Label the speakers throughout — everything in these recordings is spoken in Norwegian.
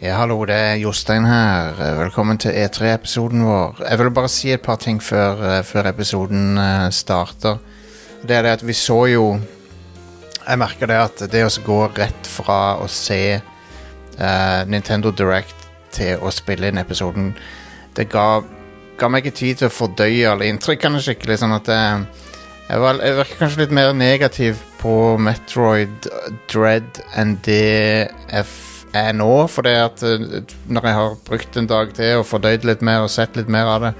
Speaker 1: Ja, hallo, det er Jostein her. Velkommen til E3-episoden vår. Jeg vil bare si et par ting før, eh, før episoden eh, starter. Det er det at vi så jo Jeg merker det at det å gå rett fra å se eh, Nintendo Direct til å spille inn episoden, det ga, ga meg ikke tid til å fordøye alle inntrykkene skikkelig. Sånn at eh, jeg, var, jeg virker kanskje litt mer negativ på Metroid eh, Dread enn det jeg f- er nå. For det at eh, når jeg har brukt en dag til og fordøyd litt mer og sett litt mer av det,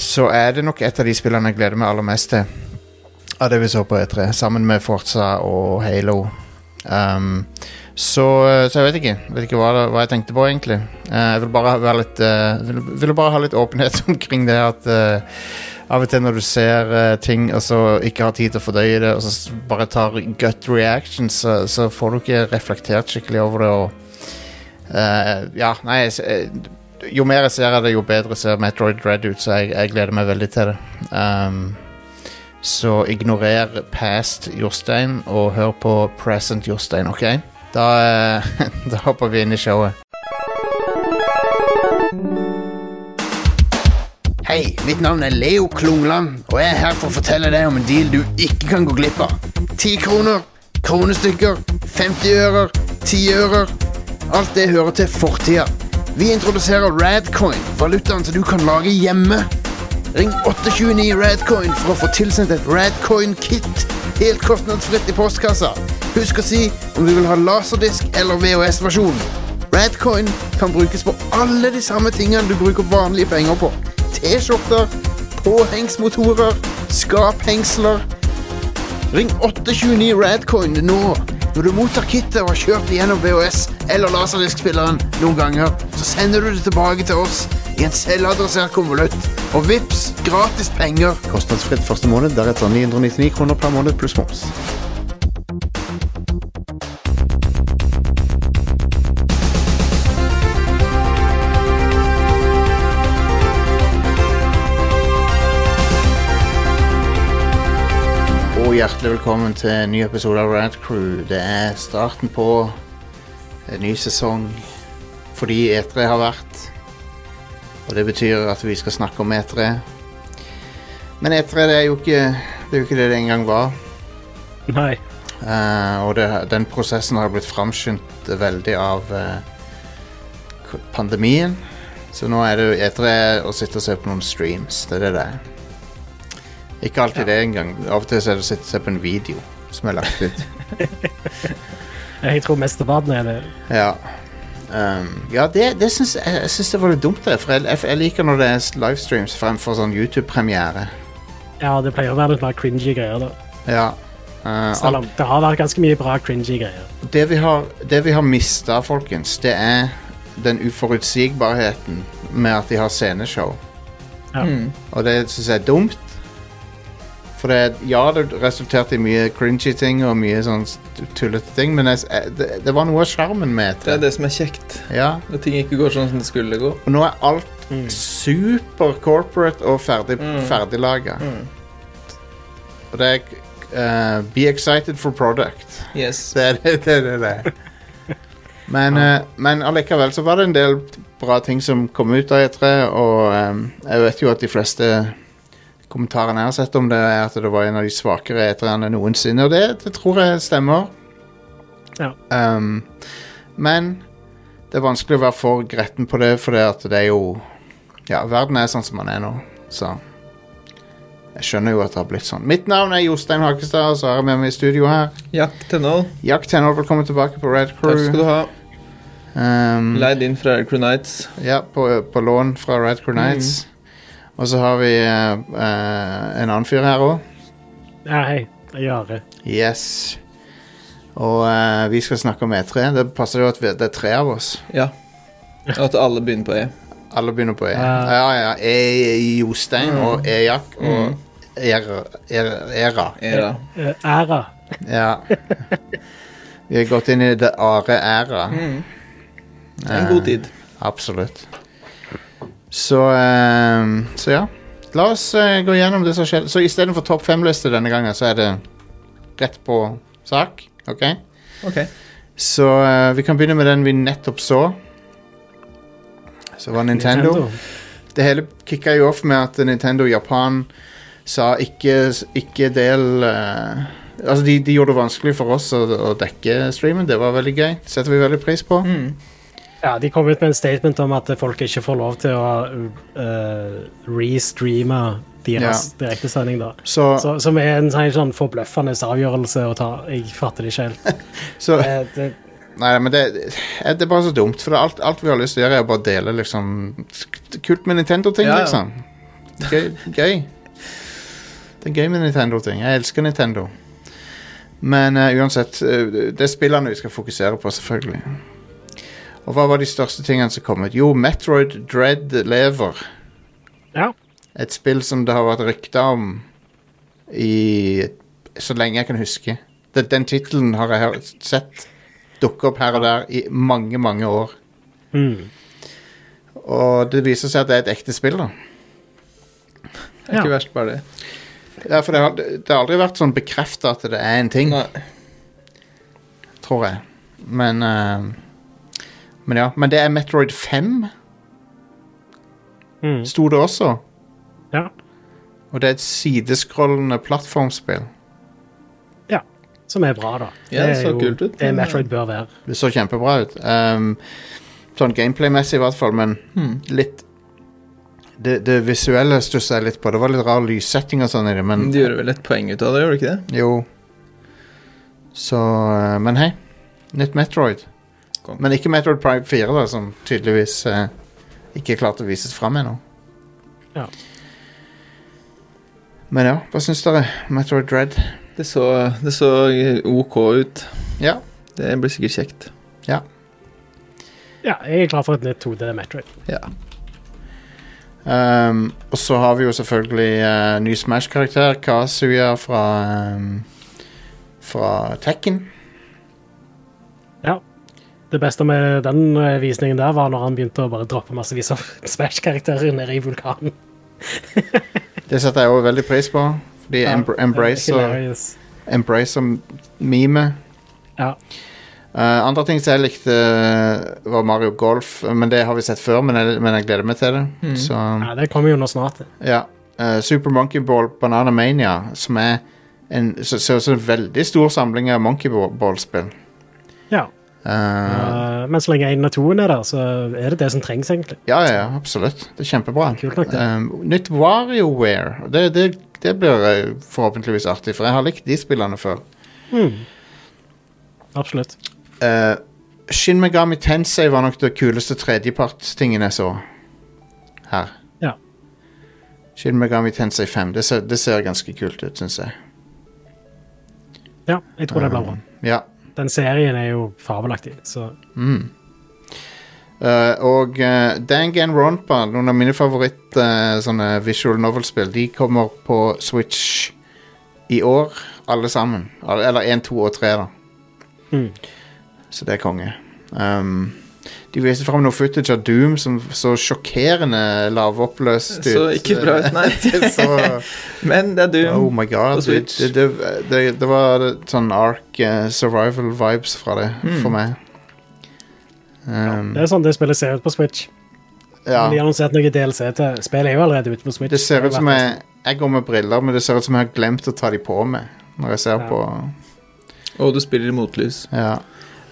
Speaker 1: så er det nok et av de spillene jeg gleder meg aller mest til av det vi så på E3, sammen med Forza og Halo. Um, så, så jeg vet ikke, vet ikke hva, det- hva jeg tenkte på, egentlig. Eh, jeg vil bare, ha- være litt, eh, vil, vil bare ha litt åpenhet omkring det at eh, av og til når du ser eh, ting og så ikke har tid til å fordøye det, og så s- bare tar gut reactions, så, så får du ikke reflektert skikkelig over det. Og, eh, ja, nei, jeg s- eh, jo mer jeg ser av det, jo bedre ser Metroid Red ut, så jeg, jeg gleder meg veldig til det. Um, så ignorer past Jostein og hør på present Jostein, OK? Da, eh, da hopper vi inn i showet. Hei, mitt navn er Leo Klungland, og jeg er her for å fortelle deg om en deal du ikke kan gå glipp av. 10 kroner, kronestykker, 50 ører, 10 ører. Alt det hører til fortida. Vi introduserer Radcoin, valutaen som du kan lage hjemme. Ring 829 Radcoin for å få tilsendt et Radcoin-kit helt kostnadsfritt i postkassa. Husk å si om du vil ha laserdisk eller VHS-versjon. Radcoin kan brukes på alle de samme tingene du bruker vanlige penger på. T-skjorter, påhengsmotorer, skaphengsler Ring 829 Radcoin nå. Når du mottar kittet og har kjørt det gjennom VHS eller laserdiskspilleren noen ganger, så sender du det tilbake til oss i en selvadressert konvolutt. Og vips, gratis penger. Kostnadsfritt første måned, deretter 999 kroner per måned pluss moms. Og hjertelig velkommen til en ny episode av Rad Crew. Det er starten på en ny sesong fordi E3 har vært. Og det betyr at vi skal snakke om E E3. Men E3 det er jo ikke det, er jo ikke det, det en gang var.
Speaker 2: Nei.
Speaker 1: Eh, og det, den prosessen har blitt framskyndt veldig av eh, k- pandemien. Så nå er det jo etere å sitte og se på noen streams. Det er det det er. Ikke alltid det engang. Av og til så er det å sitte og se på en video som er lagt ut.
Speaker 2: Jeg tror mesteparten er det.
Speaker 1: ja. Um, ja, det, det syns jeg, jeg syns det var litt dumt, det. For jeg, jeg, jeg liker når det er s- livestreams fremfor sånn YouTube-premiere.
Speaker 2: Ja, det pleier å være litt mer cringy greier, da.
Speaker 1: Ja. Eh,
Speaker 2: Selv om det har vært ganske mye bra cringy greier.
Speaker 1: det vi har, det vi har mista, folkens, det er den uforutsigbarheten med at de har sceneshow.
Speaker 2: Ja.
Speaker 3: Mm.
Speaker 1: Og det syns jeg er dumt. For det, ja, det resulterte i mye cringy ting og mye sånn st- tullete ting, men jeg, s- eh, det, det var noe av sjarmen med
Speaker 3: Det er
Speaker 1: det.
Speaker 3: det Mm. som er kjekt.
Speaker 1: Ja.
Speaker 3: Når ting ikke går sånn som det skulle gå.
Speaker 1: Og nå er alt super corporate og ferdig,
Speaker 3: Mm.
Speaker 1: ferdiglaga. Og det er eh, Be excited for product.
Speaker 3: Yes.
Speaker 1: Det er det det, er det, det. er. Men, eh, men allikevel så var det en del bra ting som kom ut av E3, og eh, jeg vet jo at de fleste kommentarene jeg har sett om det, er at det var en av de svakere E3-ene noensinne, og det, det tror jeg stemmer.
Speaker 2: Ja.
Speaker 1: Um, men det er vanskelig å være for gretten på det, for det, at det er jo Ja, verden er sånn som den er nå, så jeg skjønner jo at det har blitt sånn. Mitt navn er Jostein Hakestad, og så har jeg med meg i studio her.
Speaker 3: Jakt til nå.
Speaker 1: Jack Tenor, velkommen tilbake på Red Crew.
Speaker 3: Takk skal du ha.
Speaker 1: Um,
Speaker 3: Leid inn fra Aircrew Nights.
Speaker 1: ja, på, på lån fra Red Crew Nights.
Speaker 3: Mm.
Speaker 1: Og så har vi eh, eh, en annen fyr her òg.
Speaker 2: Ja, hei. Jeg er Are.
Speaker 1: Yes. Og eh, vi skal snakke om E3. Det passer jo at vi, det er tre av oss.
Speaker 3: Ja. Og at alle begynner på E.
Speaker 1: Alle begynner på E.
Speaker 2: Ja.
Speaker 1: Ja, ja. E Jostein
Speaker 3: Mm.
Speaker 1: og E Jack og E Era. Era- Era.
Speaker 3: Era.
Speaker 2: Eh, Æra.
Speaker 1: E Ja. Vi har gått inn i det E are-æra.
Speaker 3: Mm. Det er en god tid.
Speaker 1: Absolutt. Så, ehm, så ja. La oss eh, gå gjennom det som skjedde. Så istedenfor topp fem-liste denne gangen, så er det rett på sak. OK?
Speaker 3: Ok.
Speaker 1: Så eh, vi kan begynne med den vi nettopp så. Så var Nintendo. Det hele kicka jo off med at Nintendo Japan sa ikke, ikke del eh, Altså, de, de gjorde det vanskelig for oss å, å dekke streamen. Det var veldig gøy. Det setter vi veldig pris på.
Speaker 3: Mm.
Speaker 2: Ja, De kom ut med en statement om at folk ikke får lov til å eh, restreame deres direktesending. da.
Speaker 1: Så, så,
Speaker 2: Så, som er en sånn- sånn forbløffende avgjørelse å ta. Jeg fatter det ikke helt. Eh, det,
Speaker 1: Nei, men det, det er bare så dumt. For det er alt, alt vi har lyst til å gjøre, er å bare dele liksom Kult med Nintendo-ting,
Speaker 3: Ja, ja.
Speaker 1: liksom. Gøy, gøy. Det er gøy med Nintendo-ting. Jeg elsker Nintendo. Men eh, uansett, eh, det er spillene vi skal fokusere på, selvfølgelig. Og hva var de største tingene som kom ut? Jo, Metroid Dread lever.
Speaker 2: ja.
Speaker 1: Et spill som det har vært rykter om i så lenge jeg kan huske. Den, den tittelen har jeg hørt- sett dukke opp her og der i mange, mange år.
Speaker 2: Mm.
Speaker 1: Og det viser seg at det er et ekte spill, da.
Speaker 3: Det er ikke
Speaker 2: Ja.
Speaker 3: verst, bare det.
Speaker 1: Ja, for det har, det har aldri vært sånn bekrefta at det er en ting,
Speaker 3: Nei.
Speaker 1: tror jeg. Men eh, Men ja. Men det er Metroid 5,
Speaker 2: Mm.
Speaker 1: sto det også.
Speaker 2: ja.
Speaker 1: Og det er et sideskrollende plattformspill.
Speaker 2: Som er bra, da.
Speaker 3: Ja, det så kult ut.
Speaker 2: det Metroid bør være.
Speaker 1: Det så kjempebra ut. Um, sånn gameplay-messig i hvert fall, men
Speaker 3: Hmm.
Speaker 1: litt Det, det visuelle stussa jeg litt på. Det var litt rar lyssetting og sånn i det, men
Speaker 3: De gjorde vel et poeng ut av det, gjorde de ikke det?
Speaker 1: Jo. Så eh, Men hei. Nytt Metroid.
Speaker 3: Kom.
Speaker 1: Men ikke Metroid Prime 4, da, som tydeligvis eh, ikke er klart å vises fram ennå.
Speaker 2: Ja.
Speaker 1: Men ja, hva syns dere? Metroid Dread?
Speaker 3: Det så, det så ok ut.
Speaker 1: Ja.
Speaker 3: Det blir sikkert kjekt.
Speaker 2: Ja, jeg er klar for et nytt 2D Metroid.
Speaker 3: Ja.
Speaker 1: Um, og så har vi jo selvfølgelig eh, ny Smash-karakter, Kazuya fra um, Fra Tekken.
Speaker 2: Det beste med den eh, visningen der var når han begynte å bare droppe massevis av Smash-karakterer nede i vulkanen.
Speaker 1: Det setter jeg òg veldig pris på. Fordi
Speaker 2: Ja,
Speaker 1: embr embrace,
Speaker 2: Det er
Speaker 1: og,
Speaker 2: hilarious.
Speaker 1: embrace som meme.
Speaker 2: Ja.
Speaker 1: Eh, andre ting som jeg likte, eh, var Mario Golf. eh, Men det har vi sett før, men jeg, men jeg gleder meg til det.
Speaker 2: Mm.
Speaker 3: Mhm.
Speaker 1: Så
Speaker 2: ja, det kommer jo nå snart.
Speaker 1: ja. Eh, Super Monkey Ball Banana Mania, som er en, så, så, så en veldig stor samling av Monkey Ball- Ball-spill.
Speaker 2: Ja.
Speaker 1: Eh,
Speaker 2: Eh, men så lenge én og toen er der, så er det det som trengs, egentlig.
Speaker 1: Ja, ja, absolutt. Det er kjempebra.
Speaker 2: Kult nok, det.
Speaker 1: Um, nytt WarioWare. Det, det, det blir eh, forhåpentligvis artig, for jeg har likt de spillene før.
Speaker 2: Mm. Absolutt.
Speaker 1: Eh, Shin Megami Tensei var nok det kuleste tredjepartstingen jeg så her.
Speaker 2: Ja.
Speaker 1: Shin Megami Tensei 5. Det ser, det ser ganske kult ut, syns jeg.
Speaker 2: Ja, jeg tror det blir bra.
Speaker 1: Ja.
Speaker 2: Den serien er jo fabelaktig, så
Speaker 1: Mm. Eh, og uh, Dangan Ronpa, noen av mine favoritt eh, sånne visual novel-spill, de kommer på Switch i år, alle sammen. Al- Eller 1, 2 og 3, da.
Speaker 2: Mm.
Speaker 1: Så det er konge. Um, de viste fram noe footage av Doom som så sjokkerende lavoppløst ut.
Speaker 3: Så ikke bra ut, nei.
Speaker 1: Det så-
Speaker 3: Men det er du.
Speaker 1: Oh my god. Det,
Speaker 3: På Switch.
Speaker 1: det, det, det, det var sånn Ark survival vibes fra det,
Speaker 3: Mm.
Speaker 1: for meg. Um,
Speaker 2: Det er sånn det spillet ser ut på Switch.
Speaker 1: ja.
Speaker 2: Men De har annonsert noe DLC til Spillet er jo allerede ute på Switch.
Speaker 1: Det ser ut som
Speaker 2: har vært
Speaker 1: jeg Jeg går med briller, men det ser ut som jeg har glemt å ta de på meg. Når jeg ser
Speaker 2: Ja.
Speaker 1: på
Speaker 3: Og du spiller i motlys.
Speaker 1: Ja.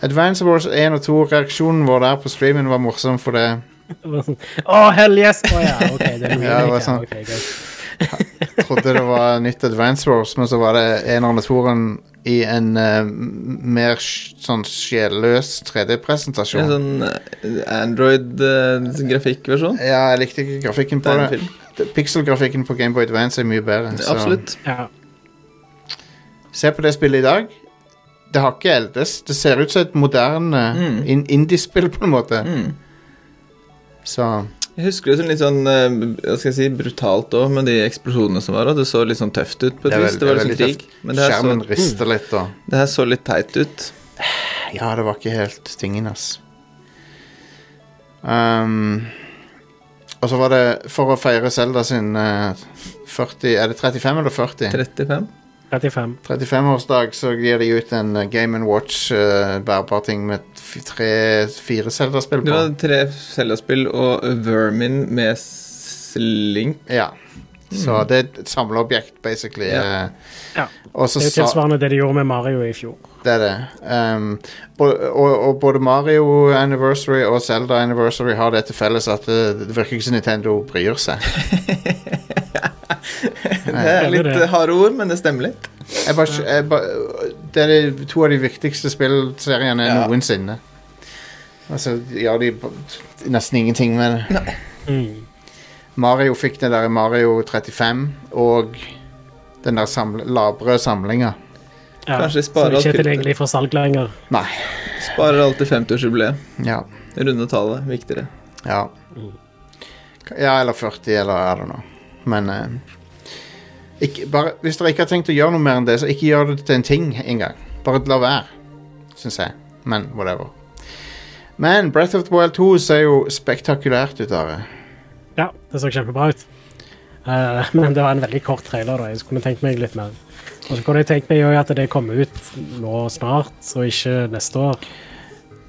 Speaker 1: Advance Wars 1 og 2, reaksjonen vår der på streamen var morsom, for det
Speaker 2: nesten- Å, hell yes! Å ja, ok, det er noe
Speaker 1: Ja, det var
Speaker 2: ja,
Speaker 1: sånn.
Speaker 2: ok, greit.
Speaker 1: jeg trodde det var nytt Advance Wars, men så var det eneren og toeren i en eh, m- mer sj- sånn sjelløs
Speaker 3: En
Speaker 1: 3D-presentasjon.
Speaker 3: sånn eh, Android-grafikkversjon.
Speaker 1: Ja, jeg likte ikke grafikken på
Speaker 3: sånn- Det er en
Speaker 1: det.
Speaker 3: film.
Speaker 1: Pixelgrafikken på Gameboy Advance er mye bedre. så-
Speaker 3: Absolutt.
Speaker 2: Ja.
Speaker 1: Se på det spillet i dag. Det har ikke eldes. Det ser ut som et moderne
Speaker 3: Mm.
Speaker 1: in indie-spill, på en måte.
Speaker 3: Mm.
Speaker 1: Så
Speaker 3: Jeg husker det som litt sånn eh, hva skal jeg si, brutalt òg, med de eksplosjonene som var. Og det så litt sånn tøft ut på
Speaker 1: Det er
Speaker 3: et vis.
Speaker 1: vel-
Speaker 3: Det var
Speaker 1: det er
Speaker 3: liksom
Speaker 1: veldig
Speaker 3: krig. Men det her,
Speaker 1: Skjermen
Speaker 3: så, Mm,
Speaker 1: rister litt, og
Speaker 3: det her så litt teit ut.
Speaker 1: Ja, det var ikke helt tingen, ass. Um, og så var det for å feire Selda sin eh, 40 Er det 35 eller 40?
Speaker 3: 35.
Speaker 2: 35.
Speaker 1: 35-årsdag så gir de ut en eh, Game Watch uh, bærbar ting med f- tre, fire Zelda-spill
Speaker 3: Du
Speaker 1: på.
Speaker 3: hadde tre Zelda-spill og Vermin med Slink.
Speaker 1: Ja. Så det er et samleobjekt, basically.
Speaker 3: Ja.
Speaker 1: eh,
Speaker 2: Mm. Ja.
Speaker 1: Og så
Speaker 2: Det er jo
Speaker 1: sa-
Speaker 2: tilsvarende det de gjorde med Mario i fjor.
Speaker 1: Det er det. Um, bo- og, og både Mario Anniversary og Zelda Anniversary har det til felles at det, det virker ikke som Nintendo bryr seg.
Speaker 3: Det er litt eh, harde ord, men det stemmer litt.
Speaker 1: Jeg bare, skj- jeg bare, det er de- to av de viktigste spillseriene
Speaker 3: Ja.
Speaker 1: noensinne. Altså, gjør de b- nesten ingenting med det.
Speaker 2: Mm.
Speaker 1: Mario fikk den der i Mario 35 og den der samle, labre samlinga.
Speaker 2: Ja.
Speaker 3: Kanskje de
Speaker 2: så
Speaker 3: sparer
Speaker 2: det ikke
Speaker 3: alt
Speaker 2: er tilgjengelig for salg lenger.
Speaker 1: Nei.
Speaker 3: Sparer alltid 50-årsjubileet.
Speaker 1: Ja.
Speaker 3: Runde tallet, viktigere.
Speaker 1: Ja. ja eller 40, eller I don't know. Men eh, ikke, bare, Hvis dere ikke har tenkt å gjøre noe mer enn det, så ikke gjør det til en ting engang. Bare la være, syns jeg. Men whatever. Men Breath of the Wild 2 ser jo spektakulært ut av det.
Speaker 2: Ja, det så kjempebra ut. Eh, men det var en veldig kort trailer, da. Jeg kunne tenkt meg litt mer. Og så kunne jeg tenkt meg jo at det kommer ut nå snart, og ikke neste år.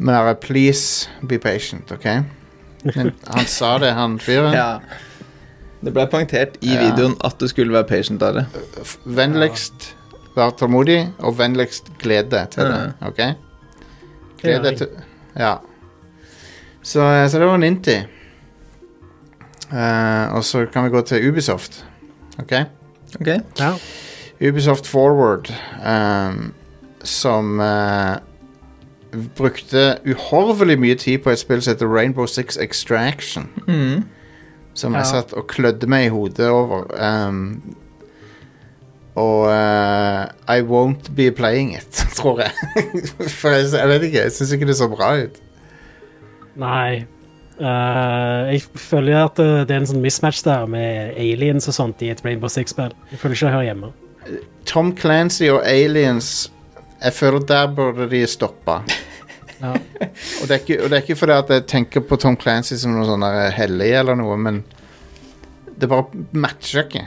Speaker 1: Men Are, please be patient, OK? Men han sa det, han fyren.
Speaker 3: Ja. Det ble poengtert i
Speaker 1: Ja.
Speaker 3: videoen at du skulle være patient av det.
Speaker 1: F- Vennligst vær tålmodig, og vennligst gled deg til det, OK? Gled deg til Ja. Så, så det var Ninti. Eh, og så kan vi gå til Ubisoft. OK?
Speaker 3: Ok?
Speaker 2: Ja.
Speaker 1: Ubisoft Forward, ehm, som eh, brukte uhorvelig mye tid på et spill som heter Rainbow Six Extraction.
Speaker 3: Mm.
Speaker 1: Som
Speaker 2: Ja.
Speaker 1: jeg satt og klødde meg i hodet over. ehm, og eh, I won't be playing it, tror jeg. For jeg, jeg vet ikke, jeg syns ikke det så bra ut.
Speaker 2: Nei. Eh, jeg føler at eh, det er en sånn mismatch der med aliens og sånt i et Rainbow Six-spill. Jeg føler ikke det hører hjemme.
Speaker 1: Tom Clancy og Aliens Jeg føler der burde de stoppa.
Speaker 2: Ja.
Speaker 1: Og det, er ikke, og det er ikke fordi at jeg tenker på Tom Clancy som noe sånn der hellig eller noe, men det bare matcher ikke.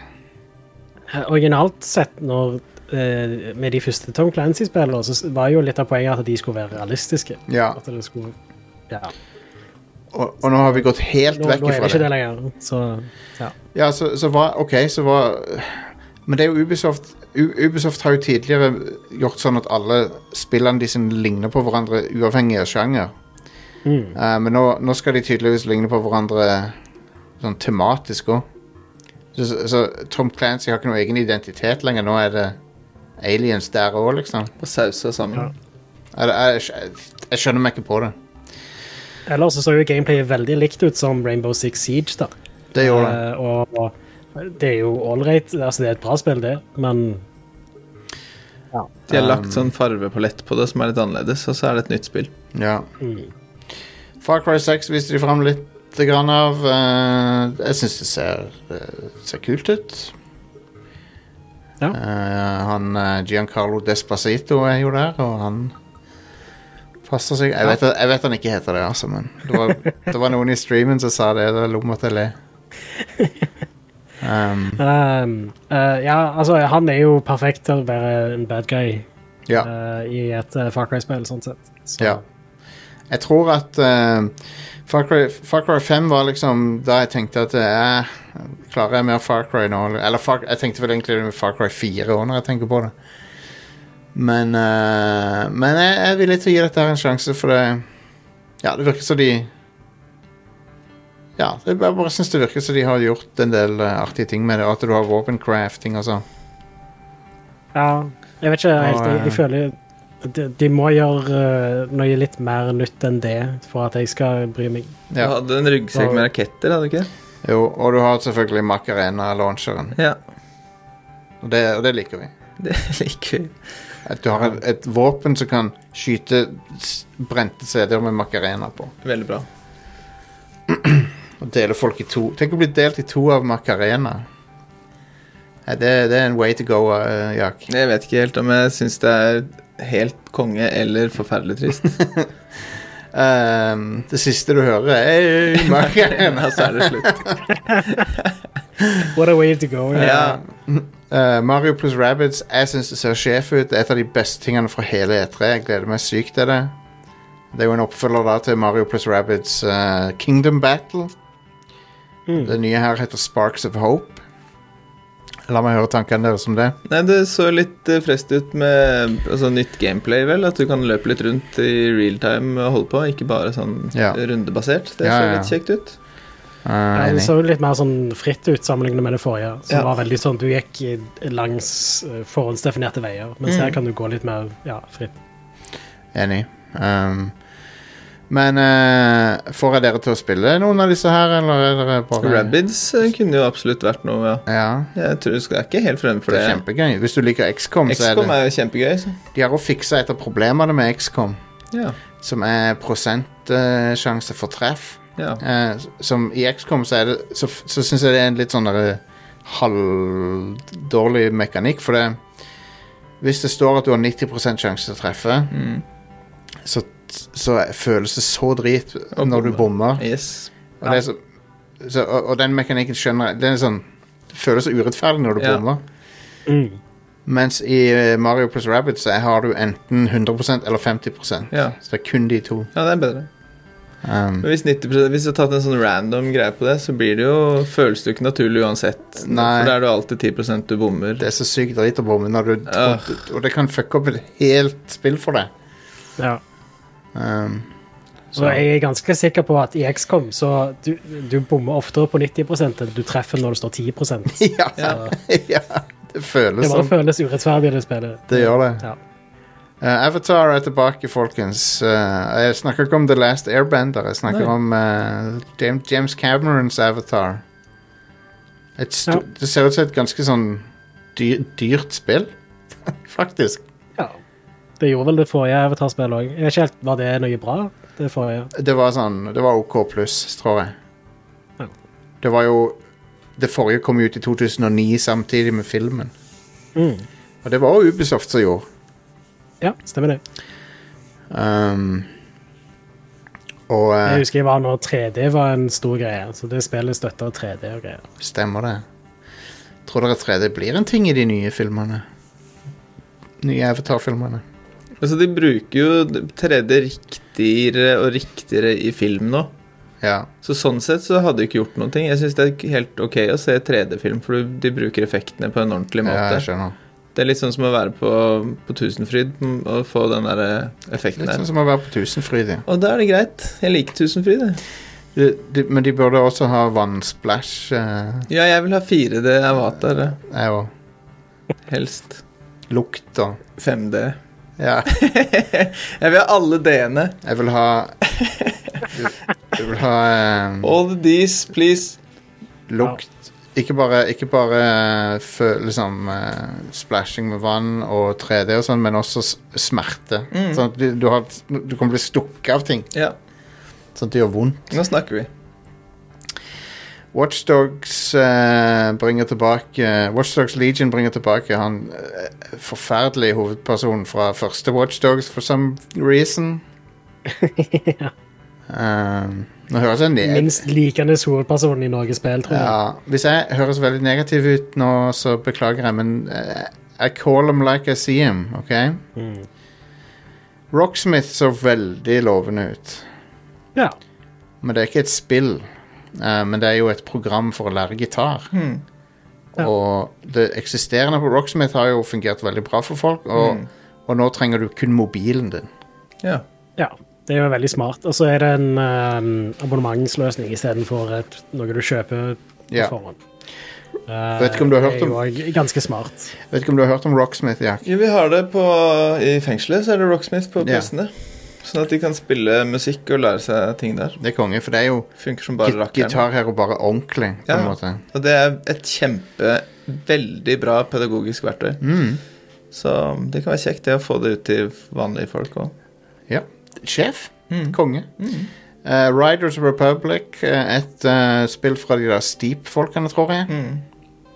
Speaker 2: Eh, Originalt sett, når, eh, med de første Tom Clancy-spillene, så s- var jo litt av poenget at de skulle være realistiske.
Speaker 1: Ja,
Speaker 2: At det skulle ja.
Speaker 1: Og, og nå har vi gått helt
Speaker 2: Nå,
Speaker 1: vekk
Speaker 2: nå er det
Speaker 1: ifra
Speaker 2: ikke
Speaker 1: det.
Speaker 2: det lenger, så ja.
Speaker 1: Ja, så, så hva OK, så hva Men det er jo Ubisoft U Ubisoft har jo tidligere gjort sånn at alle spillene de sine ligner på hverandre uavhengig av sjanger.
Speaker 2: Mm.
Speaker 1: Eh, men nå, nå skal de tydeligvis ligne på hverandre sånn tematisk òg. Så, så, så Tom Clancy har ikke noen egen identitet lenger. Nå er det aliens der òg, liksom.
Speaker 3: Og sausa sammen.
Speaker 2: Ja.
Speaker 1: Jeg, jeg, jeg, jeg skjønner meg ikke på det.
Speaker 2: Ellers så så jo gameplayet veldig likt ut som Rainbow Six Siege, da.
Speaker 1: Det gjorde det.
Speaker 2: Eh, og, og det er jo ålreit. Altså, det er et bra spill, det, men
Speaker 3: De har lagt sånn farvepalett på det som er litt annerledes, og så er det et nytt spill.
Speaker 1: Ja.
Speaker 2: mm.
Speaker 1: Far Cry 6 viste de fram litt grann av. eh, jeg syns det ser, eh, ser kult ut.
Speaker 2: Ja.
Speaker 1: Eh, han eh, Giancarlo Despacito er jo der, og han passer seg Jeg vet, jeg vet han ikke heter det, altså, men det var, det var noen i streamen som sa det. Da lo meg til å le. Um,
Speaker 2: Ehm, eh, Ja, altså, han er jo perfekt til å være en bad guy
Speaker 1: ja.
Speaker 2: eh, i et eh, Far Cry-spill, sånn sett. Så,
Speaker 1: Ja. Jeg tror at eh, Far, Cry, Far Cry 5 var liksom da jeg tenkte at eh, Klarer jeg mer Far Cry nå? Eller Far, jeg tenkte vel egentlig med Far Cry 4 også når jeg tenker på det. Men, eh, men jeg, jeg er villig til å gi dette her en sjanse, for det Ja, det virker som de Ja, det- jeg bare syns det virker som de har gjort en del eh, artige ting med det, og at du har våpencrafting og sånn.
Speaker 2: Ja, jeg vet ikke helt. Jeg,
Speaker 1: eh,
Speaker 2: jeg føler de, de må gjøre eh, noe litt mer nytt enn det for at jeg skal bry meg.
Speaker 1: Ja.
Speaker 3: Du hadde en ryggsekk med raketter, hadde du ikke?
Speaker 1: Jo, og du har selvfølgelig Macarena-launcheren,
Speaker 3: Ja,
Speaker 1: og, det- og det liker vi.
Speaker 3: det liker vi.
Speaker 1: At du har et, et våpen som kan skyte s- brente CD-er med Macarena på.
Speaker 3: Veldig bra.
Speaker 1: Og dele folk i to. Tenk å bli delt i to av Macarena. Nei, det, det er en way to go, eh, Jack.
Speaker 3: Jeg vet ikke helt om jeg syns det er helt konge eller forferdelig trist.
Speaker 1: Ehm, det siste du hører, er «Hey,
Speaker 3: altså,
Speaker 1: Macarena.
Speaker 3: Og så er det slutt.
Speaker 2: What a way to go.
Speaker 3: Ja.
Speaker 1: Eh, Mario pluss Rabbids, jeg syns det ser sjef ut. Det er et av de beste tingene fra hele E3. Jeg gleder meg sykt til det. Det er jo en oppfølger da til Mario pluss Rabbids eh, Kingdom Battle.
Speaker 2: Mm.
Speaker 1: Det nye her heter Sparks of Hope. La meg høre tankene deres om det.
Speaker 3: Nei, det så litt eh, frest ut med altså, nytt gameplay, vel. At du kan løpe litt rundt i real time og holde på, ikke bare sånn
Speaker 1: Ja.
Speaker 3: rundebasert. Det
Speaker 1: Ja,
Speaker 3: så
Speaker 1: ja.
Speaker 3: litt kjekt ut.
Speaker 1: Eh,
Speaker 2: Ja, det
Speaker 1: enig.
Speaker 2: så jo litt mer sånn fritt ut sammenlignet med det forrige. Som
Speaker 3: Ja.
Speaker 2: var veldig sånn, Du gikk i- langs eh, forhåndsdefinerte veier, mens
Speaker 3: Mm.
Speaker 2: her kan du gå litt mer ja, fritt.
Speaker 1: Enig. Um, men eh, får jeg dere til å spille noen av disse her, eller er dere bare
Speaker 3: Rabbids eh, kunne jo absolutt vært noe, ja.
Speaker 1: Ja,
Speaker 3: Jeg tror jeg er ikke helt fremmed for
Speaker 1: det
Speaker 3: det.
Speaker 1: er kjempegøy. Hvis du liker XCOM, så er
Speaker 3: XCOM
Speaker 1: det
Speaker 3: er jo kjempegøy. Så.
Speaker 1: De har jo fiksa et av problemene med XCOM,
Speaker 3: Ja.
Speaker 1: som er prosentsjanse for treff.
Speaker 3: ja.
Speaker 1: Eh, som I XCOM så, er det, så, så syns jeg det er en litt sånn derre halvdårlig mekanikk, for det Hvis det står at du har 90 sjanse til å treffe,
Speaker 3: Mm.
Speaker 1: så, så føles det så drit
Speaker 3: Å
Speaker 1: når du bommer.
Speaker 3: Yes.
Speaker 1: Og, det er så, så, og, og den mekanikken skjønner jeg Det er sånn, det føles så urettferdig når du
Speaker 3: Ja.
Speaker 1: bommer.
Speaker 2: Mm.
Speaker 1: Mens i eh, Mario pluss Rabbit så har du enten 100 eller 50 Så
Speaker 3: Ja.
Speaker 1: det er kun de to.
Speaker 3: ja, det er bedre.
Speaker 1: Um,
Speaker 3: Men hvis, 90%, hvis du har tatt en sånn random greie på det, så blir det jo, føles det jo ikke naturlig uansett.
Speaker 1: Nei.
Speaker 3: For da er det jo alltid 10 du bommer.
Speaker 1: det er så sykt drit å bomme, når du,
Speaker 3: Ah.
Speaker 1: og det kan fucke opp et helt spill for deg.
Speaker 2: Ja.
Speaker 1: Um,
Speaker 2: Og jeg er ganske sikker på at i XCOM så du, du bommer oftere på 90 enn du treffer når det står 10 Det
Speaker 1: ja, ja.
Speaker 3: Ja.
Speaker 1: Det føles
Speaker 2: bare
Speaker 1: sånn.
Speaker 2: føles urettferdig, det spillet.
Speaker 1: Det gjør det.
Speaker 2: Ja.
Speaker 1: Eh, Avatar er tilbake, folkens. Eh, jeg snakker ikke om The Last Airbender. Jeg snakker
Speaker 3: Nei.
Speaker 1: om eh, James, James Camerons Avatar. Et sto-
Speaker 2: Ja.
Speaker 1: Det ser ut som et ganske sånn dy dyrt spill, faktisk.
Speaker 2: Ja. Det gjorde vel det forrige Avatar-spillet òg. Jeg vet ikke helt, Var det noe bra, det forrige?
Speaker 1: Det var sånn Det var OK pluss, tror jeg.
Speaker 2: Ja.
Speaker 1: Det var jo Det forrige kom jo ut i 2009 samtidig med filmen.
Speaker 2: Mm.
Speaker 1: Og det var jo Ubisoft som gjorde.
Speaker 2: Ja, stemmer det.
Speaker 1: Um, og eh,
Speaker 2: Jeg husker jeg var når 3D var en stor greie. Så det spillet støtta 3D og greier.
Speaker 1: Stemmer det. Tror dere 3D blir en ting i de nye filmene? Nye Avatar-filmene.
Speaker 3: Altså, de bruker jo 3D riktigere og riktigere i film nå.
Speaker 1: Ja.
Speaker 3: Så sånn sett så hadde de ikke gjort noen ting. Jeg syns det er helt ok å se 3D-film, for du- de bruker effektene på en ordentlig
Speaker 1: ja,
Speaker 3: måte.
Speaker 1: jeg skjønner.
Speaker 3: det er litt sånn som å være på, på Tusenfryd m, og få den der eh, effekten
Speaker 1: Litt
Speaker 3: der.
Speaker 1: sånn som å være på Tusenfryd. ja.
Speaker 3: Og da er det greit. Jeg liker Tusenfryd, jeg.
Speaker 1: De, de, men de burde også ha vannsplash, eh,
Speaker 3: Ja, jeg vil ha 4D Avatar, eh,
Speaker 1: jeg òg.
Speaker 3: helst.
Speaker 1: Lukt og
Speaker 3: 5D.
Speaker 1: Ja.
Speaker 3: Jeg vil ha alle D-ene.
Speaker 1: Jeg vil ha Jeg vil ha eh,
Speaker 3: All the D's, please.
Speaker 1: lukt Ikke bare, ikke bare eh, fø, liksom eh, splashing med vann og 3D og sånn, men også s- smerte.
Speaker 3: Mm.
Speaker 1: Sånn at du, du, har, du kan bli stukket av ting.
Speaker 3: Ja,
Speaker 1: Sånn at det gjør vondt.
Speaker 3: nå snakker vi.
Speaker 1: Watchdogs uh, bringer tilbake Watchdogs Legion bringer tilbake han eh, forferdelige hovedpersonen fra første Watchdogs for some reason. Um, nå høres jeg ned
Speaker 2: Minst likende hovedpersonen i Norges spill, tror jeg.
Speaker 1: ja, Hvis jeg høres veldig negativ ut nå, så beklager jeg, men eh, I call him like I see him, OK?
Speaker 2: Mm.
Speaker 1: Rocksmith så veldig lovende ut.
Speaker 2: Ja.
Speaker 1: Men det er ikke et spill. eh, men det er jo et program for å lære gitar.
Speaker 3: Hmm.
Speaker 2: Ja.
Speaker 1: Og det eksisterende på Rocksmith har jo fungert veldig bra for folk, og,
Speaker 3: Mm.
Speaker 1: og nå trenger du kun mobilen din.
Speaker 3: Ja.
Speaker 2: ja. Det er jo veldig smart. Og så er det en um, abonnementsløsning istedenfor et- noe du kjøper på
Speaker 1: Ja.
Speaker 2: forhånd. Eh,
Speaker 1: Vet ikke om du har hørt om-
Speaker 2: det? er jo også Ganske smart.
Speaker 1: Vet ikke om du har hørt om Rocksmith, Jack?
Speaker 3: Jo, vi har det på I fengselet så er det Rocksmith på
Speaker 1: Ja.
Speaker 3: PC-ene. Sånn at de kan spille musikk og lære seg ting der.
Speaker 1: Det er konge, for det er jo
Speaker 3: Funker som
Speaker 1: git
Speaker 3: bare rakkeren.
Speaker 1: gitar her og bare ordentlig, på en
Speaker 3: Ja.
Speaker 1: måte.
Speaker 3: Og det er et kjempe, veldig bra pedagogisk verktøy.
Speaker 1: Mm.
Speaker 3: Så det kan være kjekt det å få det ut til vanlige folk òg.
Speaker 1: Sjef.
Speaker 3: Mm.
Speaker 1: Konge.
Speaker 3: Mm.
Speaker 1: Eh, Riders Republic, eh, et eh, spill fra de der Steep-folkene, tror jeg.
Speaker 3: Mm.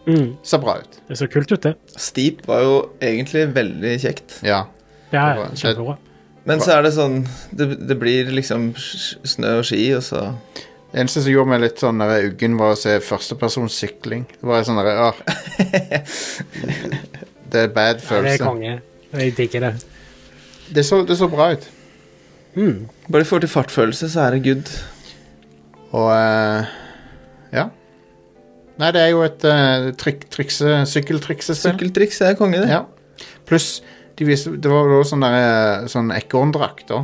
Speaker 2: Mm.
Speaker 1: Ser bra ut.
Speaker 2: Det så kult ut, det.
Speaker 3: Steep var jo egentlig veldig kjekt.
Speaker 1: Ja.
Speaker 2: Ja,
Speaker 1: Det var-
Speaker 2: kjempebra.
Speaker 3: Men så er det sånn Det, det blir liksom s- s- snø og ski, og så
Speaker 1: Det eneste som gjorde meg litt sånn der uggen, var å se førstepersons sykling. Det var sånn der, ah. Det er bad
Speaker 2: Det er
Speaker 1: følelse.
Speaker 2: konge. Jeg digger det.
Speaker 1: Det så, det så bra ut.
Speaker 2: Mm.
Speaker 3: Bare du får til fartfølelse, så er det good.
Speaker 1: Og eh, ja. Nei, det er jo et uh, trik, trikse, sykkeltriksespill.
Speaker 3: Sykkeltriks er konge, det.
Speaker 1: Ja. Pluss de viste, det var jo også sånn der, eh, sånn ekorndrakt, da.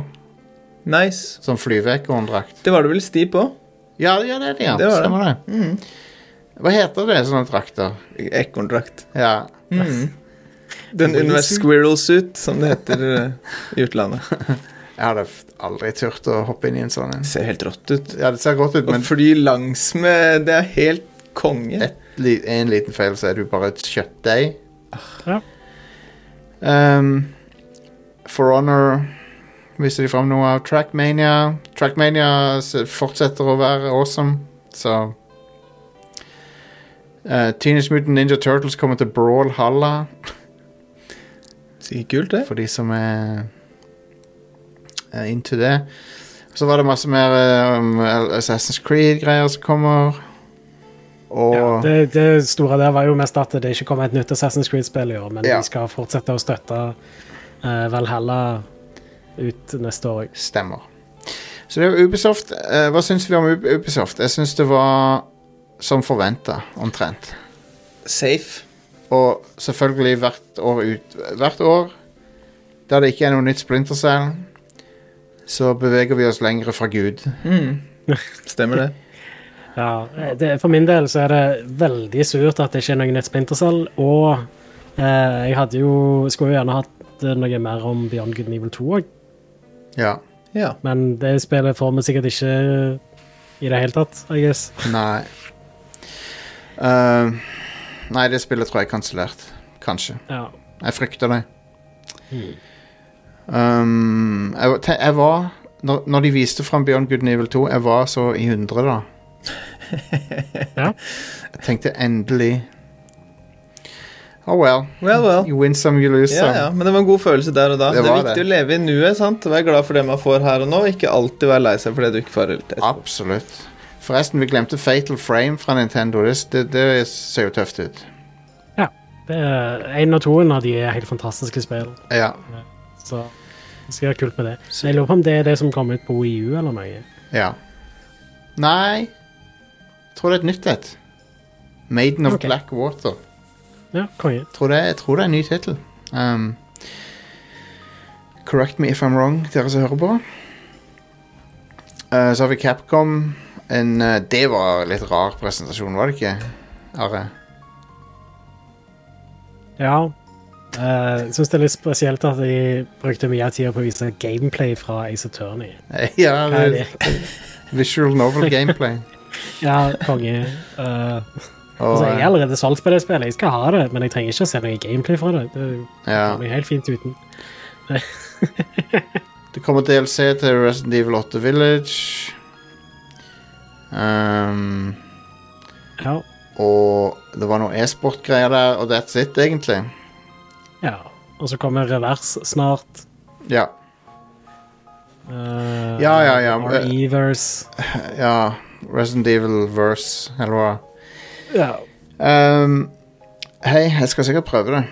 Speaker 3: Nice.
Speaker 1: Sånn flyveekorndrakt.
Speaker 3: Det var det vel sti på?
Speaker 1: Ja, ja, det er det, ja.
Speaker 3: Det var det.
Speaker 1: Stemmer det.
Speaker 3: Mm.
Speaker 1: Hva heter det, sånne drakter?
Speaker 3: Ekorndrakt.
Speaker 1: Ja.
Speaker 3: Mm. Den
Speaker 2: Whale
Speaker 3: univers
Speaker 2: suit.
Speaker 3: squirrel suit, som det heter eh, i utlandet.
Speaker 1: Jeg hadde f- aldri turt å hoppe inn i en sånn en.
Speaker 3: Det ser helt rått ut.
Speaker 1: Ja, det ser godt ut,
Speaker 3: Og
Speaker 1: men
Speaker 3: fly langs med Det er helt konge.
Speaker 1: Et- li, en liten feil, så er du bare et kjøttdeig.
Speaker 2: Ja.
Speaker 1: Ehm, For Honor viser de fram noe av Trackmania. Trackmania s- fortsetter å være awesome, så Eh, Teenage Mutant Ninja Turtles kommer til Brawl Halla,
Speaker 3: Sikkert kult, det.
Speaker 1: for de som er, er into det. Så var det masse mer eh, om Assassin's Creed-greier som kommer. Og
Speaker 2: Ja, det, det store der var jo mest at det ikke kom et nytt Assassin's Creed-spill i år, men
Speaker 1: Ja.
Speaker 2: de skal fortsette å støtte eh, Valhalla ut neste år.
Speaker 1: Stemmer. Så det var Ubisoft. Eh, hva syns vi om Ub- Ubisoft? Jeg syns det var som forventa, omtrent.
Speaker 3: Safe.
Speaker 1: Og selvfølgelig hvert år ut Hvert år der det ikke er noe nytt splintercell, så beveger vi oss lengre fra Gud.
Speaker 3: Mm. Stemmer det.
Speaker 2: Ja, Eh, det, for min del så er det veldig surt at det ikke er noe nytt Splinter Cell, og eh, jeg hadde jo, skulle jo gjerne hatt eh, noe mer om Beyond Good and Evil 2 òg,
Speaker 1: Ja.
Speaker 3: Ja.
Speaker 2: men det spillet får vi sikkert ikke i det hele tatt, I guess.
Speaker 1: Nei. Eh, nei, det spillet tror jeg er kansellert. Kanskje.
Speaker 2: Ja.
Speaker 1: Jeg frykter det.
Speaker 2: Hmm.
Speaker 1: Um, jeg, var- te- jeg var når, når de viste fram Beyond Good and Evil 2, jeg var så i hundre, da.
Speaker 2: Ja.
Speaker 1: Jeg tenkte endelig Oh well.
Speaker 3: Well, well.
Speaker 1: You win some, you lose
Speaker 3: Ja,
Speaker 1: some.
Speaker 3: ja, Men det var en god følelse der og da.
Speaker 1: Det
Speaker 3: Det,
Speaker 1: var
Speaker 3: er viktig
Speaker 1: det.
Speaker 3: å leve i nuet. sant? Være glad for det man får her og nå. Ikke alltid være lei seg for det du ikke får. helt etterpå.
Speaker 1: Absolutt. Forresten, vi glemte Fatal Frame fra Nintendo. Det, det, det ser jo tøft ut.
Speaker 2: Det er, en og toen av de er helt fantastiske spill.
Speaker 1: Ja.
Speaker 2: Så det skal være kult med det. Men jeg lurer på om det er det som kom ut på Wii U eller noe.
Speaker 1: ja. Nei Jeg tror det er et nytt et. Maiden of
Speaker 2: Ok.
Speaker 1: Black Water.
Speaker 2: Ja, konge.
Speaker 1: tror det, jeg tror det er en ny tittel. Um, correct me if I'm wrong, dere som hører på. Uh, så har vi Capcom. En, uh, det var litt rar presentasjon, var det ikke? Are?
Speaker 2: Ja. Eh, Jeg syns det er litt spesielt at de brukte mye av tida på å vise gameplay fra Ace Attorney.
Speaker 1: ja,
Speaker 2: Hva er
Speaker 1: det,
Speaker 2: det?
Speaker 1: visual novel gameplay.
Speaker 2: Ja, konge. Eh,
Speaker 1: Og,
Speaker 2: altså, jeg er
Speaker 1: uh,
Speaker 2: allerede solgt på det spillet, jeg skal ha det, men jeg trenger ikke å se noe gameplay fra det. Det
Speaker 1: ja.
Speaker 2: kommer helt fint uten.
Speaker 1: Det kommer DLC til Resident Evil 8 Village. Um,
Speaker 2: Ja.
Speaker 1: og det var noe e-sport-greier der, og that's it, egentlig.
Speaker 2: ja. Og så kommer revers snart.
Speaker 1: Ja.
Speaker 2: Eh,
Speaker 1: Ja, ja, ja, men-
Speaker 2: Reverse.
Speaker 1: ja Resident Evil Verse, eller hva.
Speaker 2: Ja.
Speaker 1: Ehm, Hei, jeg skal sikkert prøve det.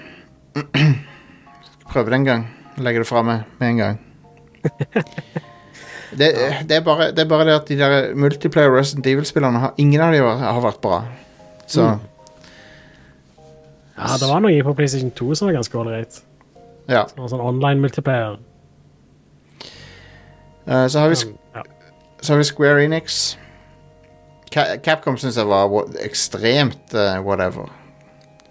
Speaker 1: Skal prøve det en gang. Legge det fra meg med en gang. Det, eh, det, er bare, det er bare det at de der multiplayer Resident Evil-spillerne har Ingen av dem har vært bra. Så
Speaker 2: ja, det var noe på PlayStation 2 som var ganske ålreit.
Speaker 1: ja.
Speaker 2: Som var Sånn online multiplayer.
Speaker 1: Eh, så, har vi, sk-
Speaker 2: Ja.
Speaker 1: så har vi Square Enix. Ca- Capcom syns jeg var wa- ekstremt eh, whatever.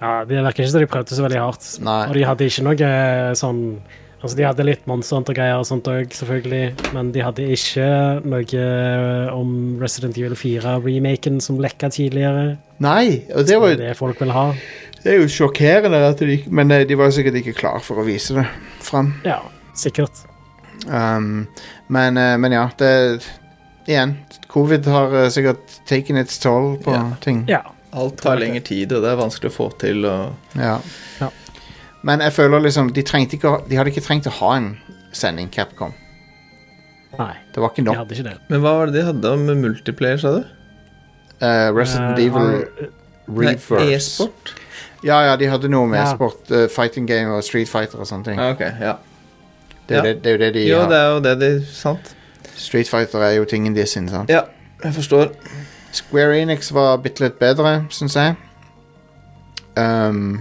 Speaker 2: Ja, Det virker ikke som de prøvde så veldig hardt.
Speaker 1: Nei.
Speaker 2: Og de hadde ikke noe sånn Altså, de hadde litt Monster Hunter-greier og sånt òg, selvfølgelig, men de hadde ikke noe eh, om Resident Evil 4-remaken som lekka tidligere.
Speaker 1: Nei! Og det,
Speaker 2: Det
Speaker 1: var,
Speaker 2: er
Speaker 1: jo-
Speaker 2: det folk vil ha.
Speaker 1: det er jo sjokkerende, at de, ikke- men eh, de var sikkert ikke klar for å vise det fram.
Speaker 2: Ja, sikkert.
Speaker 1: Um, men, eh, men ja, det Igjen, covid har eh, sikkert taken its toll på
Speaker 3: Ja.
Speaker 1: ting.
Speaker 2: Ja.
Speaker 3: Alt tar lengre tid, og det er vanskelig å få til. Og...
Speaker 1: Ja.
Speaker 2: Ja.
Speaker 1: Men jeg føler liksom de, trengte ikke, å- de hadde ikke trengt å ha en sending, Capcom.
Speaker 2: Nei,
Speaker 1: Det var ikke
Speaker 2: de
Speaker 1: nok.
Speaker 2: hadde ikke det.
Speaker 3: Men hva var det de hadde om multiplayer, sa du?
Speaker 1: Eh, Resident
Speaker 2: Eh,
Speaker 1: Evil
Speaker 3: Nei,
Speaker 1: Reverse.
Speaker 3: E-sport?
Speaker 1: Ja, ja, de hadde noe med
Speaker 2: Ja.
Speaker 1: e-sport, eh, fighting game og Street Fighter og sånne ting.
Speaker 3: Ja, ok, ja.
Speaker 1: Det, er
Speaker 3: Ja.
Speaker 1: det, det er jo det de
Speaker 3: Jo, det
Speaker 1: har.
Speaker 3: er jo det de Sant.
Speaker 1: Street Fighter er jo tingen de sin, sant.
Speaker 3: Ja, jeg forstår.
Speaker 1: Square Enix var bitte litt bedre, syns jeg. Ehm,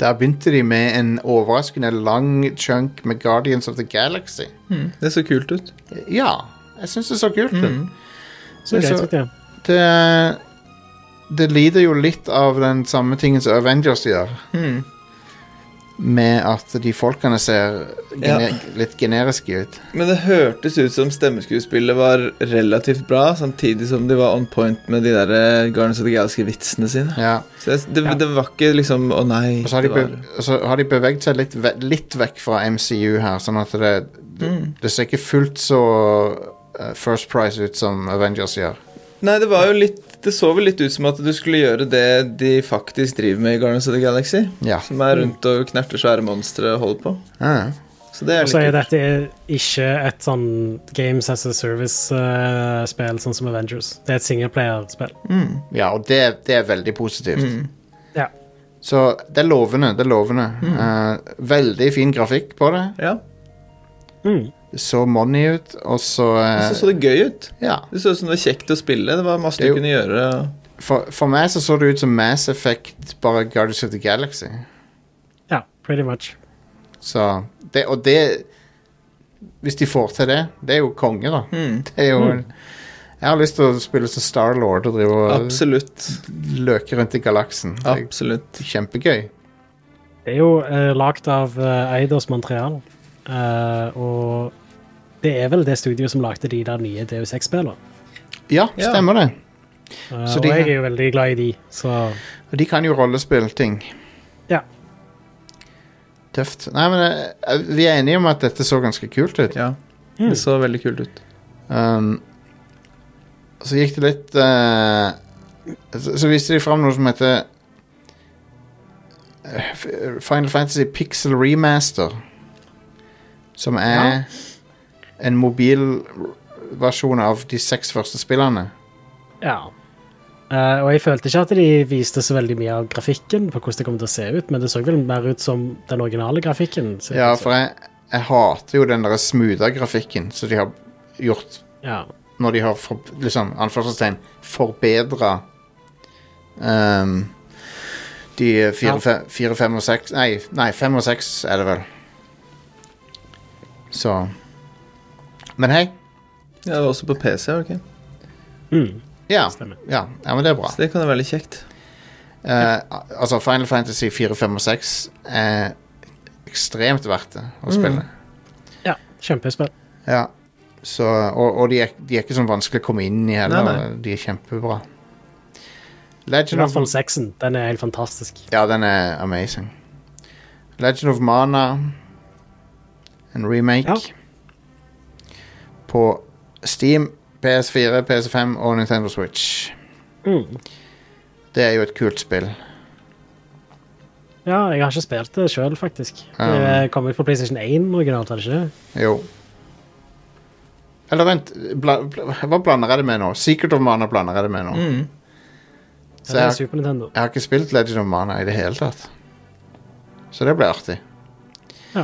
Speaker 1: der begynte de med en overraskende lang chunk med Guardians of the Galaxy.
Speaker 3: Mm, det så kult ut.
Speaker 1: Ja, jeg syns det så kult ut.
Speaker 3: Mm.
Speaker 2: Så
Speaker 1: Det
Speaker 2: greit
Speaker 1: så-
Speaker 2: ut, ja.
Speaker 1: Det, det lider jo litt av den samme tingen som Avengers gjør,
Speaker 3: Mm.
Speaker 1: med at de folkene ser gene litt generiske ut.
Speaker 3: Men det hørtes ut som stemmeskuespillet var relativt bra, samtidig som de var on point med de der eh, Guardians of the Galaxy-vitsene sine.
Speaker 1: Ja.
Speaker 3: Så jeg, det,
Speaker 2: Ja.
Speaker 3: det var ikke liksom Å nei.
Speaker 1: Og så har de,
Speaker 3: det var-
Speaker 1: bev og så har de beveget seg litt, ve litt vekk fra MCU her, sånn at det, det,
Speaker 3: Mm.
Speaker 1: det ser ikke fullt så eh, First Price ut som Avengers gjør.
Speaker 3: Nei, det var jo litt Det så vel litt ut som at du skulle gjøre det de faktisk driver med i Guardians of the Galaxy.
Speaker 1: Ja.
Speaker 3: Som er rundt og knerter svære monstre og holder på.
Speaker 1: Ah, Ja.
Speaker 3: Så det er
Speaker 2: Og så er
Speaker 3: litt kult.
Speaker 2: dette ikke et sånn Games as a Service-spill, sånn som Avengers. Det er et singleplayer-spill.
Speaker 3: Mm.
Speaker 1: ja, og det, det er veldig positivt.
Speaker 2: Ja.
Speaker 1: Så det er lovende. det er lovende.
Speaker 3: Mm.
Speaker 1: Eh, veldig fin grafikk på det.
Speaker 3: Ja.
Speaker 2: Mm.
Speaker 1: Det så money ut, og så
Speaker 3: Og
Speaker 1: eh,
Speaker 3: så så det gøy ut.
Speaker 1: Ja.
Speaker 3: Det så ut som det var kjekt å spille. Det var masse
Speaker 1: Det er
Speaker 3: du
Speaker 1: jo-
Speaker 3: kunne gjøre. og-
Speaker 1: For, for meg så så det ut som Mass Effect, bare Guardians of the Galaxy.
Speaker 2: ja, pretty much.
Speaker 1: Så det, Og det Hvis de får til det, det er jo konge, da.
Speaker 3: Hmm.
Speaker 1: Det er jo Jeg har lyst til å spille som Starlord og drive og
Speaker 3: Absolutt.
Speaker 1: løke rundt i galaksen. Det er
Speaker 3: Absolutt.
Speaker 1: kjempegøy.
Speaker 2: Det er jo uh, lagd av eh, Eidos Montreal, eh, og det er vel det studioet som lagde de der nye DU6-spillene.
Speaker 1: Ja,
Speaker 3: Ja.
Speaker 1: stemmer det. Så
Speaker 2: Eh, og
Speaker 1: de-
Speaker 2: jeg er jo veldig glad i de, så
Speaker 1: Og de kan jo rollespillting.
Speaker 2: Ja.
Speaker 1: Tøft. Nei, men eh, vi er enige om at dette så ganske kult ut.
Speaker 3: Ja.
Speaker 2: Mm.
Speaker 3: Det så veldig kult ut.
Speaker 1: Um, så gikk det litt eh, så, så viste de fram noe som heter eh, F- Final Fantasy Pixel Remaster. Som er en mobilversjon av de seks første spillene.
Speaker 2: ja. Eh, og jeg følte ikke at de viste så veldig mye av grafikken, på hvordan det kom til å se ut, men det så vel mer ut som den originale grafikken. så-
Speaker 1: Ja, for jeg, jeg hater jo den der smootha grafikken som de har gjort
Speaker 2: ja.
Speaker 1: når de har for, liksom, anførselstegn forbedra ehm, de
Speaker 2: Ja.
Speaker 1: fire, fe- fire, fem og seks Nei, nei, fem og seks er det vel. Så Men hei.
Speaker 3: Ja, det var også på PC, var det ikke?
Speaker 2: Mm.
Speaker 1: Ja.
Speaker 2: Stemmer.
Speaker 1: Ja, ja, men det er bra.
Speaker 3: Så det kan være veldig kjekt.
Speaker 1: Eh, al- altså, Final Fantasy 4, 5 og 6 er ekstremt verdt det
Speaker 2: Mm.
Speaker 1: å spille.
Speaker 2: ja. Kjempespill.
Speaker 1: Ja. Så, og og de, er, de er ikke sånn vanskelig å komme inn i heller.
Speaker 3: Nei,
Speaker 1: De er kjempebra.
Speaker 2: I
Speaker 1: Legend
Speaker 2: hvert
Speaker 1: of
Speaker 2: fall seksen. Den er helt fantastisk.
Speaker 1: Ja, den er amazing. Legend of Mana. En remake.
Speaker 2: Ja.
Speaker 1: På Steam, PS4, PS5 og Nintendo Switch.
Speaker 2: Mm.
Speaker 1: Det er jo et kult spill.
Speaker 2: Ja, jeg har ikke spilt det sjøl, faktisk.
Speaker 1: Ja.
Speaker 2: Det kom ut på PlayStation 1 originalt, har det ikke? det?
Speaker 1: Jo. Eller vent, bla, bla, hva blander jeg det med nå? Secret of Mana blander jeg det med nå.
Speaker 3: Mm.
Speaker 1: Så jeg,
Speaker 2: Det er
Speaker 1: har-
Speaker 2: Super Nintendo.
Speaker 1: jeg har ikke spilt Legend of Mana i det hele tatt. Så det blir artig.
Speaker 2: Ja.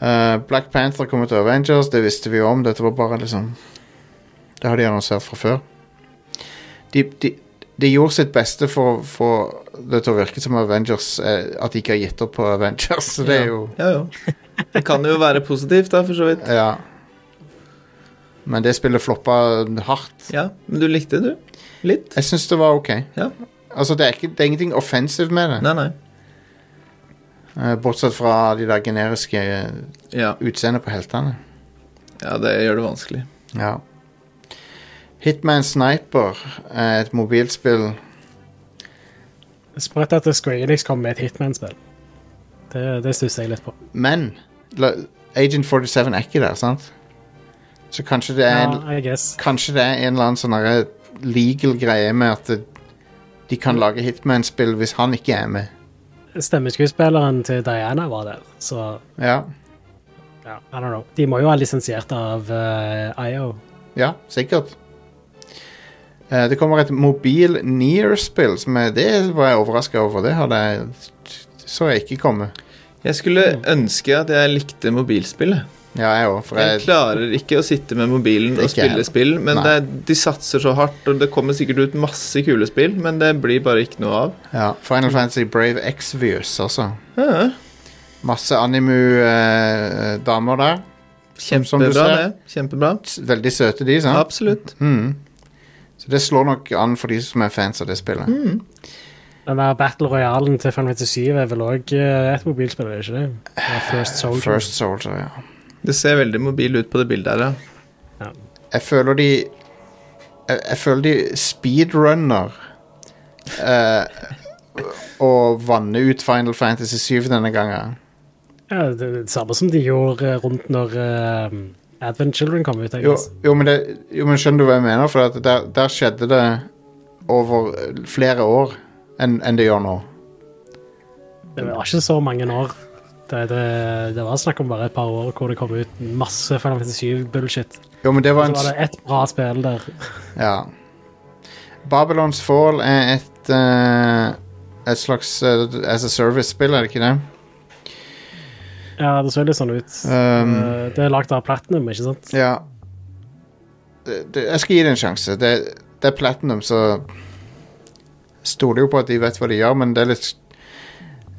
Speaker 1: Eh, Black Panther kommer til Avengers, det visste vi jo om. Dette var bare liksom Det har de annonsert fra før. De, de, de gjorde sitt beste for å få det til å virke som Avengers eh, At de ikke har gitt opp på Avengers. Så det er jo
Speaker 3: Ja, jo. Det kan jo være positivt, da, for så vidt.
Speaker 1: Ja. Men det spillet floppa hardt.
Speaker 3: Ja, Men du likte det, du? Litt?
Speaker 1: Jeg syns det var ok.
Speaker 3: Ja.
Speaker 1: Altså, det er, ikke, det er ingenting offensive med det.
Speaker 3: Nei, nei.
Speaker 1: Eh, bortsett fra de der generiske eh,
Speaker 3: Ja,
Speaker 1: utseendet på heltene.
Speaker 3: ja det gjør det vanskelig.
Speaker 1: Ja. Hitman Sniper er et mobilspill.
Speaker 2: Sprøtt at Square Enix kom med et Hitman-spill. Det, det stusser jeg litt på.
Speaker 1: Men la- Agent 47 er ikke der, sant? Så kanskje det er,
Speaker 2: Ja,
Speaker 1: en,
Speaker 2: I guess.
Speaker 1: kanskje det er en eller annen sånn herre legal greie med at det, de kan lage Hitman-spill hvis han ikke er med.
Speaker 2: Stemmeskuespilleren til Diana var der, så
Speaker 1: Ja.
Speaker 2: ja. Ja, I don't know. De må jo ha lisensiert av eh, IO.
Speaker 1: Ja, sikkert. Eh, Det kommer et mobil Near-spill, som er, det var jeg overraska over. Det hadde jeg så jeg ikke komme.
Speaker 3: Jeg skulle ønske at jeg likte mobilspillet.
Speaker 1: Ja, jeg òg, for
Speaker 3: Jeg
Speaker 1: jeg
Speaker 3: klarer ikke å sitte med mobilen og
Speaker 1: Ikke jeg
Speaker 3: spille
Speaker 1: heller.
Speaker 3: spill, men
Speaker 1: Nei.
Speaker 3: det, er- de satser så hardt, og det kommer sikkert ut masse kule spill, men det blir bare ikke noe av.
Speaker 1: ja, Final Fantasy Brave Exvius også.
Speaker 3: Ja,
Speaker 1: Masse animu-damer der. Som- som du ser.
Speaker 3: kjempebra, det. Kjempebra.
Speaker 1: S- Veldig søte, de, sant?
Speaker 3: Absolutt.
Speaker 1: Mm. Så det slår nok an for de som er fans av det spillet.
Speaker 2: Den der Battle Royalen til Final Fantasy 7 er vel òg et mobilspill, er det ikke det? det er First Soldier.
Speaker 1: First Soldier, ja.
Speaker 3: Det ser veldig mobil ut på det bildet her, ja.
Speaker 1: Jeg føler de Jeg, jeg føler de speedrunner eh, og vanner ut Final Fantasy 7 denne gangen.
Speaker 2: Ja, det, det er det samme som de gjorde eh, rundt når eh, Advent Children kom ut. I
Speaker 1: Jo,
Speaker 2: guess.
Speaker 1: jo, men det, jo, men skjønner du hva jeg mener? For at der, der skjedde det over flere år enn enn det gjør nå.
Speaker 2: Det var ikke så mange år. Det, det, det var snakk om bare et par år hvor det kom ut masse Final Fantasy 7-bullshit.
Speaker 1: Jo, men det
Speaker 2: Så
Speaker 1: var en
Speaker 2: var det ett bra spill der.
Speaker 1: Ja. Babylons Fall er et eh, Et slags eh, as a service-spill, er det ikke det?
Speaker 2: Ja, det så litt sånn ut.
Speaker 1: Um,
Speaker 2: Eh, det er lagd av Platinum, ikke sant?
Speaker 1: Ja. Det, det, jeg skal gi det en sjanse. Det, det er Platinum, så stoler jo på at de vet hva de gjør, men det er litt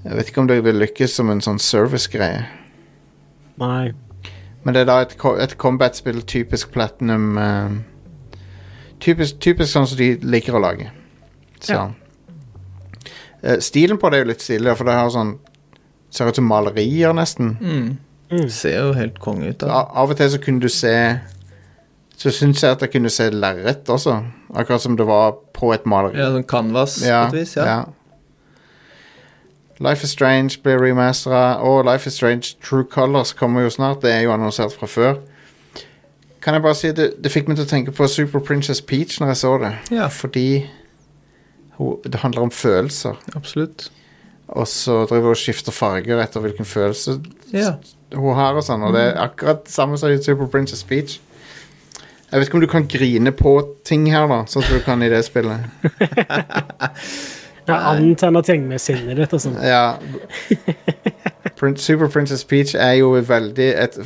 Speaker 1: Jeg vet ikke om det vil lykkes som en sånn service-greie.
Speaker 2: Nei.
Speaker 1: Men det er da et, ko- et combat-spill typisk Platinum eh, typisk, typisk sånn som de liker å lage. Så.
Speaker 2: Ja.
Speaker 1: Eh, stilen på det er jo litt stilig, for det har sånn ser ut som malerier, nesten.
Speaker 2: Mm.
Speaker 3: Det ser jo helt konge ut, da.
Speaker 1: A- Av og til så kunne du se Så syns jeg at jeg kunne se lerret også. Akkurat som det var på et maleri.
Speaker 3: Ja, sånn canvas på et vis, ja.
Speaker 1: Life is Strange blir remastera, og Life is Strange True Colors kommer jo snart. Det er jo annonsert fra før. Kan jeg bare si det, det fikk meg til å tenke på Super Princess Peach når jeg så det.
Speaker 3: Ja.
Speaker 1: Fordi hun, det handler om følelser,
Speaker 3: Absolutt.
Speaker 1: og så driver hun og skifter farger etter hvilken følelse
Speaker 3: Ja.
Speaker 1: hun har og sånn, og det
Speaker 3: Mm.
Speaker 1: er akkurat samme som i Super Princess Peach. Jeg vet ikke om du kan grine på ting her, da, sånn som du kan i det spillet.
Speaker 2: Ja, antenne ting med sinnet ditt og sånn.
Speaker 1: Ja. Prin Super Princess Peach er jo veldig et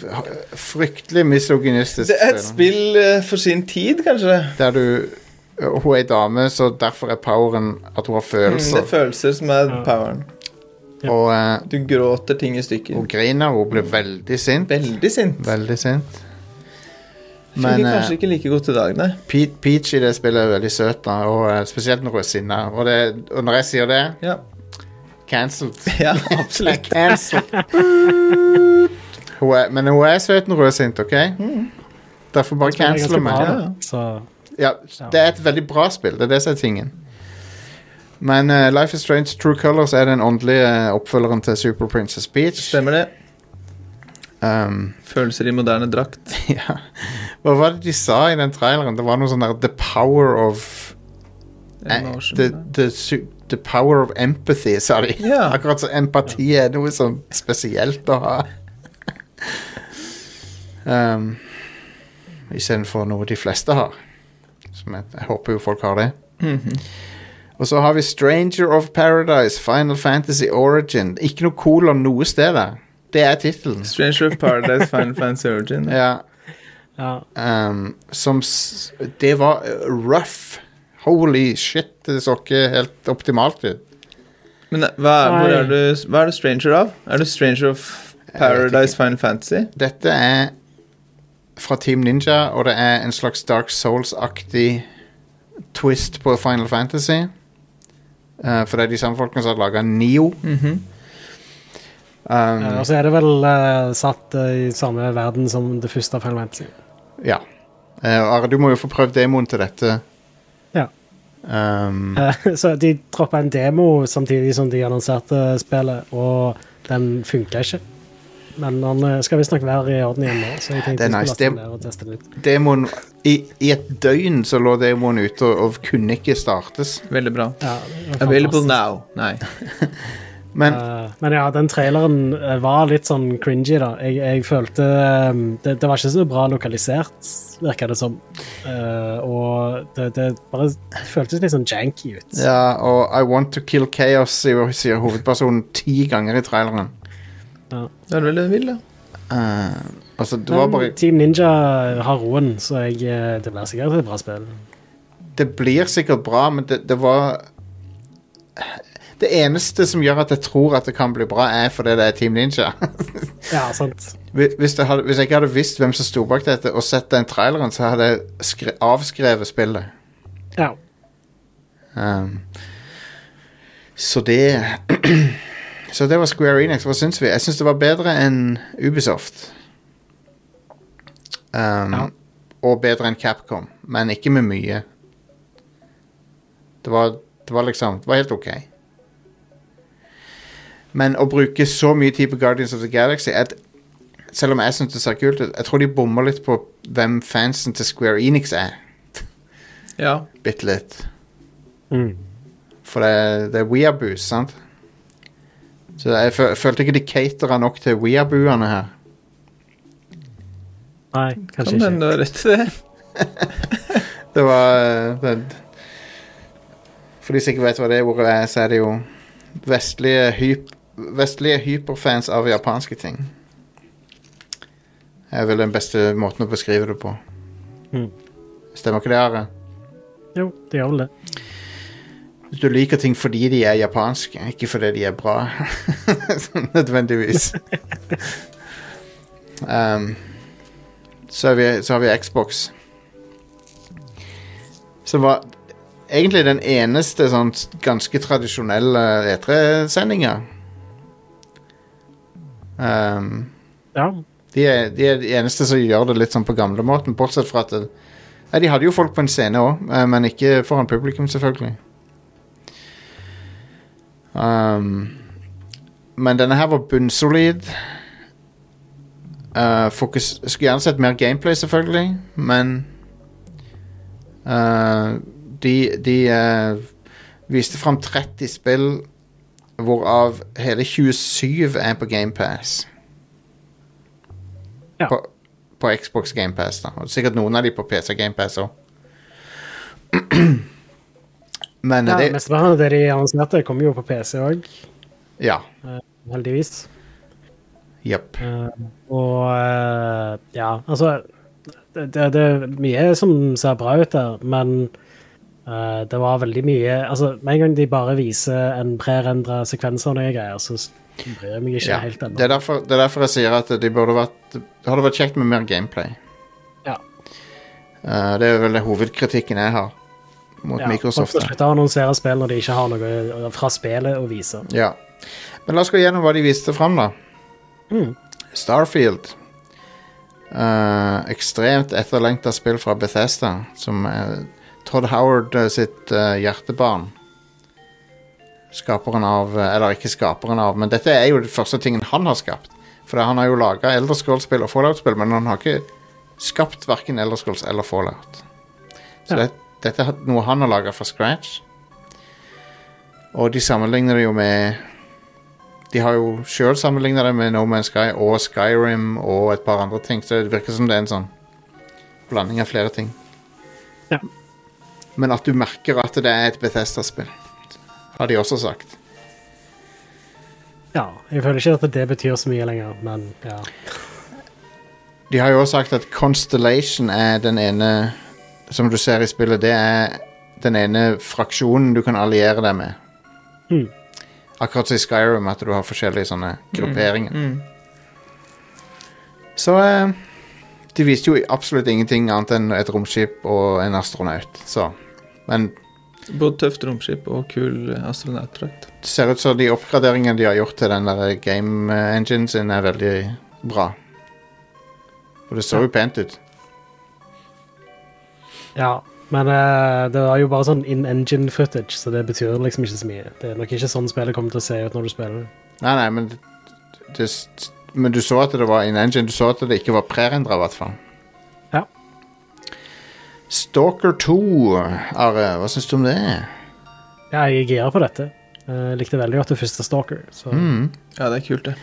Speaker 1: fryktelig misogynistisk
Speaker 3: Det er et spill eh, for sin tid, kanskje.
Speaker 1: Der du øh, Hun er ei dame, så derfor er poweren at hun har
Speaker 3: Mm, det
Speaker 1: følelser.
Speaker 3: er følelser som er
Speaker 2: Ja.
Speaker 3: poweren.
Speaker 2: ja.
Speaker 1: Og eh,
Speaker 3: Du gråter ting i stykker.
Speaker 1: hun griner, hun blir veldig sint.
Speaker 3: Veldig sint.
Speaker 1: Veldig sint.
Speaker 3: Funker
Speaker 1: Men eh,
Speaker 3: kanskje ikke like godt i dag, nei.
Speaker 1: Pe- Peach i det spillet er veldig søt, da, og eh, spesielt når hun er sinna. Og, det- og når jeg sier det
Speaker 3: Ja,
Speaker 1: Cancelled.
Speaker 3: ja absolutt.
Speaker 1: Cancelled. Hun er- Men hun er søt når hun er sint, OK?
Speaker 3: Mm.
Speaker 1: Derfor bare
Speaker 2: Det er ganske
Speaker 1: cancel
Speaker 2: bra,
Speaker 1: meg.
Speaker 3: ja.
Speaker 2: da. Så
Speaker 1: Ja, det er et veldig bra spill. Det er det som er tingen. Men eh, Life is Strange True Colors er den åndelige eh, oppfølgeren til Super Princess Beach.
Speaker 3: Stemmer det.
Speaker 1: Um,
Speaker 3: Følelser i moderne drakt.
Speaker 1: ja. Hva var det de sa i den traileren? Det var noe sånn der The power of Eh,
Speaker 3: Det er noen år siden,
Speaker 1: the,
Speaker 3: da.
Speaker 1: the, su- the power of empathy, sa de.
Speaker 3: Ja.
Speaker 1: Akkurat som empati er noe sånn spesielt å ha. um, Istedenfor noe de fleste har. Som jeg, jeg håper jo folk har det.
Speaker 3: Mhm.
Speaker 1: Og så har vi Stranger of Paradise, Final Fantasy Origin. Ikke noe kolon noe sted der. Det er tittelen.
Speaker 3: Stranger of Paradise, Final Fantasy Origin.
Speaker 1: Ja,
Speaker 2: ja.
Speaker 1: um, som s Det var uh, rough. Holy shit, det så ikke helt optimalt ut.
Speaker 3: Men eh, hva er, hvor
Speaker 2: Nei.
Speaker 3: er du, hva er du stranger av? Er du stranger of
Speaker 1: vet
Speaker 3: Paradise,
Speaker 1: ikke.
Speaker 3: Final Fantasy?
Speaker 1: Dette er fra Team Ninja, og det er en slags Dark Souls-aktig twist på Final Fantasy. Eh, for det er de samme folkene som har laga Neo. Um,
Speaker 2: Eh, Og så er det vel eh, satt eh, i samme verden som det første Final Fantasy.
Speaker 1: ja. Eh, og Are, du må jo få prøvd demoen til dette.
Speaker 2: Ja.
Speaker 1: Um,
Speaker 2: Eh, Så de droppa en demo samtidig som de annonserte spillet, og den funka ikke. Men den eh, skal visstnok være i orden igjen nå, så jeg tenkte
Speaker 1: Det er
Speaker 2: jeg skulle
Speaker 1: nice. Det-
Speaker 2: laste den ned og teste den ut.
Speaker 1: demoen, i, I et døgn så lå demoen ute og, og kunne ikke startes.
Speaker 3: Veldig bra.
Speaker 2: Ja, det var
Speaker 3: Available
Speaker 2: fantastisk.
Speaker 3: now. Nei.
Speaker 1: Men
Speaker 2: Eh, men ja, den traileren eh, var litt sånn cringy, da. Jeg, jeg følte eh, det, det var ikke så bra lokalisert, virka det som. Eh, og det, det bare føltes litt sånn janky ut.
Speaker 1: ja, og I want to kill chaos, sier sier hovedpersonen ti ganger i traileren.
Speaker 3: Det er vel det du vil, da.
Speaker 1: Eh, altså, det var
Speaker 2: Men
Speaker 1: bare
Speaker 2: Team Ninja har roen, så jeg, eh, det blir sikkert et bra spill.
Speaker 1: det blir sikkert bra, men det, det var Det eneste som gjør at jeg tror at det kan bli bra, er fordi det er Team Ninja.
Speaker 2: Ja, sant.
Speaker 1: Hvis, hvis jeg hadde, hvis jeg ikke hadde visst hvem som sto bak dette, og sett den traileren, så hadde jeg skre, avskrevet spillet.
Speaker 2: Ja.
Speaker 1: Um, så det Så det var Square Enix. Hva syns vi? Jeg syns det var bedre enn Ubisoft. Um,
Speaker 2: Ja.
Speaker 1: Og bedre enn Capcom, men ikke med mye. Det var, det var liksom Det var helt OK. Men å bruke så mye tid på Guardians of the Galaxy at, Selv om jeg syns det ser kult ut, jeg tror de bommer litt på hvem fansen til Square Enix er.
Speaker 3: Ja.
Speaker 1: Bitte litt.
Speaker 2: Mm.
Speaker 1: For det, det er weeaboos, sant? Så jeg fø- følte ikke de catera nok til weeabooene her.
Speaker 2: Nei, kanskje
Speaker 3: Kan hende
Speaker 2: ikke.
Speaker 3: du har rett i det.
Speaker 1: Det var eh, det, For de som ikke vet hva det ordet er, så er det jo vestlige, hyp, vestlige hyperfans av japanske ting. er vel den beste måten å beskrive det på.
Speaker 2: Mhm.
Speaker 1: Stemmer ikke det, Are?
Speaker 2: Jo, det gjør vel det.
Speaker 1: Hvis du liker ting fordi de er japanske, ikke fordi de er bra. Sånn Nødvendigvis. um, så, har vi, så har vi Xbox. Som var egentlig den eneste sånn s- ganske tradisjonelle E E3-sendinga. Um,
Speaker 2: Ja.
Speaker 1: de, er, de er de eneste som gjør det litt sånn på gamlemåten, bortsett fra at det, Nei, de hadde jo folk på en scene òg, men ikke foran publikum, selvfølgelig. Um, men denne her var bunnsolid. Uh, fokus, skulle gjerne sett mer gameplay, selvfølgelig, men uh, De, de uh, viste fram 30 spill, hvorav hele 27 er på GamePass på, på Xbox GamePass. Sikkert noen av de på PC GamePass òg. Men
Speaker 2: ja
Speaker 1: ja, det
Speaker 2: Mesteparten av det de annonserte, kommer jo på PC òg,
Speaker 1: Ja.
Speaker 2: heldigvis.
Speaker 1: Jepp.
Speaker 2: Eh, og eh, ja, altså det, det, det er mye som ser bra ut der, men eh, det var veldig mye Altså, med en gang de bare viser en prerendra sekvens av noen greier, så s- bryr jeg meg ikke
Speaker 1: Ja.
Speaker 2: helt
Speaker 1: Det,
Speaker 2: ennå.
Speaker 1: er derfor- det er derfor jeg sier at de burde vært Det hadde vært kjekt med mer gameplay.
Speaker 2: Ja.
Speaker 1: Eh, det er vel det hovedkritikken jeg har mot
Speaker 2: Ja,
Speaker 1: Microsoft.
Speaker 2: folk må
Speaker 1: der.
Speaker 2: slutte å annonsere spill når de ikke har noe fra spillet å vise.
Speaker 1: Ja. Men la oss gå gjennom hva de viste fram, da.
Speaker 2: Mm.
Speaker 1: Starfield. Eh, ekstremt etterlengta spill fra Bethesda, som er Todd Howard eh, sitt eh, hjertebarn. Skaperen av eh, Eller ikke skaperen av, men dette er jo den første tingen han har skapt. For han har jo laga Elderskål-spill og Fallout-spill, men han har ikke skapt verken Elderskåls eller Fallout. Så
Speaker 2: Ja.
Speaker 1: det, dette er noe han har laga fra scratch. Og de sammenligner det jo med de har jo sjøl sammenligna det med No Man's Sky og Skyrim og et par andre ting, så det virker som det er en sånn blanding av flere ting.
Speaker 2: Ja.
Speaker 1: Men at du merker at det er et Bethesda-spill, har de også sagt.
Speaker 2: Ja, jeg føler ikke at det betyr så mye lenger, men ja.
Speaker 1: De har jo også sagt at Constellation er den ene Som du ser i spillet, det er den ene fraksjonen du kan alliere deg med.
Speaker 2: Mm.
Speaker 1: Akkurat som i Skyrim, at du har forskjellige sånne grupperinger.
Speaker 3: Mm.
Speaker 1: Så eh, De viste jo absolutt ingenting annet enn et romskip og en astronaut, så Men
Speaker 3: Både tøft romskip og kul eh, astronautdrakt.
Speaker 1: det ser ut som de oppgraderingene de har gjort til den der game eh, engine sin, er veldig bra. Og det så jo pent ut.
Speaker 2: ja. Men eh, det var jo bare sånn in engine footage, så det betyr liksom ikke så mye. Det er nok ikke sånn spillet kommer til å se ut når du spiller det.
Speaker 1: Nei, nei, men det, det, Men du så at det var in engine. Du så at det ikke var prerendra, i hvert fall.
Speaker 2: Ja.
Speaker 1: Stalker 2, Are, hva syns du om det?
Speaker 2: Ja, jeg er gira på dette. Eh, likte veldig godt det første Stalker. Så.
Speaker 1: Mm.
Speaker 3: Ja, det er kult, det.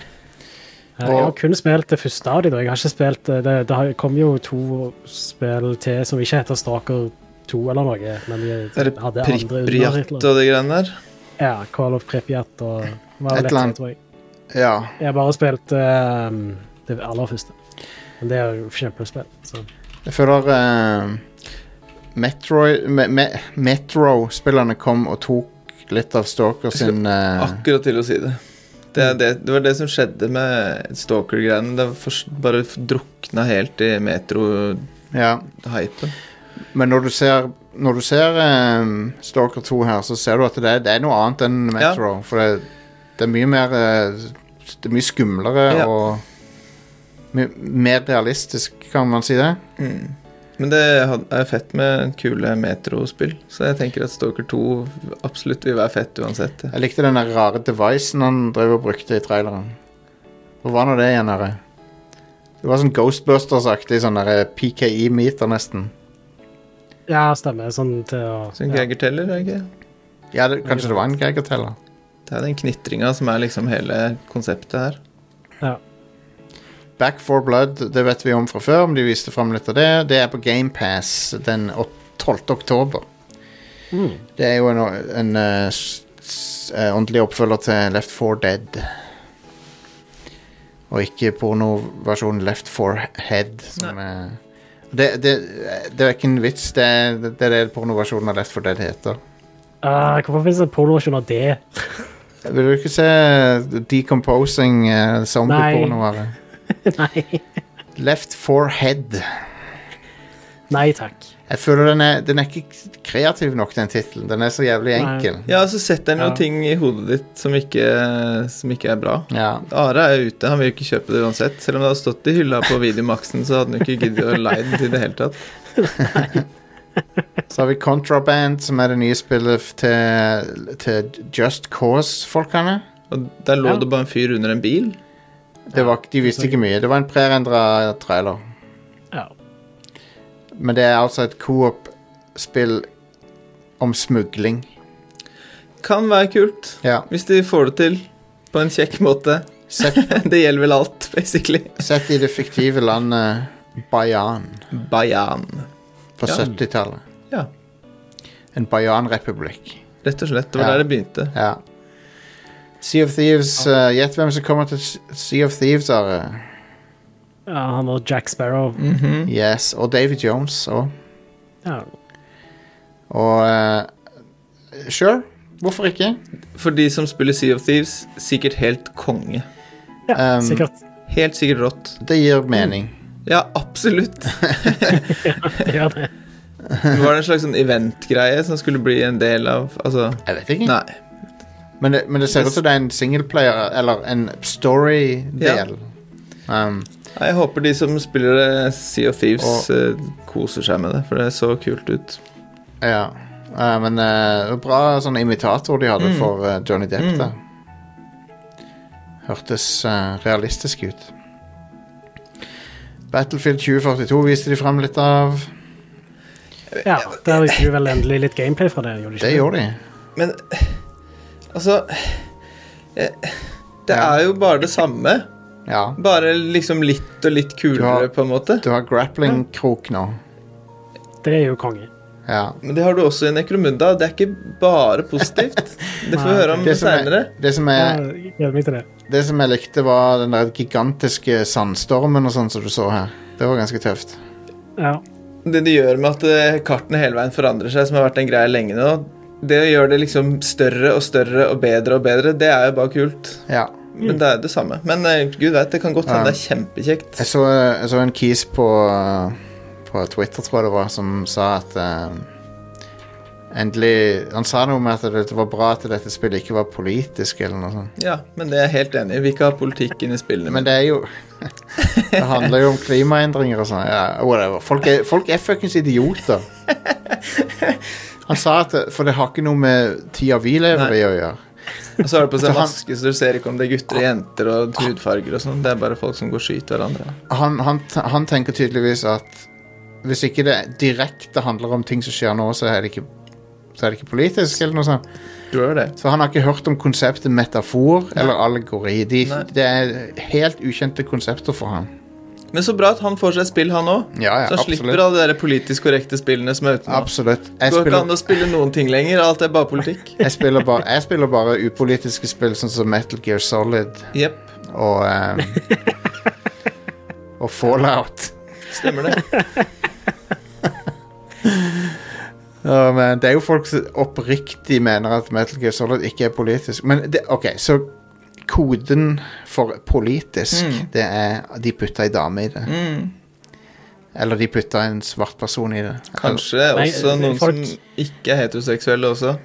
Speaker 2: Eh, Jeg har kun spilt det første av de, da. Jeg har ikke spilt eh, Det, det har- kom jo to spill til som ikke heter Stalker 2 eller noe, men
Speaker 3: Er
Speaker 2: de
Speaker 3: det
Speaker 2: hadde andre
Speaker 3: Pripjat
Speaker 2: undertitler.
Speaker 3: og de greiene der.
Speaker 2: Ja, Call of Pripyat og
Speaker 1: Et
Speaker 2: var vel
Speaker 1: eller annet.
Speaker 2: lett, tror jeg.
Speaker 1: Ja.
Speaker 2: Jeg har bare spilt eh, det aller første. Men det er jo kjempespill. Så.
Speaker 1: Jeg føler eh, Metroid- me, me, Metro-spillerne kom og tok litt av Stalker sin eh,
Speaker 3: Akkurat til å si det. Det, er det, det var det som skjedde med Stalker-greiene. Det først bare f- drukna helt i metro-hypen.
Speaker 1: Ja. Men når du ser, når du ser eh, Stalker 2 her, så ser du at det, er- det er noe annet enn Metro. For det, det er mye mer eh, Det er mye skumlere
Speaker 3: Ja.
Speaker 1: og my, mer realistisk, kan man si det?
Speaker 3: Mm. Men det had- er fett med kule metrospill, så jeg tenker at Stalker 2 absolutt vil være fett uansett.
Speaker 1: Jeg likte den der rare devicen han drev og brukte i traileren. Hva var nå det igjen? Her? Det var sånn Ghostbusters-aktig, sånn der, eh, PKI-meter, nesten.
Speaker 2: Ja, stemmer. Sånn til å
Speaker 3: Så en
Speaker 2: ja.
Speaker 3: gaggerteller, er det ikke?
Speaker 1: Ja, det, Kanskje det var en geigerteller.
Speaker 3: Det er den knitringa som er liksom hele konseptet her.
Speaker 1: Back for Blood, det vet vi om fra før, men de viste fram litt av det. Det er på GamePass den åt- 12. oktober.
Speaker 2: Mm.
Speaker 1: Det er jo en, en eh, s- s- eh, ordentlig oppfølger til Left 4 Dead. Og ikke pornoversjonen Left 4 Head. Som er, det, det, det er ikke en vits, det er det, er det pornoversjonen av Left 4 Dead heter.
Speaker 2: Ah, Hvorfor finnes det en pornoversjon av det?
Speaker 1: Vil du ikke se decomposing uh, zombieporno? eller?
Speaker 2: Nei.
Speaker 1: Left 4 Head.
Speaker 2: Nei takk.
Speaker 1: Jeg føler den er, den er ikke kreativ nok, den tittelen. Den er så jævlig
Speaker 2: Nei.
Speaker 1: enkel.
Speaker 3: Ja, så setter den jo
Speaker 2: Ja.
Speaker 3: ting i hodet ditt som ikke, som ikke er bra.
Speaker 1: Ja.
Speaker 3: Are er ute, han vil jo ikke kjøpe det uansett. Selv om det hadde stått i hylla på Videomaksen, så hadde han jo ikke giddet å leie den i det hele tatt.
Speaker 1: Så har vi Contraband, som er det nye spillet f- til, til Just Cause-folkene.
Speaker 3: Og der lå
Speaker 2: Ja.
Speaker 3: det bare en fyr under en bil.
Speaker 1: Det var, ikke- de visste ikke mye. Det var en preendra trailer.
Speaker 2: Ja.
Speaker 1: Men det er altså et co-op-spill om smugling.
Speaker 3: Kan være kult,
Speaker 1: Ja.
Speaker 3: hvis de får det til på en kjekk måte.
Speaker 1: Sett,
Speaker 3: Det gjelder vel alt, basically.
Speaker 1: sett i det fiktive landet Bayan
Speaker 3: Bayan.
Speaker 1: på
Speaker 3: Ja.
Speaker 1: 70-tallet.
Speaker 3: Ja.
Speaker 1: En Bayan-republikk.
Speaker 3: Rett og slett. Det var
Speaker 1: Ja.
Speaker 3: der det begynte.
Speaker 1: Ja. Sea of Thieves eh, Gjett hvem som kommer til S- Sea of Thieves, Are.
Speaker 2: ja han var Jack Sparrow.
Speaker 3: Mhm.
Speaker 1: Yes, og David Jones òg.
Speaker 2: Ja.
Speaker 1: Og eh, Sure, hvorfor ikke?
Speaker 3: For de som spiller Sea of Thieves, sikkert helt konge.
Speaker 2: ja
Speaker 1: Um,
Speaker 2: sikkert.
Speaker 3: Helt sikkert rått.
Speaker 1: Det gir mening.
Speaker 3: Ja, absolutt.
Speaker 2: Det gjør det.
Speaker 3: Det var en slags sånn eventgreie som skulle bli en del av Altså,
Speaker 1: Jeg vet ikke.
Speaker 3: nei.
Speaker 1: Men, det, men det ser ut som det er en singleplayer, eller en story-del. Um,
Speaker 3: Nei, Jeg håper de som spiller det, Sea of Thieves eh, koser seg med det, for det så kult ut.
Speaker 1: ja. Eh, men eh, det var bra sånn imitator de hadde
Speaker 3: Mm.
Speaker 1: for eh, Johnny Depp,
Speaker 3: Mm.
Speaker 1: da. Hørtes eh, realistisk ut. Battlefield 2042 viste de frem litt av.
Speaker 2: Ja, Der viste du vel endelig litt gameplay fra det? Gjorde du ikke?
Speaker 1: Det gjorde de.
Speaker 3: Men altså eh, Det
Speaker 1: Ja.
Speaker 3: er jo bare det samme,
Speaker 1: Ja.
Speaker 3: bare liksom litt og litt kulere,
Speaker 1: Ja.
Speaker 3: på en måte.
Speaker 1: Du har grappling-krok nå.
Speaker 2: Det er jo konge.
Speaker 1: Ja.
Speaker 3: Men det har du også i Necromunda. Det er ikke bare positivt. Det får vi
Speaker 2: Nei,
Speaker 3: høre om
Speaker 1: Det som,
Speaker 3: seinere.
Speaker 1: er, det, som er,
Speaker 2: Jeg gleder meg til det.
Speaker 1: det som jeg likte, var den der gigantiske sandstormen og sånn som du så her. Det var ganske tøft.
Speaker 2: Ja.
Speaker 3: Det det gjør med at eh, kartene hele veien forandrer seg, som har vært en greie lenge nå, det gjør det liksom større og større og bedre og bedre. Det er jo bare kult.
Speaker 1: Ja.
Speaker 3: Men det er jo det samme. Men eh, gud vet, det kan godt hende
Speaker 1: Ja.
Speaker 3: det er kjempekjekt.
Speaker 1: Jeg så, jeg så en kis på, på Twitter, tror jeg det var, som sa at eh, Endelig Han sa noe med at det, det var bra at dette spillet ikke var politisk, eller noe sånt.
Speaker 3: Ja, men det er jeg helt enig i. Vi ikke har politikk inn i spillene.
Speaker 1: Men det er jo Det handler jo om klimaendringer og sånn. Ja, whatever. Folk er, folk er fuckings idioter. Han sa at det- For det har ikke noe med tida vi lever i å gjøre.
Speaker 3: Og så har du på seg
Speaker 1: Altså, han-
Speaker 3: maske, så du ser ikke om det er gutter og jenter og hudfarger og sånn. Det er bare folk som går og skyter hverandre.
Speaker 1: han, han, t- han tenker tydeligvis at hvis ikke det direkte handler om ting som skjer nå, så er det ikke så er det ikke politisk, eller noe sånt.
Speaker 3: Du gjør det.
Speaker 1: Så han har ikke hørt om konseptet metafor eller allegori. De,
Speaker 3: Nei.
Speaker 1: det er helt ukjente konsepter for ham.
Speaker 3: Men så bra at han får seg spill, han òg.
Speaker 1: Ja, ja,
Speaker 3: så han
Speaker 1: absolutt.
Speaker 3: slipper alle de der politisk korrekte spillene som er ute nå.
Speaker 1: Absolutt. Jeg
Speaker 3: Går ikke an
Speaker 1: spiller,
Speaker 3: å spille noen ting lenger. Alt er bare politikk.
Speaker 1: jeg, spiller bare, jeg spiller bare upolitiske spill, sånn som Metal Gear Solid
Speaker 3: Jepp.
Speaker 1: og ehm, Og Fallout.
Speaker 3: Stemmer det.
Speaker 1: Ja, men det er jo folk som oppriktig mener at Metal Gear Solid ikke er politisk. Men det, OK, så koden for politisk,
Speaker 3: Mm.
Speaker 1: det er de putta ei dame i det. Eller de putta en svart person i det.
Speaker 3: Kanskje
Speaker 2: Nei, eh,
Speaker 3: også noen
Speaker 2: folk-
Speaker 3: som ikke er heteroseksuelle også.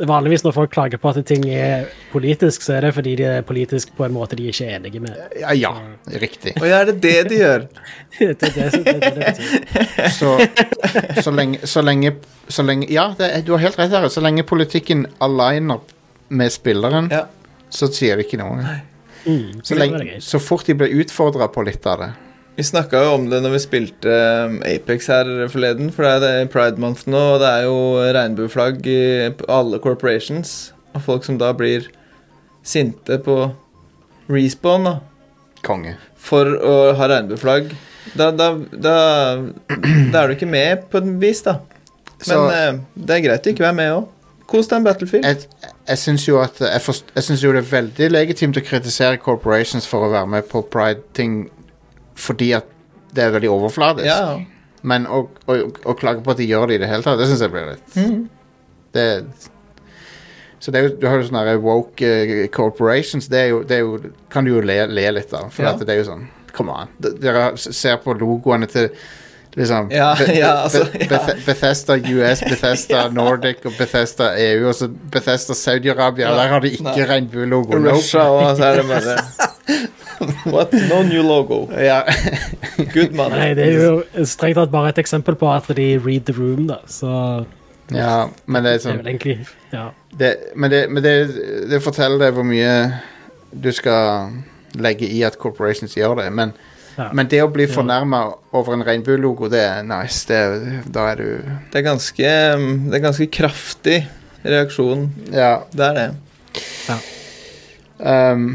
Speaker 2: Vanligvis når folk klager på at ting er politisk, så er det fordi de er politisk på en måte de ikke er enige med.
Speaker 1: Ja, ja riktig.
Speaker 3: Og ja, er det det de gjør?
Speaker 2: Det er det som det, er det det betyr.
Speaker 1: Så, så, lenge, så, lenge, så lenge Ja, det, er- du har helt rett her. Så lenge politikken aligner med spilleren,
Speaker 3: Ja.
Speaker 1: så sier det ikke noe.
Speaker 2: Mm,
Speaker 1: Så,
Speaker 2: det var det
Speaker 1: lenge,
Speaker 2: greit.
Speaker 1: så fort de blir utfordra på litt av det.
Speaker 3: Vi snakka jo om det når vi spilte um, Apex her forleden, for det er det pride-month nå, og det er jo regnbueflagg i på alle corporations. Og folk som da blir sinte på respawn da,
Speaker 1: Konge.
Speaker 3: for å ha regnbueflagg. Da, da, da, da er du ikke med på et vis, da. Men
Speaker 1: Så-
Speaker 3: eh, det er greit å ikke være med òg. Kos deg med Battlefield.
Speaker 1: Jeg, jeg syns jo at jeg, forst, jeg syns jo det er veldig legitimt å kritisere corporations for å være med på pride-ting fordi at det er veldig overfladisk.
Speaker 3: Ja,
Speaker 1: Men å, å, å klage på at de gjør det i det hele tatt, det syns jeg blir litt
Speaker 3: Mm.
Speaker 1: det, Så det er jo, du har jo sånne her woke eh, corporations, det, er jo, det er jo, kan du jo le, le litt av. For
Speaker 3: Ja.
Speaker 1: at det er jo sånn Come on. D- Dere s- ser på logoene til liksom
Speaker 3: Ja,
Speaker 1: Be-
Speaker 3: ja, altså,
Speaker 1: Be- Be- Bethesda US, Bethesda Nordic og Bethesda EU. Og så Bethesda Saudi-Arabia.
Speaker 3: Ja,
Speaker 1: Der har de ikke
Speaker 3: nei.
Speaker 1: regnbuelogo.
Speaker 3: Og
Speaker 1: Nope.
Speaker 3: Russia òg, så er det bare What? No new logo.
Speaker 1: Ja.
Speaker 3: Good money.
Speaker 2: Nei, det er jo strengt tatt bare et eksempel på at de read the room, da. Så
Speaker 1: ja, men det er
Speaker 2: det
Speaker 1: sånn
Speaker 2: er vel egentlig Ja.
Speaker 1: det, men det, men det, det forteller deg hvor mye du skal legge i at corporations gjør det. Men,
Speaker 2: ja.
Speaker 1: men det å bli fornærma over en regnbuelogo, det er nice. Det, da er du
Speaker 3: Det er ganske, um, det er ganske kraftig reaksjon.
Speaker 1: Ja.
Speaker 3: Det er det.
Speaker 1: ehm,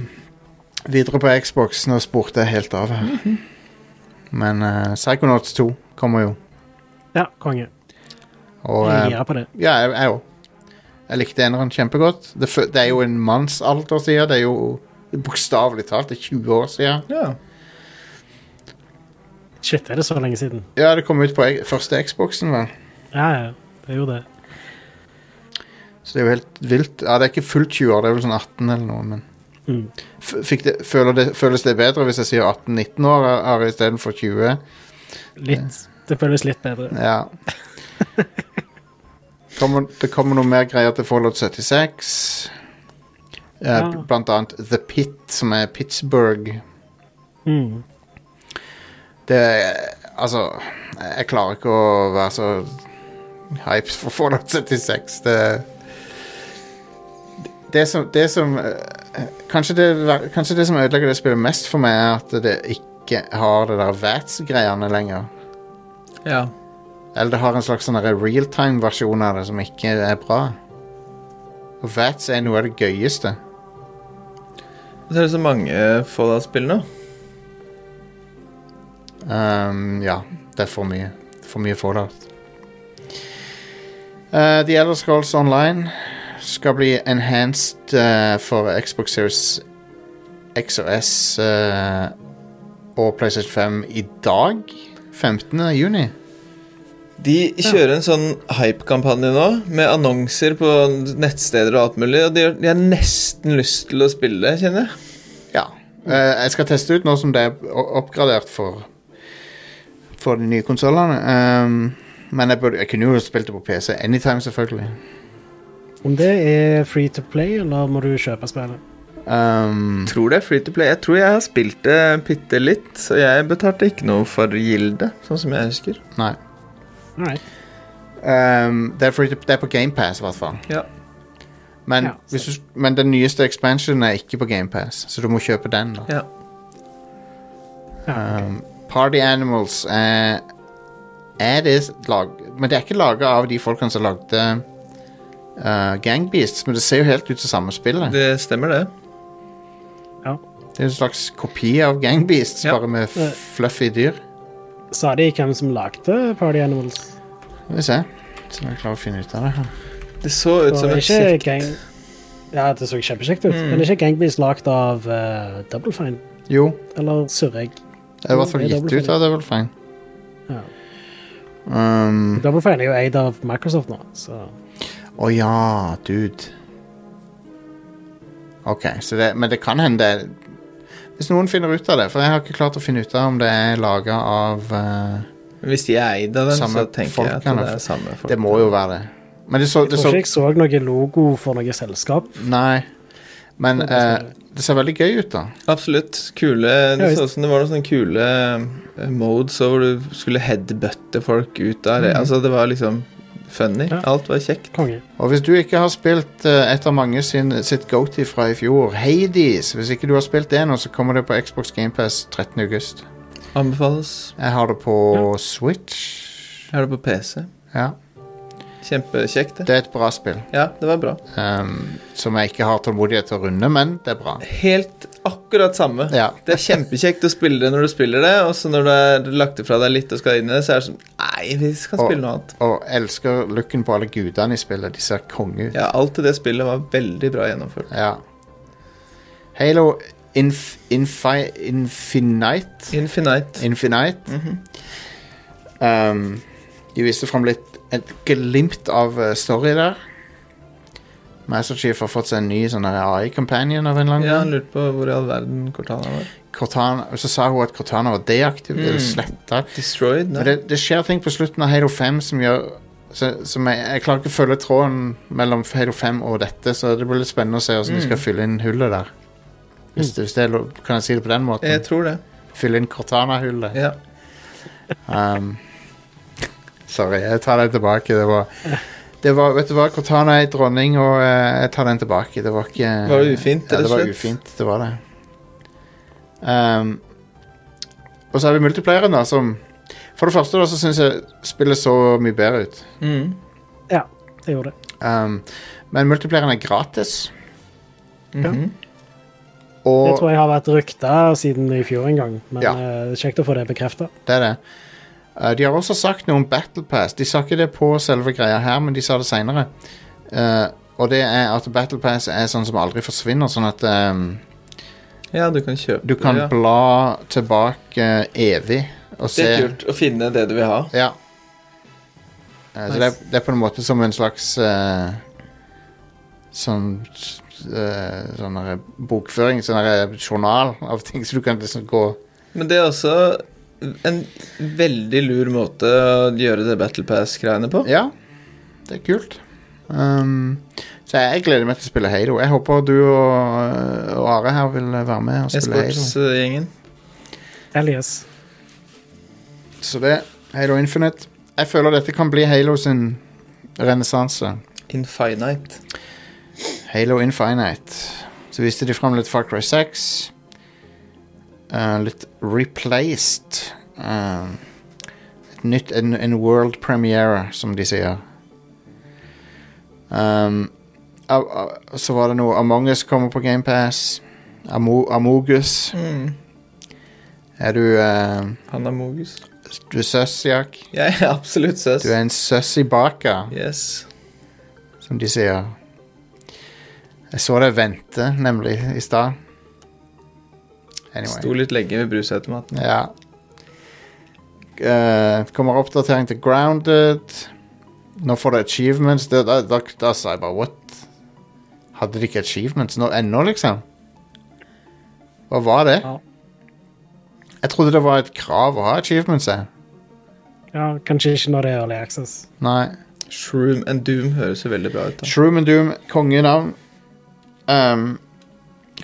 Speaker 1: videre på Xbox. Nå spurte jeg helt av her.
Speaker 3: Mhm.
Speaker 1: Men eh, Psychonauts 2 kommer jo.
Speaker 2: ja, konge.
Speaker 1: Og
Speaker 2: Jeg
Speaker 1: eh,
Speaker 2: er gira på det.
Speaker 1: ja, jeg- jeg òg. Jeg likte eneren kjempegodt. Det, fø- det er jo en mannsalder siden. Det er jo bokstavelig talt det er 20 år siden.
Speaker 3: Ja.
Speaker 2: Shit, er det så lenge siden?
Speaker 1: Ja, det kom ut på e- første Xboxen, vel.
Speaker 2: Ja, ja. Det er jo det.
Speaker 1: Så det er jo helt vilt. Ja, det er ikke fullt 20 år, det er vel sånn 18 eller noe, men
Speaker 2: Mm.
Speaker 1: F- fikk det, føler det, Føles det bedre hvis jeg sier 18-19 år Ari, istedenfor 20?
Speaker 2: Litt. Det føles litt bedre.
Speaker 1: Ja. Kommer, det kommer noe mer greier til Fallout 76. Eh,
Speaker 2: Ja.
Speaker 1: bl- Blant annet The Pit, som er Pittsburgh.
Speaker 2: Mm.
Speaker 1: Det er- Altså, jeg klarer ikke å være så hyped for Fallout 76. Det det som, det som eh, kanskje, det, ver- kanskje det som ødelegger det spillet mest for meg, er at det ikke har det der VATS-greiene lenger.
Speaker 3: ja.
Speaker 1: Eller det har en slags sånn der realtime-versjon av det som ikke er bra. Og VATS er noe av det gøyeste.
Speaker 3: Og Så er det så mange Fallout-spill nå.
Speaker 1: Ehm, ja, det er for mye. For mye Fallout. Eh, The Elder Scrolls Online skal bli enhanced eh, for Xbox Series X og S eh, og PlayStation 5 i dag. 15. juni.
Speaker 3: De kjører en sånn hype-kampanje nå, med annonser på nettsteder og alt mulig, og de, de har nesten lyst til å spille det, kjenner jeg.
Speaker 1: Ja. Eh, jeg skal teste ut nå som det er o- oppgradert for For de nye konsollene. Ehm, men jeg, burde, jeg kunne jo spilt det på PC anytime, selvfølgelig.
Speaker 2: Om det er free to play, eller må du kjøpe spillet?
Speaker 1: Ehm,
Speaker 3: Tror det er free to play. Jeg tror jeg har spilt det bitte litt, og jeg betalte ikke noe for gilde, sånn som jeg husker.
Speaker 1: nei.
Speaker 2: Alright.
Speaker 1: Ehm, det, er free to, det er på GamePass, i hvert fall.
Speaker 3: Ja.
Speaker 1: Men,
Speaker 2: Ja,
Speaker 1: hvis du, men den nyeste expansionen er ikke på GamePass, så du må kjøpe den. da
Speaker 3: Ja.
Speaker 2: Ja.
Speaker 1: Ehm, Party Animals eh, er, er det lag, men det er ikke laga av de folkene som lagde eh, Gang Beasts, men det ser jo helt ut som samme spillet.
Speaker 3: Det stemmer, det.
Speaker 1: Det er en slags kopi av Gang Beasts,
Speaker 3: Ja.
Speaker 1: bare med f- fluffy dyr.
Speaker 2: Sa de hvem som lagde Party Animals?
Speaker 1: Skal vi se om jeg klarer å finne ut av det.
Speaker 3: Det så ut som
Speaker 2: Og
Speaker 3: et
Speaker 2: ikke
Speaker 3: kjekt
Speaker 2: gang... Ja, det så kjempekjekt ut.
Speaker 1: Hmm.
Speaker 2: Men ikke Gangbees lagd av eh, Double Fine?
Speaker 1: Jo,
Speaker 2: Eller surrer jeg?
Speaker 1: det er i hvert fall
Speaker 2: Det er
Speaker 1: gitt
Speaker 2: Double
Speaker 1: ut av Devil Fine.
Speaker 2: Ja.
Speaker 1: Um,
Speaker 2: Double Fine er jo eid av Microsoft nå, så
Speaker 1: Å ja, dude. Ok, så det, men det kan hende det Hvis noen finner ut av det, for jeg har ikke klart å finne ut av om det er laga av eh,
Speaker 3: Hvis de er eid av den,
Speaker 1: Samme
Speaker 3: så tenker jeg at
Speaker 1: folkene,
Speaker 3: det er samme folk.
Speaker 1: Det må jo være det. Men det så,
Speaker 2: Jeg
Speaker 1: det
Speaker 2: tror
Speaker 1: så
Speaker 2: ikke jeg så noen logo for noe selskap.
Speaker 1: Nei. Men
Speaker 2: Det er sånn,
Speaker 1: eh, det ser veldig gøy ut, da.
Speaker 3: Absolutt. Kule Det
Speaker 2: visst.
Speaker 3: så ut som det var noen sånne kule eh, modes og hvor du skulle headbutte folk ut av det. Altså, det var liksom funny.
Speaker 2: Ja.
Speaker 3: Alt var kjekt.
Speaker 2: Konge.
Speaker 1: Og hvis du ikke har spilt eh, et av mange sin, sitt goatee fra i fjor, Hades Hvis ikke du har spilt det nå, så kommer det på Xbox GamePass 13.8.
Speaker 3: Anbefales.
Speaker 1: Jeg har det på Switch.
Speaker 3: Jeg har det på PC.
Speaker 1: Ja.
Speaker 3: Kjempekjekt, det.
Speaker 1: Det er et bra spill.
Speaker 3: Ja, det var bra.
Speaker 1: Ehm, som jeg ikke har tålmodighet til å runde, men det er bra.
Speaker 3: Helt akkurat samme.
Speaker 1: Ja.
Speaker 3: Det er kjempekjekt å spille det når du spiller det, og så når du har lagt det fra deg litt og skal inn i det, så er det sånn Nei, vi skal
Speaker 1: Og-
Speaker 3: spille noe annet.
Speaker 1: Og elsker looken på alle gudene i spillet. De ser konge ut.
Speaker 3: Ja, alt i det spillet var veldig bra gjennomført.
Speaker 1: Ja. Halo inf, infi, Infinite
Speaker 3: Infinite.
Speaker 1: Infinite.
Speaker 3: Mhm.
Speaker 1: Ehm, de viste fram litt et glimt av eh, story der. Master Chief har fått seg en ny sånn AI-companion av en eller annen
Speaker 3: Ja,
Speaker 1: grunn.
Speaker 3: han lurte på hvor i all verden Cortana var.
Speaker 1: Cortana- og Så sa hun at Cortana var deaktiv, eller
Speaker 3: Mm.
Speaker 1: sletta.
Speaker 3: Destroyed?
Speaker 1: Men
Speaker 3: Nei.
Speaker 1: det, det skjer ting på slutten av Halo 5 som gjør så- som jeg, jeg klarer ikke å følge tråden mellom Halo 5 og dette, så det blir litt spennende å se hvordan de skal fylle inn hullet der. Hvis det, hvis det er lov, kan jeg si det på den måten?
Speaker 3: Jeg tror det.
Speaker 1: Fylle inn Cortana-hullet.
Speaker 3: Ja.
Speaker 1: Um, sorry, jeg tar den tilbake. Det var, det var Vet du hva, Cortana er en dronning, og eh, jeg tar den tilbake. Det var ikke
Speaker 3: Var det ufint,
Speaker 1: Ja,
Speaker 3: rett
Speaker 1: det
Speaker 3: og
Speaker 1: var
Speaker 3: slett?
Speaker 1: ufint. Det var det. Um, og så har vi multiplayeren, da, som For det første da, så syns jeg spillet så mye bedre ut.
Speaker 3: Mm.
Speaker 2: Ja, jeg gjorde det.
Speaker 1: Um, men multiplayeren er gratis,
Speaker 3: Mhm.
Speaker 2: Det
Speaker 1: og
Speaker 2: tror jeg har vært rykta siden i fjor en gang, men
Speaker 1: Ja.
Speaker 2: eh, kjekt å få det bekrefta.
Speaker 1: det er det. Uh, de har også sagt noe om Battle Pass. De sa ikke det på selve greia her, men de sa det seinere. Uh, og det er at Battle Pass er sånn som aldri forsvinner, sånn at um,
Speaker 3: Ja, du kan kjøpe
Speaker 1: du kan
Speaker 3: det, ja.
Speaker 1: bla tilbake evig og se
Speaker 3: Det er kult å finne det du vil ha.
Speaker 1: Ja. Eh, Så det, er-
Speaker 3: Nice.
Speaker 1: det er på en måte som en slags eh, Sånn eh, Sånn her bokføring, sånn her journal av ting, så du kan liksom gå
Speaker 3: Men det er også en veldig lur måte å gjøre det Battle Pass-greiene på.
Speaker 1: Ja, det er kult. Um, så jeg, jeg gleder meg til å spille Halo. Jeg håper du og, og Are her vil være med og spille Halo.
Speaker 3: E-sportsgjengen.
Speaker 2: Elias.
Speaker 1: Så det Halo Infinite. Jeg føler dette kan bli Halo sin renessanse.
Speaker 3: Infinite.
Speaker 1: Halo Infinite. Så viste de fram litt Far Cry 6. eh, litt Replaced. eh, et nytt en, en world premiere, som de sier. Um, av- av- så var det noe Among Us kommer på GamePass. Amo, Amogus.
Speaker 3: Mm.
Speaker 1: Er du uh,
Speaker 3: Han er mogus.
Speaker 1: Du er søss, Jack?
Speaker 3: Jeg er absolutt søs.
Speaker 1: Du er en søss i baka,
Speaker 3: Yes.
Speaker 1: som de sier. Jeg så deg vente, nemlig, i stad. Anyway.
Speaker 3: Sto litt lenge ved brusautomaten.
Speaker 1: Ja. Eh, kommer oppdatering til Grounded. Nå får du achievements. Da, da, da, da sa jeg bare what? Hadde de ikke achievements nå ennå, liksom? Hva var det?
Speaker 2: Ja.
Speaker 1: Jeg trodde det var et krav å ha achievements. Jeg.
Speaker 2: Ja, kanskje ikke når det er Early Access.
Speaker 1: Nei.
Speaker 3: Shroom and Doom høres jo veldig bra ut. da
Speaker 1: Shroom and Doom, kongenavn. Ehm,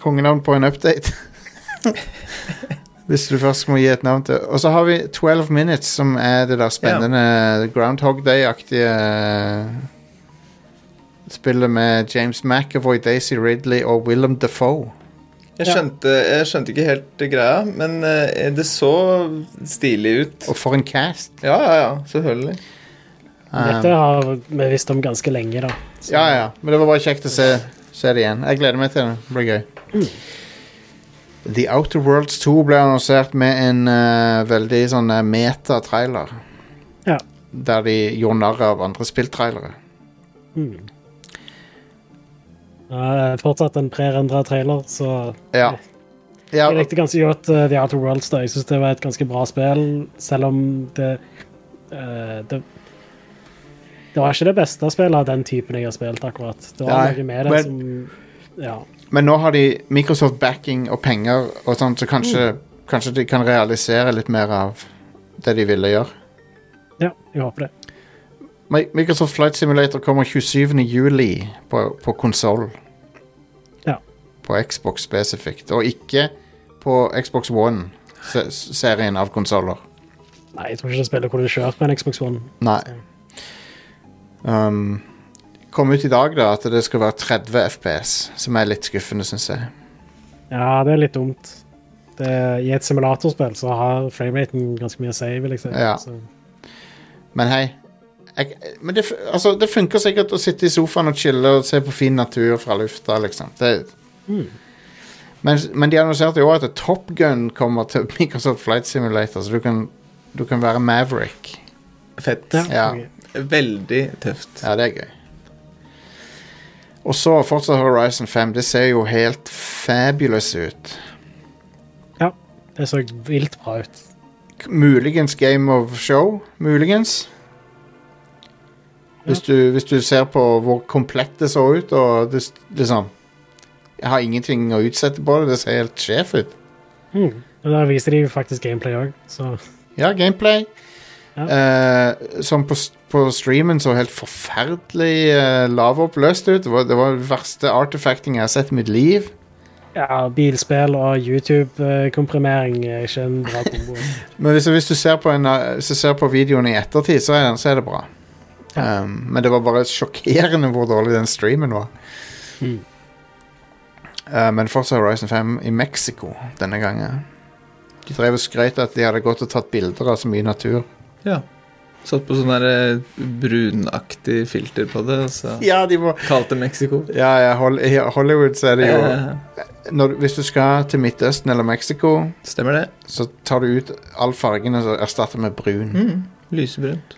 Speaker 1: kongenavn på en update. Hvis du først må gi et navn til. Og så har vi 12 Minutes, som er det der spennende Groundhog Day-aktige eh, Spillet med James McAvoy, Daisy Ridley og Willem Defoe.
Speaker 3: Jeg
Speaker 2: Ja.
Speaker 3: skjønte, jeg skjønte ikke helt greia, men eh, det så stilig ut.
Speaker 1: Og for en cast!
Speaker 3: Ja, ja, ja. Selvfølgelig.
Speaker 1: Um,
Speaker 2: Dette har vi visst om ganske lenge, da. Så-
Speaker 1: Ja, ja, men det var bare kjekt å se, se det igjen. Jeg gleder meg til det. Det blir gøy. The Outer Worlds 2 ble annonsert med en eh, veldig sånn eh, meta-trailer.
Speaker 2: Ja.
Speaker 1: Der de gjorde narr av andre spilltrailere.
Speaker 2: Mm. Eh, fortsatt en prerendra trailer, så
Speaker 1: Ja. ja.
Speaker 2: Jeg likte ganske godt eh, The Outer Worlds. da. Jeg syns det var et ganske bra spill, selv om det eh, det, det var ikke det beste spillet av den typen jeg har spilt, akkurat. Det var
Speaker 1: Nei,
Speaker 2: noe med det
Speaker 1: men-
Speaker 2: som Ja.
Speaker 1: Men nå har de Microsoft backing og penger og sånt, så kanskje, kanskje de kan realisere litt mer av det de ville gjøre.
Speaker 2: ja jeg håper det.
Speaker 1: Mi- Microsoft Flight Simulator kommer 27. juli på, på konsoll.
Speaker 2: Ja.
Speaker 1: På Xbox spesifikt, og ikke på Xbox One, se- serien av konsoller.
Speaker 2: Nei, jeg tror ikke det spillet kunne kjørt på en Xbox One.
Speaker 1: Nei. Um, kom ut i dag, da, at det skal være 30 FPS, som er litt skuffende, syns jeg.
Speaker 2: Ja, det er litt dumt. Det, I et simulatorspill så har frameraten ganske mye å si, vil jeg si.
Speaker 1: Ja.
Speaker 2: Så,
Speaker 1: Men hei. Jeg, men det, fu- altså, det funker sikkert å sitte i sofaen og chille og se på fin natur fra lufta, liksom. Det, men, men de annonserte jo også at Top Gun kommer til Microsoft Flight Simulator, så du kan, du kan være Maverick.
Speaker 3: Fett.
Speaker 2: ja.
Speaker 1: Ja.
Speaker 2: ok.
Speaker 3: Veldig tøft.
Speaker 1: Ja, det er gøy. Og så fortsatt Horizon 5. Det ser jo helt fabulous ut.
Speaker 2: ja. Det så vilt bra ut.
Speaker 1: K- Muligens Game of Show. Muligens. Hvis du, hvis du ser på hvor komplett det så ut, og det, s- liksom Jeg har ingenting å utsette på det. Det ser helt sjef ut.
Speaker 2: Mm. Og Der viser de jo faktisk gameplay òg, så
Speaker 1: Ja, gameplay. Eh, som på, s- på streamen så helt forferdelig eh, lavoppløst ut. Det var, det var det verste artifacting jeg har sett i mitt liv.
Speaker 2: Ja, bilspill og YouTube-komprimering er ikke en bra kombo.
Speaker 1: Men hvis, hvis, du ser på en, eh, hvis du ser på videoen i ettertid, så er, den, så er det bra.
Speaker 2: Ja.
Speaker 1: Um, men det var bare sjokkerende hvor dårlig den streamen var.
Speaker 2: Mm.
Speaker 1: Uh, men fortsatt Horizon 5 i Mexico denne gangen. De drev og skrøt at de hadde gått og tatt bilder av så mye natur.
Speaker 3: Ja. Satt på sånn der eh, brunaktig filter på det, og så
Speaker 1: Ja, de må...
Speaker 3: kalte Mexico.
Speaker 1: Ja, ja, Hol i Hollywood så er det jo
Speaker 3: Eh,
Speaker 1: når, Hvis du skal til Midtøsten eller Mexico,
Speaker 3: stemmer det.
Speaker 1: så tar du ut all fargen og så erstatter med brun.
Speaker 3: Mm. Lysebrunt.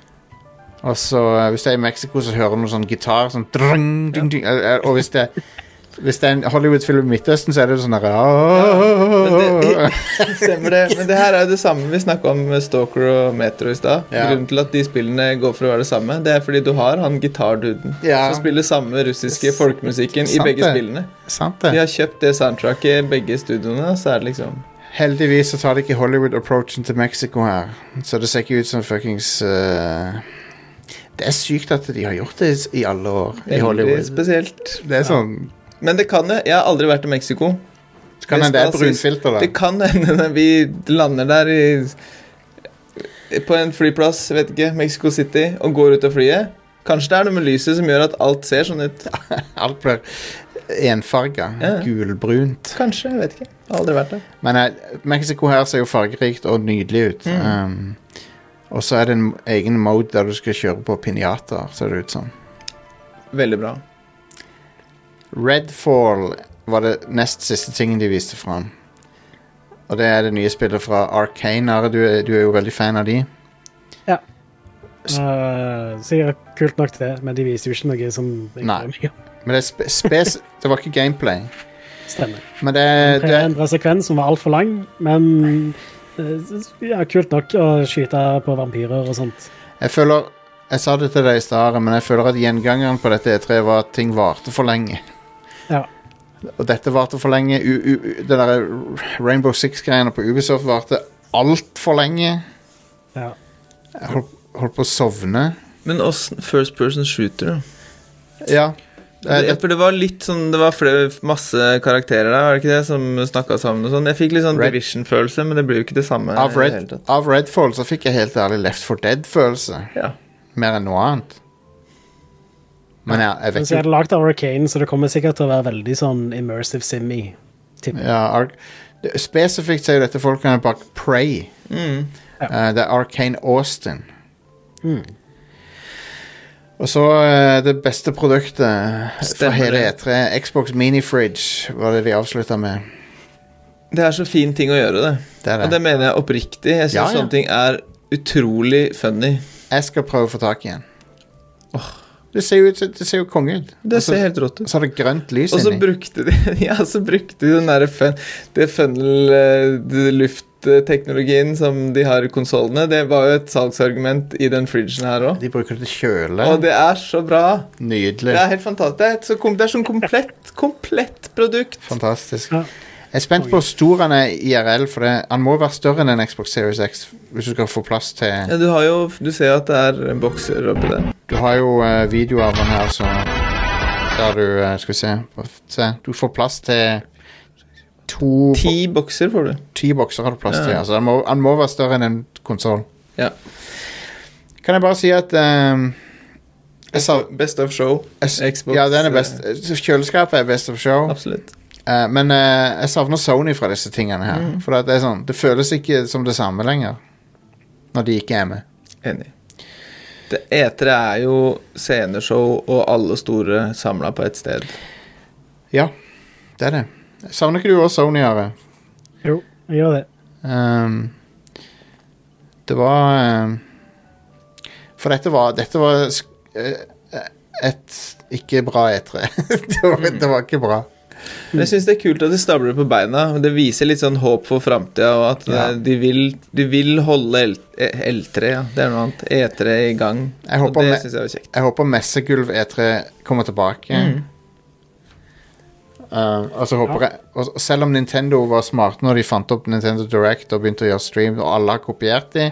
Speaker 1: Og så eh, hvis det er i Mexico, så hører du noe sånn gitar sånn drang, ding, ding. Eh, eh, Og hvis det, hvis det er en Hollywood-film i Midtøsten, så er det sånn der
Speaker 3: men
Speaker 1: ja,
Speaker 3: det- Stemmer det. Men det her er jo det samme vi snakka om med Stalker og Metro i stad.
Speaker 1: Ja.
Speaker 3: Grunnen til at de spillene går for å være det samme, det er fordi du har han gitarduden
Speaker 1: Ja.
Speaker 3: som spiller samme russiske
Speaker 1: S-
Speaker 3: folkemusikken i
Speaker 1: sant
Speaker 3: begge
Speaker 1: det.
Speaker 3: spillene.
Speaker 1: Sant
Speaker 3: De
Speaker 1: det.
Speaker 3: har kjøpt det soundtracket i begge studioene, så er det liksom
Speaker 1: Heldigvis så tar de ikke Hollywood-approachen til Mexico her. Så det ser ikke ut som fuckings eh, Det er sykt at de har gjort det i- i alle år i
Speaker 3: veldig
Speaker 1: Hollywood.
Speaker 3: spesielt.
Speaker 1: Det er sånn
Speaker 3: Men det kan jo Jeg har aldri vært i Mexico.
Speaker 1: Så kan
Speaker 3: Det
Speaker 1: hende det er
Speaker 3: skal sies-
Speaker 1: brunfilter
Speaker 3: Det
Speaker 1: der.
Speaker 3: kan hende når vi lander der i På en flyplass, vet ikke, Mexico City, og går ut av flyet. Kanskje det er noe med lyset som gjør at alt ser sånn ut.
Speaker 1: Alt blir enfarga.
Speaker 3: Ja.
Speaker 1: Gulbrunt.
Speaker 3: Kanskje, jeg vet ikke. Jeg har aldri vært der.
Speaker 1: Men eh, Mexico her ser jo fargerikt og nydelig ut.
Speaker 3: Mm.
Speaker 1: Um, og så er det en egen mode der du skal kjøre på pinjater, ser det ut som.
Speaker 3: Veldig bra.
Speaker 1: Redfall var det nest siste tingen de viste fram. Og det er det nye spillet fra Arcane. Are, du, er- du er jo veldig fan av de.
Speaker 2: Eh, sikkert kult nok til det, men de viser jo ikke noe som jeg
Speaker 1: Nei.
Speaker 2: bryr meg om.
Speaker 1: Men det, er spe spes det var ikke gameplay.
Speaker 2: stemmer.
Speaker 1: Men det,
Speaker 2: Det
Speaker 1: det
Speaker 2: er en bra sekvens som var altfor lang, men eh, ja, kult nok å skyte på vampyrer og sånt.
Speaker 1: Jeg føler Jeg sa det til deg i stad, men jeg føler at gjengangeren på dette E3 var at ting varte for lenge.
Speaker 2: Ja.
Speaker 1: Og dette varte for lenge. U u u- det der Rainbow Six-greiene på Ubisoft varte altfor lenge.
Speaker 2: Ja.
Speaker 1: Jeg holdt, holdt på å sovne.
Speaker 3: Men oss first person shooter, da.
Speaker 1: Ja.
Speaker 3: Det,
Speaker 1: Eh,
Speaker 3: for det var litt sånn Det var flere, masse karakterer der, var det ikke det, som snakka sammen og sånn. Jeg fikk litt sånn
Speaker 1: Red-
Speaker 3: Division-følelse, men det blir jo ikke det samme.
Speaker 1: av,
Speaker 3: i det hele
Speaker 1: Red,
Speaker 3: tatt.
Speaker 1: av Redfall så fikk jeg helt ærlig Left for Dead-følelse.
Speaker 3: Ja.
Speaker 1: Mer enn noe annet. Men jeg, jeg vet
Speaker 2: Men så er
Speaker 1: ikke
Speaker 2: det lagd av Arcane, så det kommer sikkert til å være veldig sånn immersive simmy.
Speaker 1: ja, Ark- det- Spesifikt sier dette folkene bak Prey.
Speaker 3: Mm.
Speaker 1: Eh, det er Arcane Austin.
Speaker 2: Mm.
Speaker 1: Og så eh, det beste produktet fra
Speaker 3: Stemmer
Speaker 1: hele
Speaker 3: det.
Speaker 1: E3, Xbox Minifridge, var det de avslutta med.
Speaker 3: Det er så fin ting å gjøre, det.
Speaker 1: Det er
Speaker 3: Og
Speaker 1: det.
Speaker 3: det mener jeg oppriktig. Jeg syns
Speaker 1: Ja, ja.
Speaker 3: sånne ting er utrolig funny.
Speaker 1: Jeg skal prøve å få tak i en. Det ser jo, ut- det ser jo konge ut.
Speaker 3: Det
Speaker 1: Og så-
Speaker 3: ser helt rått
Speaker 1: og
Speaker 3: ut.
Speaker 1: så har det grønt lys
Speaker 3: Og så
Speaker 1: inni.
Speaker 3: brukte de Ja, så brukte de den derre fun, det funnel eh, det luftteknologien som de har i konsollene. Det var jo et salgsargument i den fridgen her òg.
Speaker 1: De bruker det til kjøle.
Speaker 3: Og det er så bra.
Speaker 1: Nydelig.
Speaker 3: Det er helt fantastisk. Det er et så kom, det er sånn komplett, komplett produkt.
Speaker 1: Fantastisk.
Speaker 2: Ja.
Speaker 1: Jeg er spent på hvor stor han er IRL, for det, han må være større enn en Xbox Series X hvis du skal få plass til
Speaker 3: Ja, du har jo Du ser at det er bokser oppi der.
Speaker 1: Du har jo eh, video av han her, så Der du eh, Skal vi se. Hva- se. Du får plass til to
Speaker 3: Ti bokser får du.
Speaker 1: Ti bokser har du plass til.
Speaker 3: Ja.
Speaker 1: Altså, han, må, han må være større enn en konsoll.
Speaker 3: Ja.
Speaker 1: Kan jeg bare si at eh, jeg sa,
Speaker 3: Best of show.
Speaker 1: jeg, s-
Speaker 3: Xbox, eh,
Speaker 1: Ja, den er best. Kjøleskapet er best of show.
Speaker 3: Absolutt.
Speaker 1: Eh, men eh, jeg savner Sony fra disse tingene her. For at det, er sånn, det føles ikke som det samme lenger. Når de ikke er med.
Speaker 3: Enig. Det etere er jo sceneshow og alle store samla på ett sted.
Speaker 1: Ja, det er det. Jeg savner ikke du også Sony, Are?
Speaker 2: Jo, jeg gjør det.
Speaker 1: Ehm, det var ehm, For dette var, dette var sk- eh, et ikke bra E3. det, var, det var ikke bra.
Speaker 3: Men jeg syns det er kult at de stabler det på beina. og Det viser litt sånn håp for framtida, og at
Speaker 1: Ja.
Speaker 3: eh, de, vil, de vil holde L- eh, L3, ja. Det er noe annet. E3 i gang.
Speaker 1: Jeg
Speaker 3: Og
Speaker 1: håper
Speaker 3: det
Speaker 1: med-
Speaker 3: syns jeg var kjekt.
Speaker 1: Jeg håper Messegulv E3 kommer tilbake.
Speaker 2: Mm.
Speaker 1: Eh, og så håper jeg og og Selv om Nintendo var smarte når de fant opp Nintendo Direct og begynte å gjøre stream, og alle har kopiert de,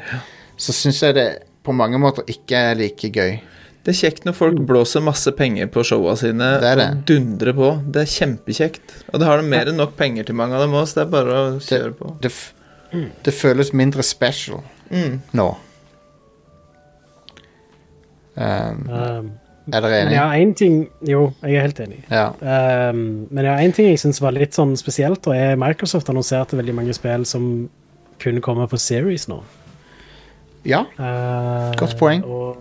Speaker 1: så syns jeg det på mange måter ikke er like gøy.
Speaker 3: Det er kjekt når folk blåser masse penger på showa sine
Speaker 1: Det er det.
Speaker 3: og dundrer på. Det er kjempekjekt. Og det har de mer enn nok penger til mange av dem òg, så det er bare å kjøre på.
Speaker 1: Det, f
Speaker 2: Mm.
Speaker 1: det føles mindre special
Speaker 3: Mm.
Speaker 1: nå. Um,
Speaker 2: Um,
Speaker 1: er dere
Speaker 2: men
Speaker 1: enige?
Speaker 2: ja, én ting Jo, jeg er helt enig.
Speaker 1: Ja.
Speaker 2: Um, men ja, en ting jeg syns var litt sånn spesielt, og er Microsoft annonserte veldig mange spill som kun kommer på Series nå.
Speaker 1: ja.
Speaker 2: Eh,
Speaker 1: Godt poeng.
Speaker 2: Og,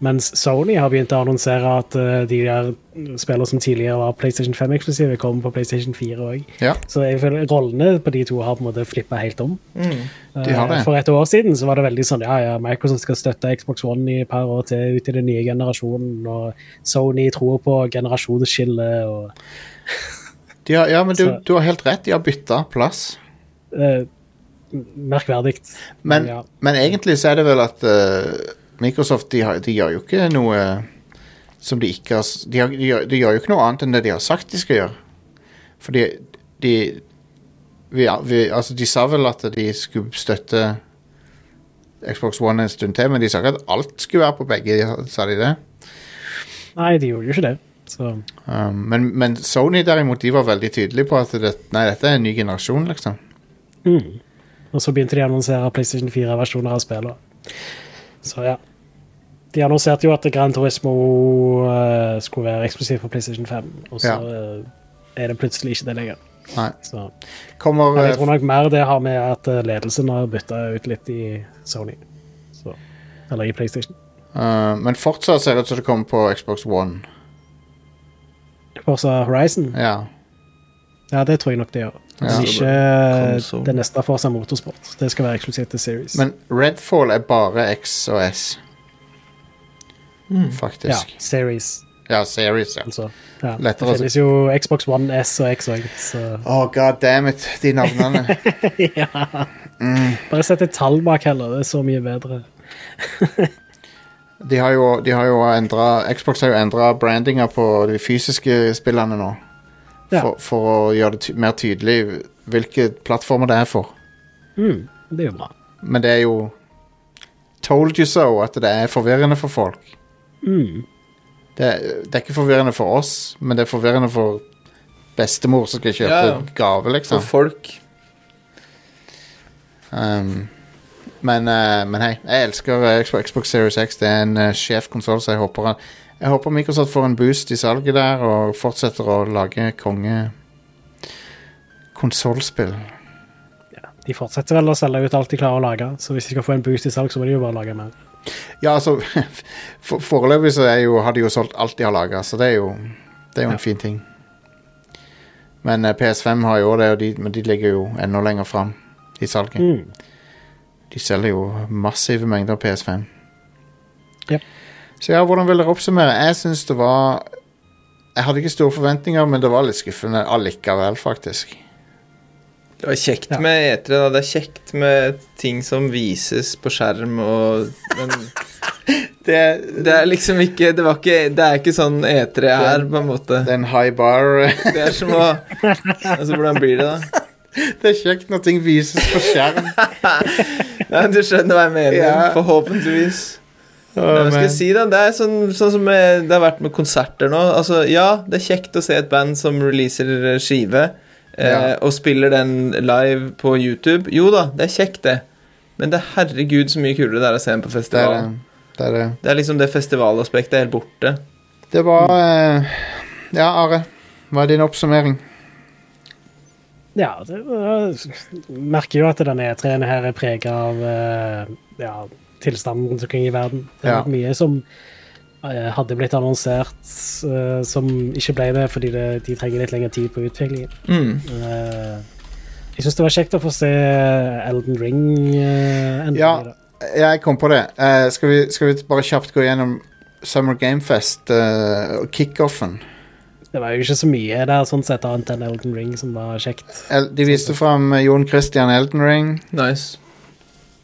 Speaker 2: mens Sony har begynt å annonsere at eh, de der spillene som tidligere var PlayStation 5-eksklusive, kommer på PlayStation 4 òg.
Speaker 1: Ja.
Speaker 2: Så jeg føler rollene på de to har på en måte flippa helt om.
Speaker 3: Mm.
Speaker 1: De har det.
Speaker 2: Eh, For et år siden så var det veldig sånn ja, ja, Microsoft skal støtte Xbox One i et par år til ut i den nye generasjonen, og Sony tror på generasjonsskillet og
Speaker 1: De har, ja, men du,
Speaker 2: Så-
Speaker 1: du har helt rett. De har bytta plass.
Speaker 2: eh, Merkverdig.
Speaker 1: Men,
Speaker 2: ja.
Speaker 1: men egentlig så er det vel at eh, Microsoft de, har, de gjør jo ikke noe som de ikke har s- de, har, de, gjør, de gjør jo ikke noe annet enn det de har sagt de skal gjøre. Fordi de vi, vi, Altså, de sa vel at de skulle støtte Xbox One en stund til, men de sa ikke at alt skulle være på begge, sa de det?
Speaker 2: Nei, de gjorde jo ikke det. Så
Speaker 1: Um, men, men Sony derimot, de var veldig tydelige på at det, nei, dette er en ny generasjon, liksom.
Speaker 2: Mm. Og så begynte de å annonsere PlayStation 4-versjoner av spillet. Så ja. De annonserte jo at Gran Turismo eh, skulle være eksklusiv for PlayStation 5, og så
Speaker 1: Ja.
Speaker 2: eh, er det plutselig ikke det lenger.
Speaker 1: Nei.
Speaker 2: Så.
Speaker 1: Kommer
Speaker 2: Men
Speaker 1: eh,
Speaker 2: jeg tror nok mer det har med at eh, ledelsen har bytta ut litt i Sony. Så. Eller i PlayStation.
Speaker 1: eh, Men fortsatt ser det ut som det kommer på Xbox One.
Speaker 2: Forsa Horizon,
Speaker 1: Ja.
Speaker 2: ja, det tror jeg nok det gjør.
Speaker 1: Ja.
Speaker 2: Hvis ikke eh,
Speaker 3: Konsol.
Speaker 2: det neste Forsa Motorsport. Det skal være eksklusivt til Series.
Speaker 1: Men Redfall er bare X og S.
Speaker 2: ja,
Speaker 1: Faktisk.
Speaker 2: Series,
Speaker 1: Ja, Series, ja.
Speaker 2: altså. Ja. Det
Speaker 1: Lettere å si.
Speaker 2: finnes jo Xbox One S og X òg, så
Speaker 1: Å, god damn it, de navnene.
Speaker 2: Bare sett et tall bak heller, det er så mye bedre.
Speaker 1: De har jo, de har jo endra Xbox har jo endra brandinga på de fysiske spillene nå.
Speaker 2: Ja.
Speaker 1: For, for å gjøre det ty mer tydelig hvilke plattformer det er for.
Speaker 2: Mm, det er jo bra.
Speaker 1: Men det er jo Told you so at det er forvirrende for folk.
Speaker 2: Mm.
Speaker 1: Det, det er ikke forvirrende for oss, men det er forvirrende for bestemor som skal kjøpe
Speaker 3: Ja, ja.
Speaker 1: gave, liksom.
Speaker 3: For folk
Speaker 1: Um, men, eh, men hei, jeg elsker eh, Xbox, Xbox Series X. Det er en uh, sjef konsoll, så jeg håper, han- jeg håper Microsoft får en boost i salget der og fortsetter å lage konge konsollspill.
Speaker 2: De fortsetter vel å selge ut alt de klarer å lage, så hvis de skal få en boost i salg, så må de jo bare lage mer.
Speaker 1: Ja, altså for, Foreløpig så er jo, har de jo solgt alt de har laga, så det er jo, det er jo en
Speaker 2: Ja.
Speaker 1: fin ting. Men eh, PS5 har jo det, og de, men de ligger jo enda lenger fram i salget.
Speaker 2: Mm.
Speaker 1: De selger jo massive mengder PS5.
Speaker 2: Ja.
Speaker 1: Så ja, hvordan vil dere oppsummere? Jeg syns det var Jeg hadde ikke store forventninger, men det var litt skuffende allikevel, faktisk.
Speaker 3: Det var kjekt
Speaker 2: Ja.
Speaker 3: med E3. da, Det er kjekt med ting som vises på skjerm og Men det, det er liksom ikke Det, var ikke, det er ikke sånn E3 er, på en måte.
Speaker 1: Det er en high bar. eh,
Speaker 3: Det er som å Altså, hvordan blir det, da?
Speaker 1: det er kjekt når ting vises på skjerm.
Speaker 3: Nei, du skjønner hva jeg mener.
Speaker 1: Ja.
Speaker 3: Forhåpentligvis. Nei, hva skal jeg si da? Det er sånn, sånn som eh, det har vært med konserter nå. Altså, ja, det er kjekt å se et band som releaser eh, skive eh,
Speaker 1: Ja.
Speaker 3: og spiller den live på YouTube. Jo da, det er kjekt, det. Men det er herregud så mye kulere det er å se den på
Speaker 1: det er det.
Speaker 3: festivalen.
Speaker 1: Det er det.
Speaker 3: Det er, liksom det festivalaspektet er helt borte.
Speaker 1: Det var eh, Ja, Are. Hva er din oppsummering?
Speaker 2: Ja, det, jeg merker jo at denne E3-en her er prega av eh, ja, tilstanden rundt omkring i verden. Det er
Speaker 1: Ja.
Speaker 2: mye som eh, hadde blitt annonsert, eh, som ikke ble det fordi det, de trenger litt lengre tid på utviklingen.
Speaker 3: Mm.
Speaker 2: Eh, jeg syns det var kjekt å få se Elden Ring eh, endelig.
Speaker 1: Ja.
Speaker 2: da.
Speaker 1: Ja, jeg kom på det. Eh, skal, vi, skal vi bare kjapt gå gjennom Summer Gamefest eh, og kickoffen?
Speaker 2: Det var jo ikke så mye der, sånn sett, annet enn Elden Ring, som var kjekt.
Speaker 1: El- De viste fram eh, Jon Christian Elden Ring,
Speaker 3: Nice.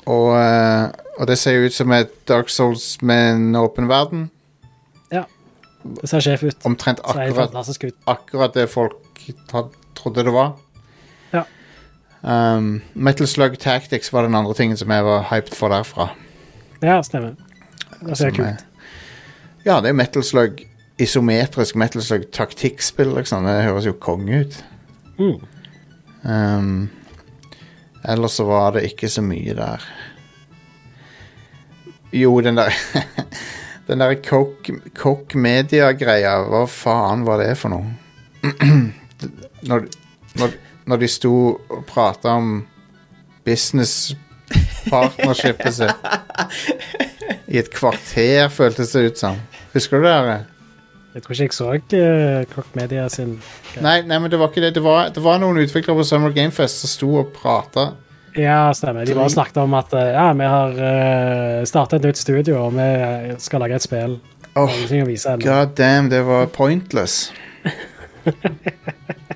Speaker 1: og, eh, og det ser jo ut som et Dark Souls med en åpen verden.
Speaker 2: Det ser sjef ut.
Speaker 1: Omtrent
Speaker 2: Ser helt
Speaker 1: akkurat,
Speaker 2: fantastisk ut.
Speaker 1: akkurat det folk had- trodde det var.
Speaker 2: Ja.
Speaker 1: Um, Metal Slug Tactics var den andre tingen som jeg var hyped for derfra.
Speaker 2: Ja, stemmer. Det
Speaker 1: Som
Speaker 2: ser kult
Speaker 1: er- Ja, det er Metal Slug isometrisk Metal Slug taktikkspill, liksom. Det høres jo konge ut.
Speaker 2: Mm.
Speaker 1: Um, ellers så var det ikke så mye der. Jo, den der Den der Coke, Coke Media-greia, hva faen var det for noe? når, når, når de sto og prata om businesspartnershipet sitt i et kvarter, føltes det ut som. Husker du det? Are?
Speaker 2: Jeg tror ikke jeg så uh, Cock Media sin
Speaker 1: Nei, nei, men det var ikke det. Det var, det var noen utviklere på Summer Gamefest som sto og prata.
Speaker 2: Ja, stemmer. De bare snakket om at eh, ja, vi har uh, starta et nytt studio, og vi eh, skal lage et spill. Det
Speaker 1: Åh,
Speaker 2: er Ingenting å vise ennå.
Speaker 1: God damn, det var pointless.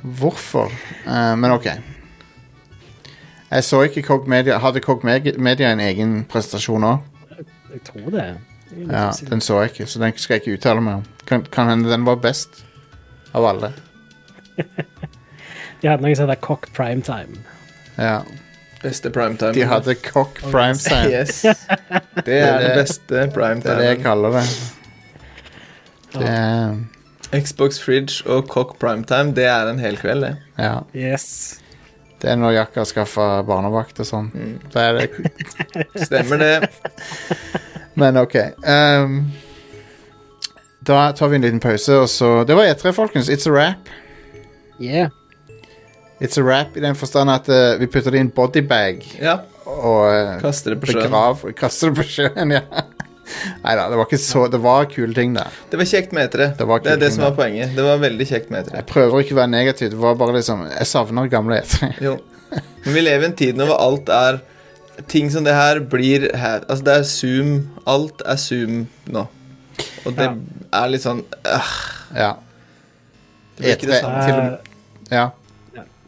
Speaker 1: Hvorfor? Eh, men OK. Jeg så ikke Cog Media. Hadde Cog Meg- Media en egen prestasjon òg?
Speaker 2: Jeg tror det. Jeg er litt
Speaker 1: Ja,
Speaker 2: usikker.
Speaker 1: den så jeg ikke, så den skal jeg ikke uttale meg om. Kan, kan hende den var best av alle.
Speaker 2: De hadde noe som heter Cock Primetime.
Speaker 1: Ja.
Speaker 3: Beste primetime.
Speaker 1: De hadde Cock Primetime.
Speaker 3: Yes. Det er den beste
Speaker 1: Det er det jeg
Speaker 3: primetime.
Speaker 1: kaller det. det er,
Speaker 3: Xbox Fridge og Cock Primetime, det er en hel kveld, det.
Speaker 1: ja.
Speaker 2: Yes.
Speaker 1: Det er når Jack har skaffa barnevakt og sånn.
Speaker 3: Mm.
Speaker 1: Da er det
Speaker 3: Stemmer det.
Speaker 1: Men ok. ehm, da tar vi en liten pause, og så Det var E3, folkens. It's a wrap.
Speaker 2: Yeah.
Speaker 1: It's a wrap i den forstand at eh, vi putter det i en bodybag
Speaker 3: Ja,
Speaker 1: og eh,
Speaker 3: kaster det på sjøen.
Speaker 1: begrav, kaster det på sjøen. ja. Nei da, det var ikke så Det var kule ting der.
Speaker 3: Det var kjekt med etere.
Speaker 1: Det var
Speaker 3: Det er
Speaker 1: kult,
Speaker 3: det som
Speaker 1: ja.
Speaker 3: var poenget. Det var veldig kjekt med E etere.
Speaker 1: Jeg prøver ikke å være negativ. Det var bare liksom Jeg savner gamle E3.
Speaker 3: Jo. Men vi lever i en tid nå hvor alt er Ting som det her blir her. Altså, det er Zoom. Alt er Zoom nå. Og det
Speaker 2: Ja.
Speaker 3: er litt sånn øh,
Speaker 1: Ja.
Speaker 3: Det blir ikke
Speaker 1: E3.
Speaker 3: det samme.
Speaker 1: til og med-
Speaker 2: Eh,
Speaker 1: ja.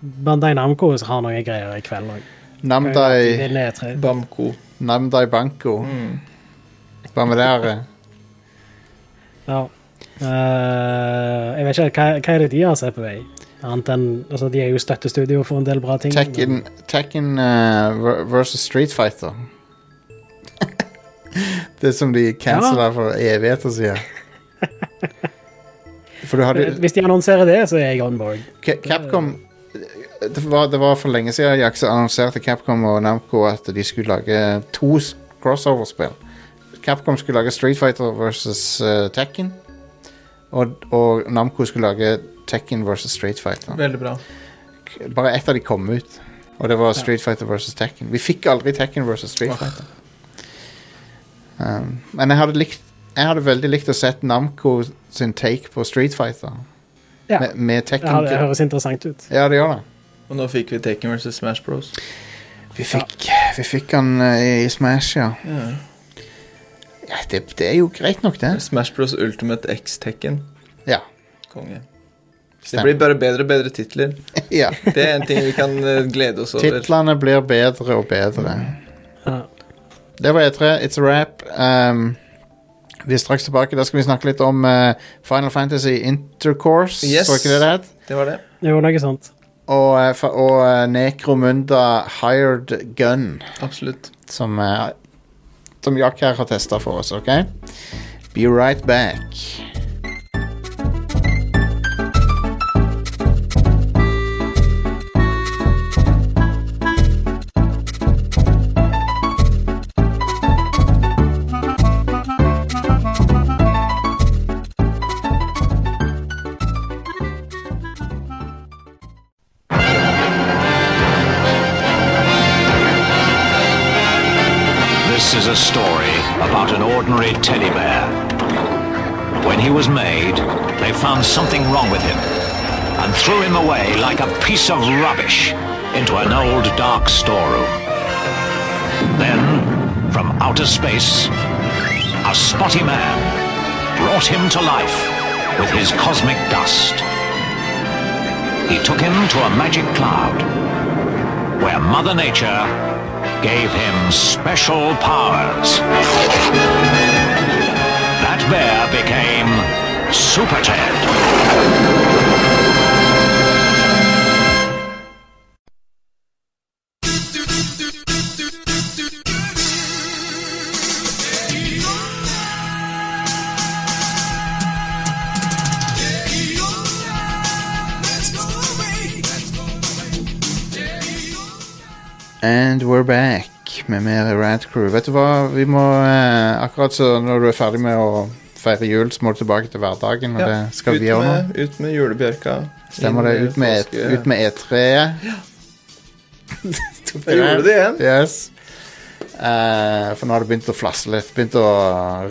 Speaker 2: Bandai Namco har noen greier i kveld òg.
Speaker 1: Namdai,
Speaker 3: Bamko.
Speaker 1: Namdai Banko.
Speaker 3: Mm.
Speaker 1: Hva med det? Are?
Speaker 2: Ja. Eh, jeg vet ikke, hva, hva er det de har sett på vei? Annet enn, altså De er jo støttestudio for en del bra ting. men-
Speaker 1: Tekken, Tekken eh, ver- versus Street Fighter. det som de cancela for evigheter siden. For du hadde
Speaker 2: Hvis de annonserer det, så er jeg on board.
Speaker 1: Ca- Capcom det var, det var for lenge siden Jack så annonserte Capcom og Namco at de skulle lage to s- crossover-spill. Capcom skulle lage Street Fighter versus eh, Tekken. Og, og Namco skulle lage Tekken versus Street Fighter.
Speaker 3: Veldig bra.
Speaker 1: Bare ett av de kom ut. Og det var Street Fighter versus Tekken. Vi fikk aldri Tekken versus Street
Speaker 3: Åh.
Speaker 1: Fighter. Um, men jeg hadde, likt, jeg hadde veldig likt å sett Namco sin take på Street Fighter.
Speaker 2: Ja.
Speaker 1: Med, med Tekken.
Speaker 2: Ja, det høres interessant ut.
Speaker 1: Ja, det gjør det.
Speaker 3: Og nå fikk vi Taken versus Smash Bros.
Speaker 1: Vi fikk, vi fikk han eh, i Smash, ja.
Speaker 3: Ja.
Speaker 1: ja det, det er jo greit nok, det.
Speaker 3: Smash Bros Ultimate X-Taken.
Speaker 1: Ja.
Speaker 3: Konge. Det blir
Speaker 1: Stemmer.
Speaker 3: bare bedre og bedre titler.
Speaker 1: ja.
Speaker 3: Det er en ting vi kan eh, glede oss over.
Speaker 1: Titlene blir bedre og bedre.
Speaker 2: Ja.
Speaker 1: Det var E3. It's a wrap. Um, vi er straks tilbake. Da skal vi snakke litt om eh, Final Fantasy Intercourse.
Speaker 3: Yes.
Speaker 1: Så ikke det det het?
Speaker 3: Det var det.
Speaker 2: Det er jo noe sånt.
Speaker 1: Og, eh, fa- og eh, Necromunda Hired Gun.
Speaker 3: Absolutt.
Speaker 1: som, eh, som Jack her har testa for oss, OK? Be right back.
Speaker 4: This is a story about an ordinary teddy bear. When he was made, they found something wrong with him and threw him away like a piece of rubbish into an old dark storeroom. Then, from outer space, a spotty man brought him to life with his cosmic dust. He took him to a magic cloud where Mother Nature gave him special powers. That bear became Super Ted.
Speaker 1: And we're back med mer Rad Crew. Vet du hva, vi må eh, Akkurat så når du er ferdig med å feire jul, så må du tilbake til hverdagen, og
Speaker 3: Ja,
Speaker 1: det skal
Speaker 3: ut,
Speaker 1: vi gjøre nå.
Speaker 3: med, ut med julebjørka.
Speaker 1: Stemmer det? Ut med, et, ut med E E3-et.
Speaker 3: Jeg gjorde det igjen.
Speaker 1: Yes. Eh, for nå har det begynt å flasse litt. Begynt å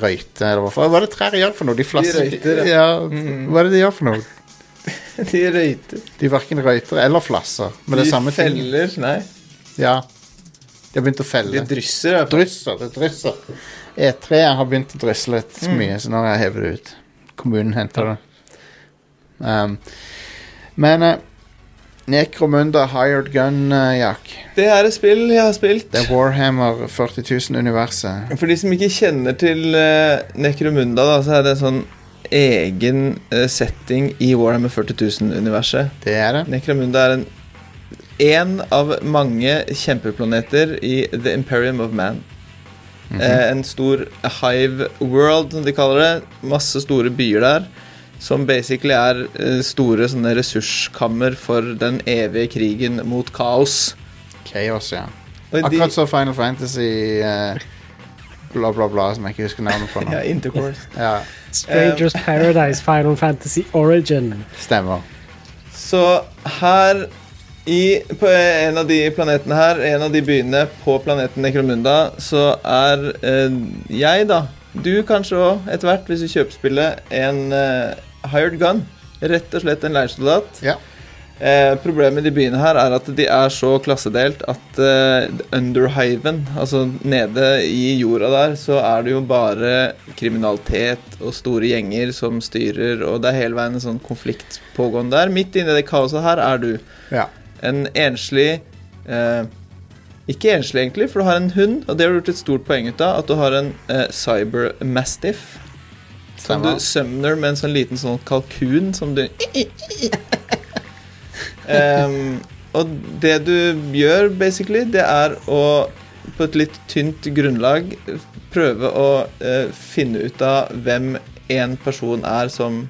Speaker 1: røyte. Eller hva, faen- hva er det trær gjør for noe? De flasser
Speaker 3: røyter, ja. Mm.
Speaker 1: ja. Hva er det de gjør for noe?
Speaker 3: De røyter.
Speaker 1: De verken røyter eller flasser. Men det
Speaker 3: De
Speaker 1: er samme ting.
Speaker 3: feller. Nei,
Speaker 1: Ja. De har begynt å
Speaker 3: de
Speaker 1: felle.
Speaker 3: drysser. i hvert fall.
Speaker 1: Drysser, det drysser. E3 har begynt å drysse litt
Speaker 3: Mm.
Speaker 1: så mye, så nå har jeg hevet det ut. Kommunen henter det. Um, men eh, Necromunda Hired Gun, eh, Jack.
Speaker 3: Det er et spill jeg har spilt.
Speaker 1: Det er Warhammer 40 000-universet.
Speaker 3: For de som ikke kjenner til eh, Necromunda, da, så er det en sånn egen eh, setting i Warhammer 40 000-universet.
Speaker 1: Det er det.
Speaker 3: Necromunda er en en av mange kjempeplaneter i The Imperium of Man. Eh, En stor hive world, som de kaller det. Masse store byer der. Som basically er eh, store sånne ressurskammer for den evige krigen mot kaos.
Speaker 1: Chaos, ja.
Speaker 3: Og de,
Speaker 1: Akkurat som Final Fantasy eh, bla, bla, bla, som jeg ikke husker navnet på nå.
Speaker 3: ja, intercourse.
Speaker 1: Ja,
Speaker 2: Strangers
Speaker 3: Um,
Speaker 2: Paradise Final Fantasy Origin.
Speaker 1: stemmer.
Speaker 3: Så her i, på en av de planetene her, en av de byene på planeten Necromunda, så er eh, jeg, da, du kanskje òg, etter hvert, hvis du kjøper spillet, en eh, hired gun. Rett og slett en leirsoldat.
Speaker 1: Ja.
Speaker 3: Eh, problemet med de byene her er at de er så klassedelt at eh, underhiven, altså nede i jorda der, så er det jo bare kriminalitet og store gjenger som styrer, og det er hele veien en sånn konflikt pågående der. Midt inni det kaoset her er du
Speaker 1: Ja.
Speaker 3: en enslig eh, Ikke enslig, egentlig, for du har en hund, og det har du gjort et stort poeng ut av, at du har en eh, cybermastiff. Som du
Speaker 1: Stemmer.
Speaker 3: summoner med en sånn liten sånn kalkun som du Ehm, Og det du gjør, basically, det er å på et litt tynt grunnlag prøve å eh, finne ut av hvem en person er som